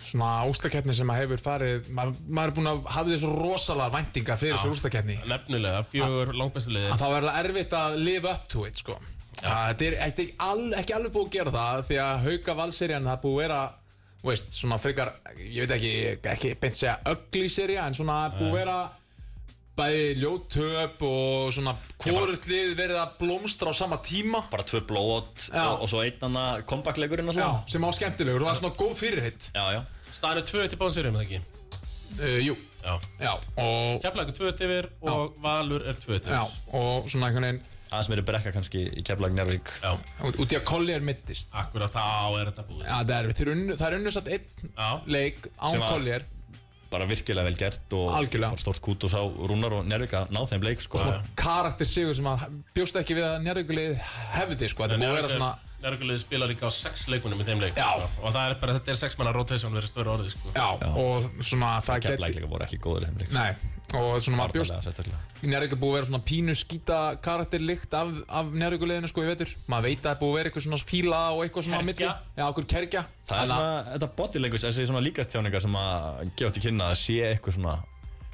Speaker 4: svona úslakeppni sem maður hefur farið maður, maður er búin að hafa þessu rosalega væntingar fyrir þessu úslakeppni
Speaker 3: Nefnilega, fjögur langbestu liði.
Speaker 4: að þá er það erfitt að live up to it sko. Að Þetta er, þetta er ekki, al, ekki alveg búið að gera það því að hauka valserjan það er búið að vera þú veist, svona frekar, ég veit ekki ekki beint segja ögli serja en svona búið að vera bæði ljótöp og svona hvort lið verið að blómstra á sama tíma
Speaker 6: Bara tvö blóátt
Speaker 4: Já.
Speaker 6: og, og svo einn annað kompakleikurinn
Speaker 4: Já,
Speaker 6: alltaf
Speaker 4: sem á skemmtilegur og það er svona góð fyrirhitt
Speaker 6: Já, já
Speaker 3: Staðan er 2-1 í bánsýrjum, það ekki?
Speaker 4: uh, Jú,
Speaker 3: Já.
Speaker 4: já og,
Speaker 3: Keflavík er 2-1 yfir og Valur er 2-1
Speaker 4: já
Speaker 3: yfir.
Speaker 4: og svona einhvern veginn
Speaker 6: Aðeins meiri brekka kannski í Keflæk Njárvík
Speaker 3: Já.
Speaker 4: út- út í að kolli er mittist
Speaker 6: Ah.
Speaker 4: Já,
Speaker 3: Akkurat, þá er þetta búið.
Speaker 4: það er erfitt, Þeir unnu- það er unnusatt einn
Speaker 3: Já.
Speaker 4: leik án
Speaker 6: Sem að-
Speaker 4: kolli er
Speaker 6: Bara virkilega vel gert og
Speaker 4: Algjörlega.
Speaker 6: bara stórt kút og sá Rúnar og Njárvík að ná þeim leik sko.
Speaker 4: svona karakter sigur sem hann bjóst ekki við að njárvíkulið hefði sko, þetta búið að vera svona
Speaker 3: Njárvíkulegði spila líka á sex leikunum í þeim leik
Speaker 4: Já.
Speaker 3: Og það er bara, þetta er sex manna rotation verið störu orðið sko.
Speaker 4: já, og svona það
Speaker 6: Keflæk
Speaker 4: geti
Speaker 6: líka voru ekki góður í þeim leik
Speaker 4: nei, og svona maður bjóst
Speaker 6: Varnarlega sérstaklega
Speaker 4: njárvíkulið búið að vera svona pínu skýta karakterlikt af, af njárvíkuliðinu sko í vetur maður veit að það er búið að vera eitthvað svona fíla og eitthvað svona á milli,
Speaker 3: Kergja.
Speaker 4: já, okkur kerkja
Speaker 6: Það er svona, þetta body language, þessi svona líkastjáningar sem að gefa til kynna að það sé eitthvað svona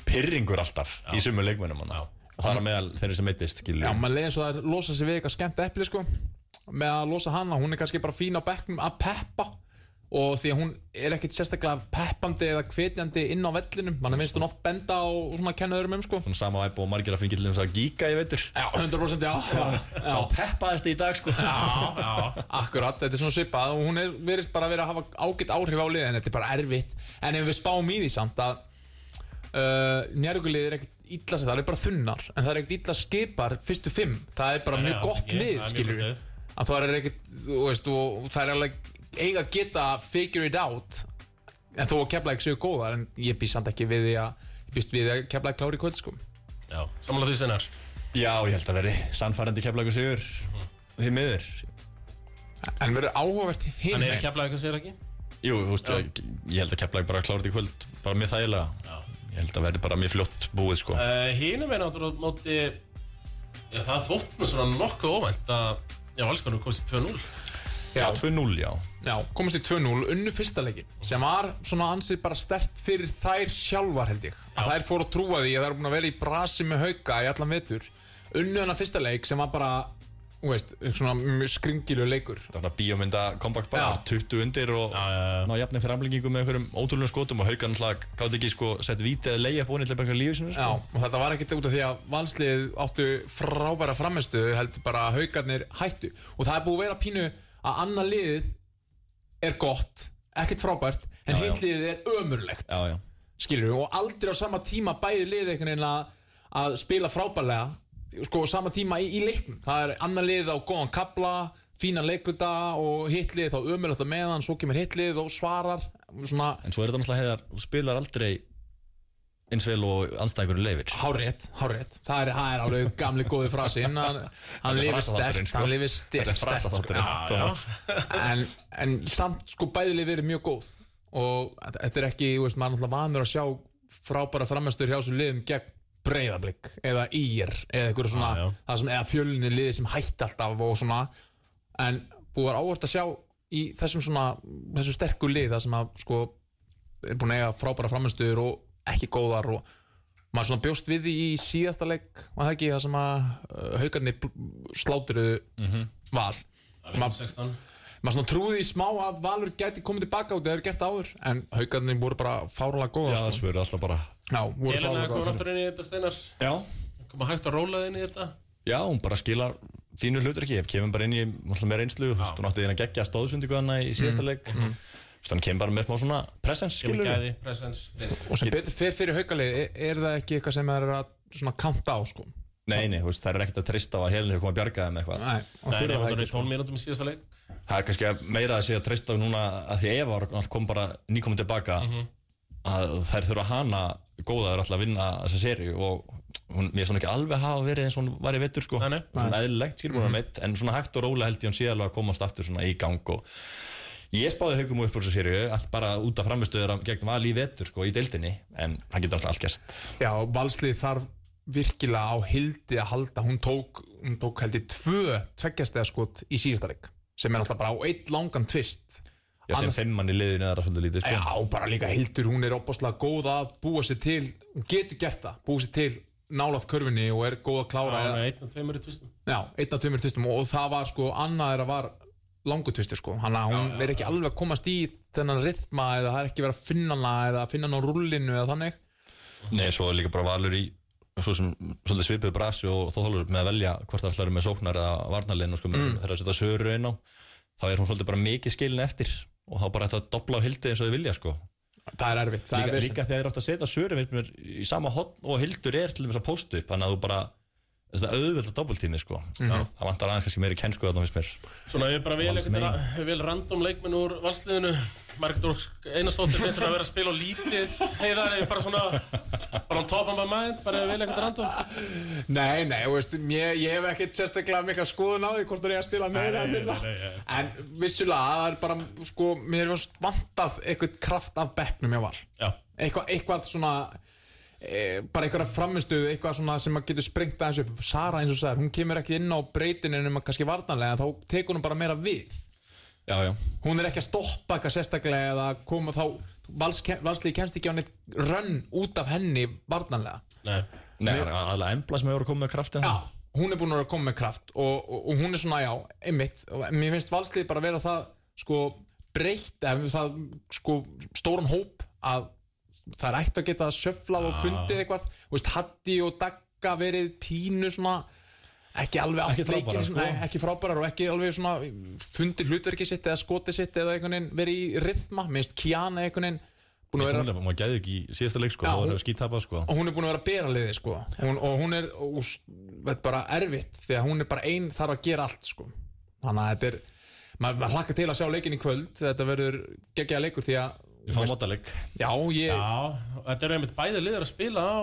Speaker 6: pyrringur alltaf í sumu leikmennum hann. Og það er meðal þeirri sem meittist, skilur.
Speaker 4: já,
Speaker 6: Já,
Speaker 4: maður leiði eins og það er losa sig við eitthvað skemmt epli sko, með að losa hana hún er kannski bara fín á bekknum að peppa og því að hún er ekkit sérstaklega peppandi eða hvetjandi inn á vellinum mann finnst hún oft benda og svona kenna öðrum um sko.
Speaker 6: svona sama æp og margir að fengi til þess að gíka, ég veitur.
Speaker 4: Já, 100% já,
Speaker 6: Sá
Speaker 4: já.
Speaker 6: peppaðist í dag, sko. Já, já.
Speaker 4: Akkurat, þetta er svona svipað og hún er, verist bara að vera að hafa ágætt áhrif á liðið en þetta er bara erfitt en ef við spáum í því samt að uh, njárugulið er ekkert illa sem það er bara þunnar en það er ekkert illa skipar fyrstu fimm það er bara
Speaker 3: Nei,
Speaker 4: mjög
Speaker 3: alls
Speaker 4: gott
Speaker 3: ekki. Það
Speaker 4: lið
Speaker 3: er mjög
Speaker 4: skilur
Speaker 3: gott lið.
Speaker 4: að það er ekkert, þú veist og það er alveg eiga að geta að figure it out en þó að kepla ekki séu góðar en ég býst samt ekki við því að ég býst við því að kepla ekki klári kvöld sko
Speaker 3: Já, samanlega því sinnar
Speaker 6: Já, ég held að veri sannfærandi keflagur sigur.
Speaker 4: Mhm.
Speaker 6: Því miður.
Speaker 4: en verður áhugavert hinn
Speaker 3: En er keflaði hvað segir ekki?
Speaker 6: Jú, þú veist, ég, ég held að keflagur bara klára þetta í kvöld. Bara mjög þægilega. Ég held að veri bara mjög fljótt búið, sko.
Speaker 3: Uh, Hínum er náttúrulega á móti Já, það þótt mér svona nokkuð óvænt að Já, valskonum komst í 2-0
Speaker 6: Já, 2-0, já.
Speaker 4: Já, komast í 2-0, unnu fyrsta leikin sem var svona ansið bara stert fyrir þær sjálfar held ég að þær fóru að trúa því að þær eru búin að vera í brasi með hauka í allan vetur unnu hennar fyrsta leik sem var bara þú veist, svona mjög skringilu leikur
Speaker 6: Það var bíómynda comeback bara,
Speaker 4: Já.
Speaker 6: 20 undir og
Speaker 3: já, já.
Speaker 6: ná jafnir fyrir amlingingu með einhverjum ótrúlega skotum og haugan alltaf gátt ekki sko sett vítið eða leiði upp vonið til að bæka lífið sinu
Speaker 4: Já,
Speaker 6: sko.
Speaker 4: og þetta var ekkert út af því að valslið áttu frábæra framistu heldur bara að haugarnir hættu og það er búið að vera pínu að annað liðið er gott, ekkert frábært en
Speaker 6: já.
Speaker 4: hitt liðið er ömurlegt
Speaker 6: Já, já.
Speaker 4: skilur og aldrei á sama tíma bæði liðið einhvern veginn að, að spila frábærlega sko á sama tíma í, í leiknum það er annar liðið á góðan kabla fínan leikluta og hitlið þá ömulegt að meðan, svo kemur hitlið og svarar svona
Speaker 6: En svo er þetta náttúrulega heiðar, þú spilar aldrei eins vel og anstæðingurinn leifir.
Speaker 4: Hárétt, hárétt, það er, það er alveg gamli góði frasinn, hann, hann
Speaker 6: er
Speaker 4: lifir
Speaker 6: frasaþátturinn,
Speaker 4: sterkt,
Speaker 6: sko.
Speaker 4: hann lifir sterkt,
Speaker 6: Þetta er
Speaker 4: sterkt sko.
Speaker 6: frasaþátturinn.
Speaker 4: Já, já. en, en samt sko bæðilið verið mjög góð og þetta er ekki, þú veist, maður er náttúrulega vanur að sjá frábæra framhæstur hjá þessum liðum gegn breyðablík eða ír eða eitthvað svona,
Speaker 3: Já, já.
Speaker 4: það sem eða fjölunni liði sem hætti alltaf og svona en búið var ávart að sjá í þessum svona, þessum sterku lið það sem að sko er búin að eiga frábæra framhæstur og ekki góðar og maður svona bjóst við því í síðasta leik var það ekki það sem að uh, haugarnir bl- sláturuðu val maður
Speaker 3: 16
Speaker 4: maður svona trúði í smá að Valur gæti komið tilbaka út eða hefur gert áður en haugarnir voru bara fárulega góða
Speaker 6: Já,
Speaker 4: sko.
Speaker 6: þessu verður alltaf bara
Speaker 4: Já, voru
Speaker 3: Elena
Speaker 4: fárulega
Speaker 3: kom
Speaker 4: góða
Speaker 3: aftur inn í þetta steinar
Speaker 6: Já,
Speaker 3: Koma hægt að róla inn í þetta
Speaker 6: já, hún bara skilar þínu hlutur ekki, kemur bara inn í náttúrulega meira einslu, þú veist, hún átti þín að gegja stóðsundingu hana í síðasta leik mm. hann kemur bara með smá svona presens,
Speaker 3: Kemur
Speaker 6: skilur við
Speaker 3: gæði, presens, reynslu
Speaker 4: og sem betur fer fyrir haugalið er, er það ekki eitthvað sem er að svona kanta á sko
Speaker 6: Nei, nei, þú veist, það er ekkert að treysta á að helin hefur komið að bjarga þeim eitthvað
Speaker 4: Nei, og
Speaker 3: Nei,
Speaker 4: þurfa
Speaker 3: nefnum
Speaker 4: það
Speaker 3: það
Speaker 4: ekki
Speaker 3: er 12 mínútum í síðasta leik
Speaker 6: Það er kannski að meira að sé að treysta á núna að því Eva var náttúrulega kom bara nýkominn tilbaka
Speaker 3: Mhm.
Speaker 6: að þær þurfa hana góðaður alltaf að vinna þessa séri og hún, mér er svona ekki alveg hafa verið eins og hún var í vettur sko,
Speaker 3: Nei, Mhm. nei.
Speaker 6: svona eðlilegt skilur hún meitt, en svona hægt og rólega held ég hún sé alveg að komast aftur svona í gang og ég spáði haugum upp úr þessa séri að bara út af framistöður gegn val í vettur sko í deildinni, en það getur alltaf allt gerst
Speaker 4: Já, valslið þarf virkilega á hildi að halda hún tók, hún tók held ég tvö tveggjastega skot í síðasta leik sem er alltaf bara á eitt langan tvist
Speaker 6: Já, sem
Speaker 4: Annars-
Speaker 6: fimmann í liðinu er það svolítið lítið sko.
Speaker 4: Já, bara líka Hildur, hún er opaslega góð að búa sér til, hún getur gert það búa sér til nálaft körfinni og er góð að
Speaker 3: Það
Speaker 4: klára
Speaker 3: er
Speaker 4: eða-
Speaker 3: með einn og tveimur í tvistum
Speaker 4: Já, einn af tveimur tvistum og, og það var sko, annað er að var langu tvistur sko, hann að hún er ekki alveg að komast í þennan rithma eða það er ekki verið að finna hana eða að finna hana á rullinu eða þannig
Speaker 6: Nei, svo er líka bara valur í svo sem svolítið svipuð brasi og þóþálur með að velja hvort það ætlar með sóknar eða varnarlegin og sko, mm. þegar að setja söru inn á þá er hún svolítið bara mikið skilin eftir og þá bara ætla að dobla á hildi eins og þau vilja sko.
Speaker 4: það er erfitt, það
Speaker 6: líka,
Speaker 4: er vesen.
Speaker 6: líka þegar þeir átt að setja söru finnst mér, í sama hotn og hildur er til þess að póstu upp, þannig að þú bara þetta er auðvelt að dobbultími sko.
Speaker 4: Mhm.
Speaker 6: það vantar aðeins kannski meiri kennsku þarna finnst mér
Speaker 3: Svona við bara vel,
Speaker 6: Vals
Speaker 3: ekkert
Speaker 6: mein.
Speaker 3: ra- vel random leikmenn úr valsliðinu Margrét Orsk Einarsdóttir finnst hann að vera að spila á lítið Heiðar er bara svona Bara hann topan bara maður, bara vel ekkert random
Speaker 4: Nei, nei, og veist, mér, ég hef ekkert sérstaklega mikla skoðun á því hvort það er að spila meira en minna en vissulega, það er bara sko, mér hefur vantað eitthvað kraft af bekknum ég var
Speaker 3: Já.
Speaker 4: Eitthvað, eitthvað svona e, bara eitthvað framistuð, eitthvað svona sem maður getur sprengt aðeins upp, Sara eins og sagði, hún kemur ekki inn á breytinu nema kannski vartanlega þá tekur hún bara meira við
Speaker 6: já, já.
Speaker 4: hún er ekki að stoppa eitthvað sérstaklega eða koma þá, vals, valslíði kemst ekki á neitt rönn út af henni vartanlega
Speaker 3: Nei
Speaker 6: Nei, það er aðalega embla sem hefur komið með kraftin
Speaker 4: Já, hún er búin að vera að koma með kraft og, og, og hún er svona, já, einmitt og mér finnst valslið bara að vera það sko breytt, eða það sko stóran hóp að það er ætti að geta sjöflað og fundið eitthvað, þú veist, Hatti og Dagga verið tínu svona ekki alveg átt
Speaker 6: Ekki frábærar,
Speaker 4: leikinn,
Speaker 6: sko.
Speaker 4: svona, nei, ekki frábærar og ekki alveg svona fundið hlutverkið sitt eða skotið sitt eða einhvern veginn verið í rithma, minnst Kiana einhvern veginn búin að vera
Speaker 6: maður gæði ekki í síðasta leik sko,
Speaker 4: Já,
Speaker 6: þá
Speaker 4: hún-
Speaker 6: er það skítapað sko.
Speaker 4: og hún er búin að vera að bera liði sko. hún, og hún er og, s- þetta er bara erfitt því að hún er bara ein þarf að gera allt sko. þannig að þetta er maður, maður hlakka til að sjá leikin í kvöld þetta verður geggjaða leikur því að
Speaker 6: Við fáum mótaleg
Speaker 4: já, ég,
Speaker 3: Já, þetta er einmitt bæði liðar að spila á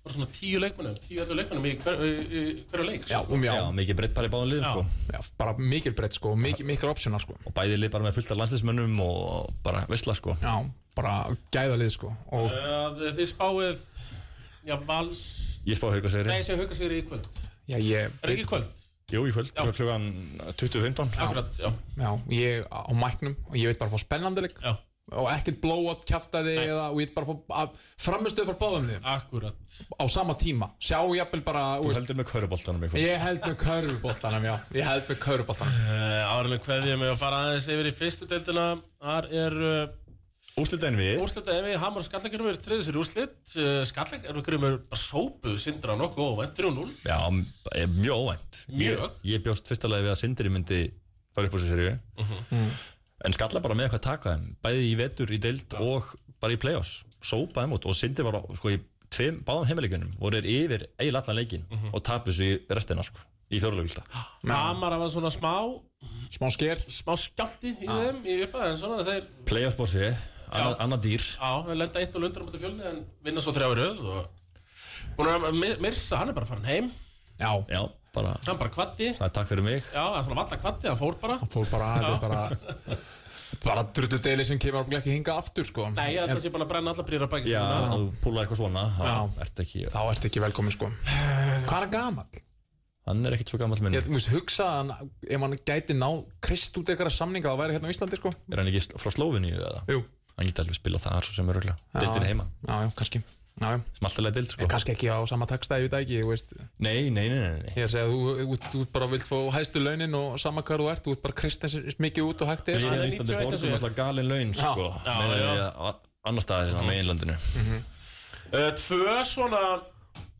Speaker 3: bara svona tíu leikmennum, tíu eldur leikmennum í hver- í- í hverju leik sko.
Speaker 4: já, um, já,
Speaker 6: Já, mikið breytt bara í báðum liðum
Speaker 3: Já.
Speaker 6: sko.
Speaker 4: já, bara mikil breytt sko, mikil, mikil opsjónar sko.
Speaker 6: og bæði lið bara með fullt af landslismönnum og bara vissla sko
Speaker 4: já, bara gæða lið sko. og
Speaker 3: að Þið spáið Já, vals
Speaker 6: ég spá hauka segri,
Speaker 3: Nei, sem hauka sigur í kvöld Er
Speaker 4: já, ég,
Speaker 3: það ekki í kvöld?
Speaker 6: jú í kvöld klugan 20.15
Speaker 3: Akkurat, já,
Speaker 4: já, ég á mæknum og ég veit bara að fá spennandi leik
Speaker 3: já,
Speaker 4: og ekkert blowout kjaftaði eða, og ég veit bara að fá framistöð frá báðum liðum
Speaker 3: akkurat
Speaker 4: á sama tíma, sjá jafnvel bara
Speaker 6: þú heldur með kauruboltanum í kvöld
Speaker 4: Ég held með körfuboltanum, já Ég held með körfuboltanum
Speaker 3: uh, Árlega kveðið með að fara aðeins yfir í fyrstu deildina Þar er uh,
Speaker 6: úrslitin við
Speaker 3: úrslita ef við Hamar og Skallakjörnum er treyðið sér í úrslit uh, Skallakjörnum er bara sópu sindra nokkuð og 3-0
Speaker 6: já, m- eh, mjög óvænt ég,
Speaker 3: Mjög.
Speaker 6: ég bjóst fyrsta lagi við að Sindri myndi fara upp úr þessu serju
Speaker 3: Mhm.
Speaker 6: en skalla bara með eitthvað að taka þeim bæði í vetur í deild og bara í play-offs sópa þeim út og Sindri var á, sko í tveim, báðum heimileikunum voru þeir yfir eiginlega allan leikin
Speaker 3: Mhm.
Speaker 6: og tapu þessu í restina sko í fjóruleikilda
Speaker 3: Hamar var svona smá
Speaker 4: Smá sker
Speaker 3: smá skjálti í þeim í upphæð en svona þeir
Speaker 6: play-offs bósi, annað dýr
Speaker 3: á, þeir lenda 1 og 100 á mútið fjölni en vinna svo 3 röð og hún er að Mirsa, hann er bara farin heim
Speaker 4: Já,
Speaker 6: já, bara
Speaker 3: hann bara kvatti, já,
Speaker 6: Það er takk fyrir mig
Speaker 3: það er svona valla kvatti, hann fór bara
Speaker 4: fór bara, þetta er bara bara drullu deli sem kemur ábyggilega ekki hinga aftur sko
Speaker 3: Nei, ég held að það sé bara að brenna alla brýra baki
Speaker 6: Já,
Speaker 3: sína.
Speaker 6: að þú púlar eitthvað svona
Speaker 4: Já.
Speaker 6: þá ertu ekki
Speaker 4: Þá ertu ekki velkomin sko Hvað er gamall?
Speaker 6: Hann er ekkert svo gammal minn
Speaker 4: Ég þú veist, hugsa að hann, ef hann gæti ná krist út eitthvað samninga að væri hérna á Íslandi sko
Speaker 6: Er hann ekki sl- frá Slóviníu eða?
Speaker 4: Jú
Speaker 6: Hann geti alveg spilað þar svo sem er örgulega Dildin heima
Speaker 4: Já, já, kannski Já, já
Speaker 6: Sem alltaf leið dild sko
Speaker 4: En kannski ekki á sama taksta, ég veit það ekki, þú veist
Speaker 6: Nei, nei, nei, nei, nei.
Speaker 4: Ég er að segja að þú, þú, þú bara vilt fá hæstu launin og sama hvar þú ert, þú ert bara kristin mikið út og hægt
Speaker 6: Við
Speaker 4: er sko.
Speaker 6: erum
Speaker 3: er
Speaker 6: í Íslandi
Speaker 3: 91 þessu.
Speaker 6: borgum alltaf galin laun sko
Speaker 3: Já, Mm.
Speaker 6: meðan
Speaker 3: já.
Speaker 6: við að- Annars staðar en á meginlandinu
Speaker 3: Uh, tvö svona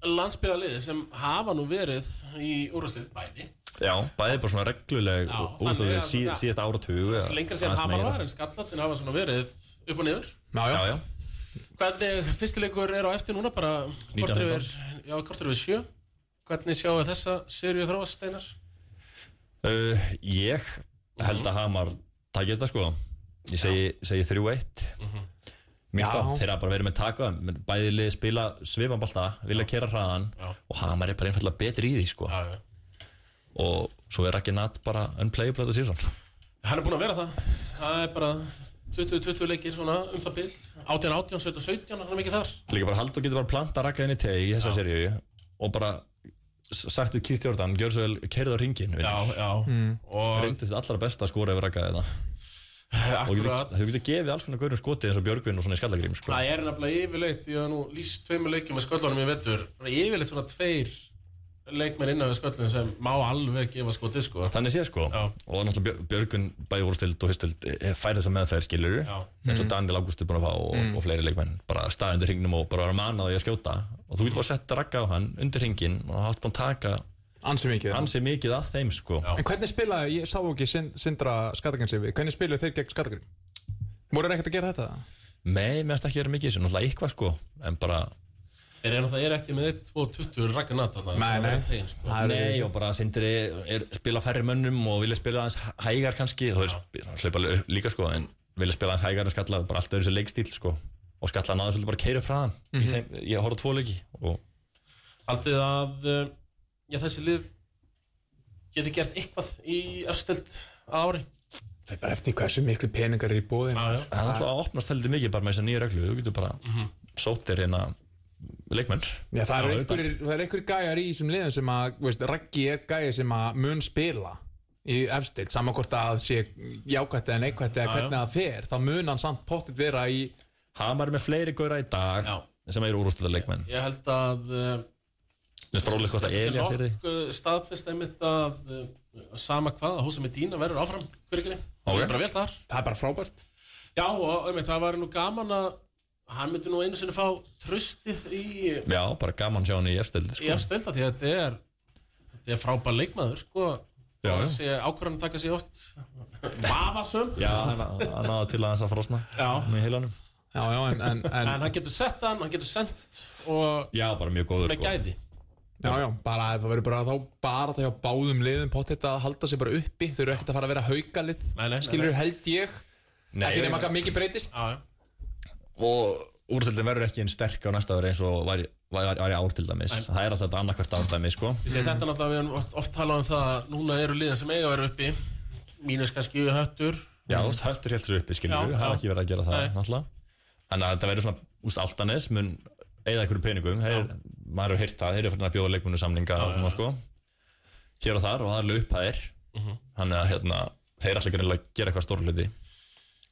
Speaker 3: landsbyðaliði sem hafa nú verið í úrvastið bæði.
Speaker 6: Já, bæði bara svona regluleg
Speaker 3: Já, þannig
Speaker 6: úrstofið
Speaker 3: að-
Speaker 6: sí, síðast áratug eða
Speaker 3: Lengra sér
Speaker 6: aðeins
Speaker 3: hafa
Speaker 6: meira.
Speaker 3: var en skallatin hafa svona verið upp og niður.
Speaker 4: Já, já,
Speaker 6: Já,
Speaker 4: já,
Speaker 6: já,
Speaker 3: Hvernig fyrstileikur er á eftir núna bara kortur
Speaker 6: 19.
Speaker 3: yfir, já, kortur yfir sjö Hvernig sjáu þessa sériu þróast, Steinar?
Speaker 6: Uh, ég held að Hamar takja þetta sko Ég segi, segi 3-1
Speaker 3: Mhm.
Speaker 6: Mikka,
Speaker 4: Já.
Speaker 6: þeirra bara verið með taka menn Bæði lið spila svifanbalta Vilja kera hraðan Og Hamar er bara einfallega betri í því sko
Speaker 3: Já, já.
Speaker 6: Og svo er ekki natt bara unplayable þetta síðan
Speaker 3: Hann er búinn að vera það Það er bara 20-20 leikir svona um það bil 18-18, 17-17, hann er mikið þar
Speaker 6: Líka bara Haldur getur bara planta rakkaðin í teg Í þessa seríu Og bara s- sagt við Keith Jordan Gjör svo vel kerið á ringin
Speaker 3: já mm. Og
Speaker 6: Reyndu þið allra besta að skora yfir rakkaði þetta Og þú
Speaker 3: akkurat
Speaker 6: getur- þú getur gefið alls konar gaurum skotið eins og Björgvin og svona í skallagrím sko.
Speaker 3: Það er nefnilega yfirleitt Ég hef nú líst tveimur leikjum með sköllunum í vettur Það er yfirleitt svona tveir leikmenn innan við sköllunum sem má alveg gefa skotið sko
Speaker 6: Þannig sé sko
Speaker 3: Já.
Speaker 6: Og náttúrulega Björgun bæði úrstild og hystild fær þess að meðferð skilur
Speaker 3: Já.
Speaker 6: eins og Daniel Ágúst er búin að fá og, og fleiri leikmenn bara staði undir hringnum og bara vera manað í að skjóta og þú getur bara að setja ragga á hann undir hringin og það er búin að taka
Speaker 4: ansi mikið
Speaker 6: ansi mikið að þeim sko
Speaker 4: En hvernig spilaði, ég sá ekki Sind- Sindra Skatagrins yfir, hvernig spilaði þeir gegn Skatagrins? Voru þeir ekkert að gera þetta?
Speaker 6: Nei, meðast ekki verið mikið í þessu, náttúrulega eitthvað sko en bara,
Speaker 3: Þeir eru náttúrulega ekki með 1-2-20 raggarnata
Speaker 4: Nei, nei.
Speaker 3: sko. nei
Speaker 6: nei og bara sindri er, spila færri mönnum og vilja spila aðeins hæ- hægar kannski, þú veist, hlaupa alveg upp líka sko, en vilja spila aðeins hægar en skalla bara alltaf þessi leikstíl sko og skalla náður svolítið bara keira upp hraðan mm -hmm. ég horfði á tvo leiki og
Speaker 3: Haldið þið að uh, já, þessi lið getur gert eitthvað í öfstöld ári
Speaker 4: Það er bara eftir hversu miklu peningar er í bóðin
Speaker 3: já. Mhm.
Speaker 6: Það er alltaf að opnast heldur mikið bara með þessar nýju reglu Þú getur bara mm sótt þér hérna leikmenn
Speaker 4: Já, það eru
Speaker 6: Já,
Speaker 4: einhverjir, það eru einhverjir gæjar í þessum liðum sem að, þú veist, Raggi er gæjar sem að mun spila í efstild, saman hvort að sé jákvætt eða neikvætt eða hvernig það fer þá mun hann samt pottit vera í
Speaker 6: Hamar er með fleiri góra í dag
Speaker 3: Já.
Speaker 6: sem eru úrústuða leikmenn
Speaker 3: Ég held að uh,
Speaker 6: Það er fróðlega hvort að Elja sér því
Speaker 3: nokkuð staðfest einmitt að uh, sama hvað að húsa með dýna verður áfram hverjir okay. bara vel þar
Speaker 4: það er bara frábært
Speaker 3: Já og einmitt það var nú gaman að hann myndi nú einu sinni fá trustið í,
Speaker 6: Já, bara gaman sjá hann í efstildi
Speaker 3: í
Speaker 6: sko.
Speaker 3: öfstöld því að þetta er, þetta er frábær leikmaður sko
Speaker 6: Já, já.
Speaker 3: þessi ákvörðan taka sér oft vafasum
Speaker 6: Já, hann hann náði til aðeins að frosna
Speaker 3: Já.
Speaker 6: með heilanum
Speaker 4: Já, já, en, en, en,
Speaker 3: en hann getur sett hann, hann getur sendt og
Speaker 6: Já, bara mjög góður
Speaker 3: með
Speaker 6: sko.
Speaker 3: gæði
Speaker 4: já, já, bara það verður bara þá bara það hjá báðum liðum pottit að halda sig bara uppi þau eru ekkert að fara að vera haukalið
Speaker 3: Nei, nei, nei,
Speaker 4: skilur held ég
Speaker 6: Nei,
Speaker 4: ekki nema hvað mikið breytist
Speaker 3: Já, já.
Speaker 6: Og úrstildin verður ekki einn sterk á næsta ári eins og var, var, var, var í ártildamis Það er alltaf þetta annarkvært árdæmi sko.
Speaker 3: Ég segi þetta náttúrulega, við höfum oft, oft talað um það að núna eru liðin sem eiga að vera uppi mínus kannski höttur
Speaker 6: Já, þú veist, höttur heldur uppi, skiljum
Speaker 3: Já,
Speaker 6: við, hafa
Speaker 3: já.
Speaker 6: ekki verið að gera það,
Speaker 3: Nei.
Speaker 6: náttúrulega. Þannig að þetta verður svona, úst, Altanes mun eða einhverju peningum, þeir, maður hefur heyrt það, þeir eru fyrir að bjóða leikmennu samninga og svona, sko. Hér og þar og það eru upphæðir,
Speaker 4: Mhm.
Speaker 6: þannig að hérna, þeir ætla ekki reynilega að gera eitthvað stórluti.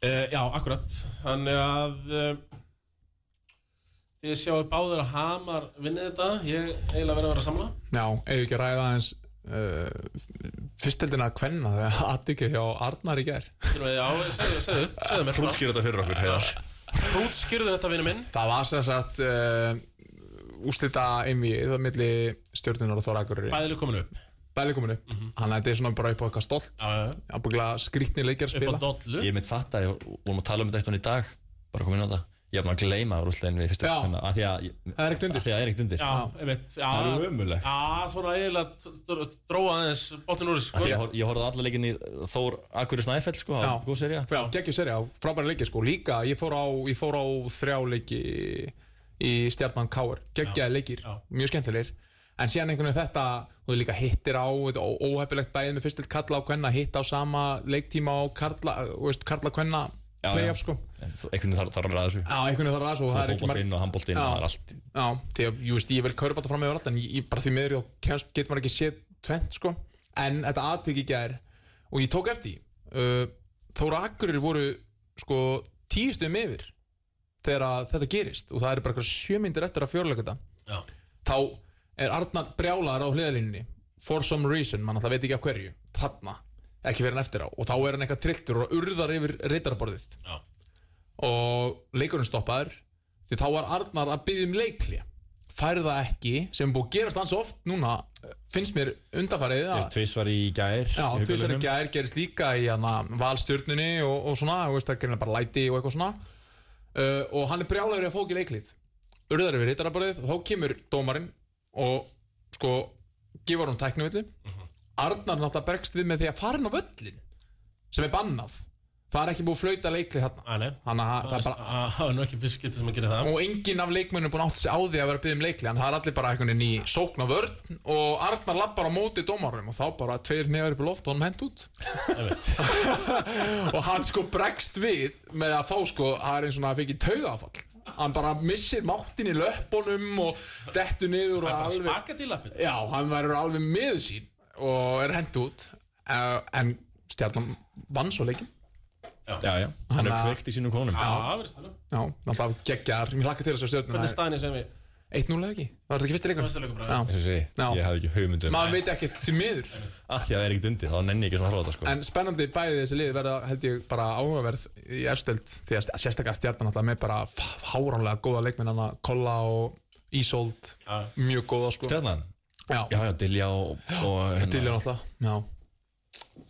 Speaker 3: uh, Já, akkurat Þannig að uh, þið sjáu báður að Hamar vinni þetta ég eiginlega verið að vera að samla
Speaker 4: Já, eigum við ekki að ræða aðeins uh, fyrstildina að kvenna þegar aðdykja hjá Arnar í gær
Speaker 3: Þurfum við, já, segðu, segðu, segðu mér
Speaker 6: Hrútskýra þetta fyrir okkur, heiðar.
Speaker 3: Hrútskýrðu þetta vinnu minn
Speaker 4: Það var sem sagt uh, úslita einvið á milli stjórnunar og Þóra Akureyri
Speaker 3: Bæðileg komin upp
Speaker 4: Bæli kominu upp Þannig að þetta er svona bara upp á eitthvað stolt
Speaker 3: Mhm. Já, já,
Speaker 4: Ábygglega skrýtni leikjar að
Speaker 3: upp á
Speaker 4: spila
Speaker 3: dollu
Speaker 6: Ég mynd fatta, ég vorum að tala um þetta eitthvað í dag, bara komin á það. Ég hef maður að gleyma úrstildin við fyrstu
Speaker 4: Já.
Speaker 6: hérna, af því að,
Speaker 4: Það er ekkert undir.
Speaker 6: af því að það er ekkert undir.
Speaker 3: Já, einmitt já,
Speaker 6: Það er ömurlegt.
Speaker 3: Já, svona eiginlega dróa aðeins botnin úr þessu,
Speaker 6: Af
Speaker 3: sko.
Speaker 6: því að Ég, hor- ég horfði á alla leikinni Þór Akkuris Snæfell sko, það var
Speaker 4: Já.
Speaker 6: góð serja
Speaker 4: Já, geggjur serið á frábæri leikir sko Líka, ég fór á, ég fór á þrjá leiki í stjarnan Káar Geggjaði leikir,
Speaker 3: Já.
Speaker 4: mjög skemmtilegir en síðan einhvern veginn þetta og líka hittir á, þetta er ó- óheppilegt bæðið með fyrst til kalla á kvenna, hitt á sama leiktíma á karla, þú veist, karla kvenna
Speaker 6: Já,
Speaker 4: playoff
Speaker 6: já.
Speaker 4: sko
Speaker 6: En þú- einhvern veginn þarf- þarf að ræða þessu
Speaker 4: Já, einhvern veginn þarf að svo
Speaker 6: Það er fótboltinn og handboltinn
Speaker 4: Já.
Speaker 6: og það er allt
Speaker 4: Já, því að, jú veist, ég vil kaurbalta fram yfir allt en ég, ég bara því miður, ég kemst, get maður ekki séð tvent, sko, en þetta aðtöki gær og ég tók eftir því uh, Þóra Akkurir voru sko tístum yfir þegar að þetta gerist og það er bara eitthvað sjö myndir eftir að fjörleika þetta
Speaker 3: Já.
Speaker 4: þá er Arnar brjálaður á hliðalínunni for some reason, mann alltaf veit ekki af hverju þarna, ekki fyrir hann eftir á og þá er hann eitthvað trilltur og urðar yfir reytarborðið
Speaker 3: Já.
Speaker 4: og leikurinn stoppaður því þá var Arnar að byggja um leiklja fær það ekki, sem er búið að gerast hans oft núna, eh, finnst mér undarfærið að
Speaker 6: Tvísvar í gær
Speaker 4: Já, tvisar
Speaker 6: í bikarnum.
Speaker 4: ekki aðeir gerist líka í hana, valstjörnunni og, og svona, þú veist, það gerina bara læti og eitthvað svona uh, og hann er brjálægur í að fá ekki leiklið urðar yfir hittarabarðið og þá kemur dómarinn og sko gefur hann tæknu villu Arnar náttúrulega bergst við með því að fara inn á völlin sem er bannað það er ekki búið að flauta leiklið hérna
Speaker 3: Æ, nei.
Speaker 4: Þannig að það er bara
Speaker 3: Að- Það er nú ekki fyrst getur sem að gera það
Speaker 4: og enginn af leikmönnum búin átt sig á því að vera að byggja um leikli en það er allir bara einhvern veginn í sókn og vörn og Arnar lappar á móti dómarum og þá bara tveir neður upp í loft og honum hent út og hann sko bregst við með að þá sko, það er eins og hann fikk í taugafall hann bara missir máttin í löppunum og dettu niður og alveg
Speaker 3: Spaka til lappin
Speaker 4: Já, hann verður alveg miður sín og er hent út uh, en stjarnan vann svo leikin
Speaker 6: Já, já, hann er
Speaker 4: Þannig að-
Speaker 6: kveikt í sínum konum
Speaker 3: Já, veist það
Speaker 4: Já, náttúrulega geggjar, mér hlakka til þess að stjörnum
Speaker 3: Hvernig er staðinni sem við
Speaker 4: 1-0 eða ekki? Var þetta ekki fyrsti leikur?
Speaker 3: Fyrsti leikur bara,
Speaker 4: Já.
Speaker 6: Eins og segi,
Speaker 4: Já.
Speaker 6: ég hafði ekki um hugmyndum
Speaker 4: maður veit ekki því miður
Speaker 6: Af því að það er ekkert undir, þá nenni ég ekki svona að horfa á þetta sko
Speaker 4: en spennandi bæði þessi lið verða held ég bara áhugaverð í efstöld því að sérstaklega stjarnan alltaf með bara f- fáránlega góða leikminn hann að Kolla og Ísold mjög góða sko
Speaker 6: Stjarnan, já,
Speaker 4: já,
Speaker 6: já, Dilja og, og hérna,
Speaker 4: Dylan alltaf já,
Speaker 6: já,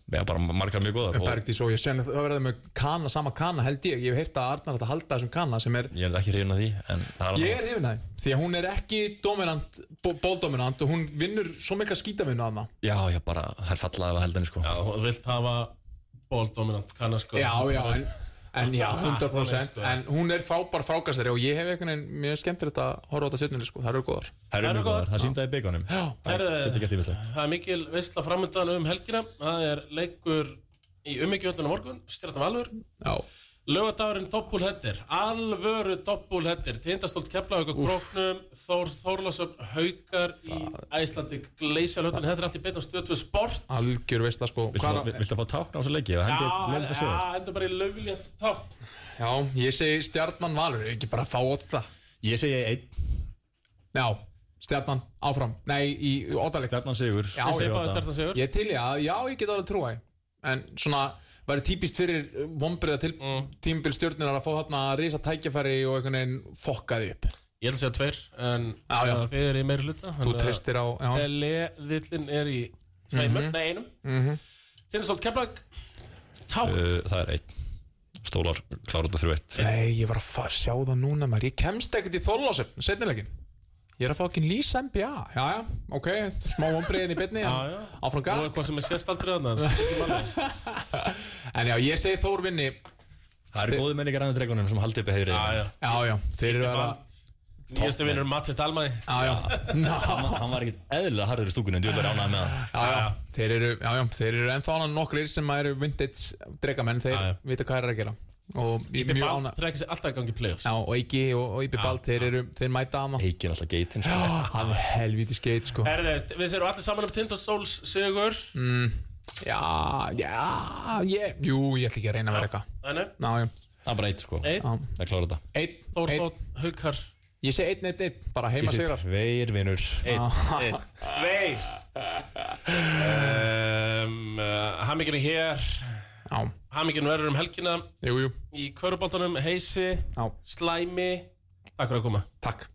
Speaker 6: bara margar mjög góðar og
Speaker 4: Bergdís og ég sen það verða með kana, sama kana held ég ég hef heyrt að Arnar ætti að halda þessum kana sem er
Speaker 6: ég er ekki hrifin að því en það er
Speaker 4: Ég er yfir það, því að hún er ekki dominant, bóldominant og hún vinnur svo mikla skítavinu að það
Speaker 6: Já, já, bara, það er fallað að heldinni sko
Speaker 3: Já, og þú vilt hafa bóldominant kannasko
Speaker 4: Já, já, en, en já,
Speaker 3: Hún er
Speaker 4: 100%
Speaker 3: sko-
Speaker 4: En hún er frábær frákastari og ég hef einhvern veginn Mér skemmtir þetta að horfa á þetta setnileg sko, það eru góðar
Speaker 6: Það
Speaker 3: eru
Speaker 6: eru mjög góðar,
Speaker 3: góðar.
Speaker 6: það síndaði byggunum
Speaker 3: Það er-
Speaker 6: Þetta er ekki eftirvilegt
Speaker 3: Það er mikil veistla framöndan um helgina Það er leikur í umhyggjöldunum morgun Stjartan Valur
Speaker 4: Já,
Speaker 3: Lögadagurinn doppulhettir Alvöru doppulhettir Tindastólt Keflavík og Gróknum Þór Þórlasöfn Haukar í Æslandi Gleisjalötunni Þetta er allt í beitt á stöðtöð sport
Speaker 4: algjör veist það sko Hvar,
Speaker 6: Viltu viltu að fá tákn á þessu leiki og
Speaker 3: Já,
Speaker 6: hendi leiðin það
Speaker 3: já,
Speaker 6: sögur?
Speaker 3: þetta er bara í löfulegt tákn
Speaker 4: Já, ég segi stjarnan valur Ekki bara að fá ótta
Speaker 6: Ég segi einn,
Speaker 4: Já, stjarnan áfram Nei, í óttaleg
Speaker 6: Stjarnan sigur
Speaker 4: Já,
Speaker 6: ég segi
Speaker 3: Ég báði
Speaker 6: átta.
Speaker 3: stjartan sigur
Speaker 4: Ég er til ég að, já, ég get alveg trúa því. En svona, væri típist fyrir Vombriða til mm. tímbil stjörnunar Að fá þarna að risa tækjafæri og einhvern veginn Fokkaði upp
Speaker 3: Ég held að segja tveir En
Speaker 4: Já, já.
Speaker 3: að þið eru í meiri hluta
Speaker 4: Þú
Speaker 3: þannig að-
Speaker 4: treystir á, Mhm. já,
Speaker 3: Leðillin er í tveimur, nei einum mm -hmm. Tindastólt Keflag Tákn
Speaker 6: Uh, Það er einn Stólar klára þetta þrjú eitt
Speaker 4: Nei, ég var að fa- sjá það núna maður Ég kemst ekkert í þorlásöfn, setnilegin Ég er að fá ekki lýsa NBA Já, já, ok, smá vombriðin í bytni
Speaker 3: Já, já.
Speaker 4: Áfram
Speaker 3: og
Speaker 4: gæt
Speaker 3: eitthvað sem er sérst aldrei annað það er ekki málið.
Speaker 4: En já, ég segi Þór vinni
Speaker 6: Það eru góðu menningar annað dregunum sem haldi upp í heyrið
Speaker 3: Já, já.
Speaker 4: Já, já, þeir eru að
Speaker 3: Vald. Nýjastu vinnur Matti Dalmæ
Speaker 4: Já, já, Ná,
Speaker 6: Hann var ekkert eðlilega harður í stúkunum, þú ætlar ánað með það
Speaker 4: já, já, þeir eru, já, já, þeir eru ennþá hann nokkrir sem eru vintage dregamenn, þeir
Speaker 3: Já, já.
Speaker 4: vita hvað er að gera og ég er mjög
Speaker 3: Bald
Speaker 4: ána
Speaker 3: trekkir sér alltaf í gangi í playoffs
Speaker 4: Já, og Eiki og, og Íbjö Bald, þeir eru, þeir mæta Ah, hana
Speaker 6: Eikin alltaf geitin sko.
Speaker 4: Það er helvítið skeit, sko
Speaker 3: Herði, við séum allir saman um Tindastóls sigur
Speaker 4: Mm. Já, já, ég, jú, ég ætla ekki að reyna að vera eitthvað
Speaker 3: Þannig,
Speaker 4: Já, já,
Speaker 6: Það er bara eitt sko
Speaker 3: einn,
Speaker 6: Það klára þetta
Speaker 4: einn,
Speaker 3: Þór
Speaker 4: einn
Speaker 3: Þótt, Haukar
Speaker 4: Ég segi einn, einn, einn, bara
Speaker 6: Ég
Speaker 4: heima
Speaker 6: sé
Speaker 4: sigrar
Speaker 6: tveir vinnur
Speaker 3: Einn, tveir um, uh, Hammingin er hér
Speaker 4: Já,
Speaker 3: Hammingin verður um helgina
Speaker 4: jú, jú,
Speaker 3: Í köruboltanum, Heisi,
Speaker 4: já,
Speaker 3: Slæmi Takk fyrir að koma
Speaker 4: takk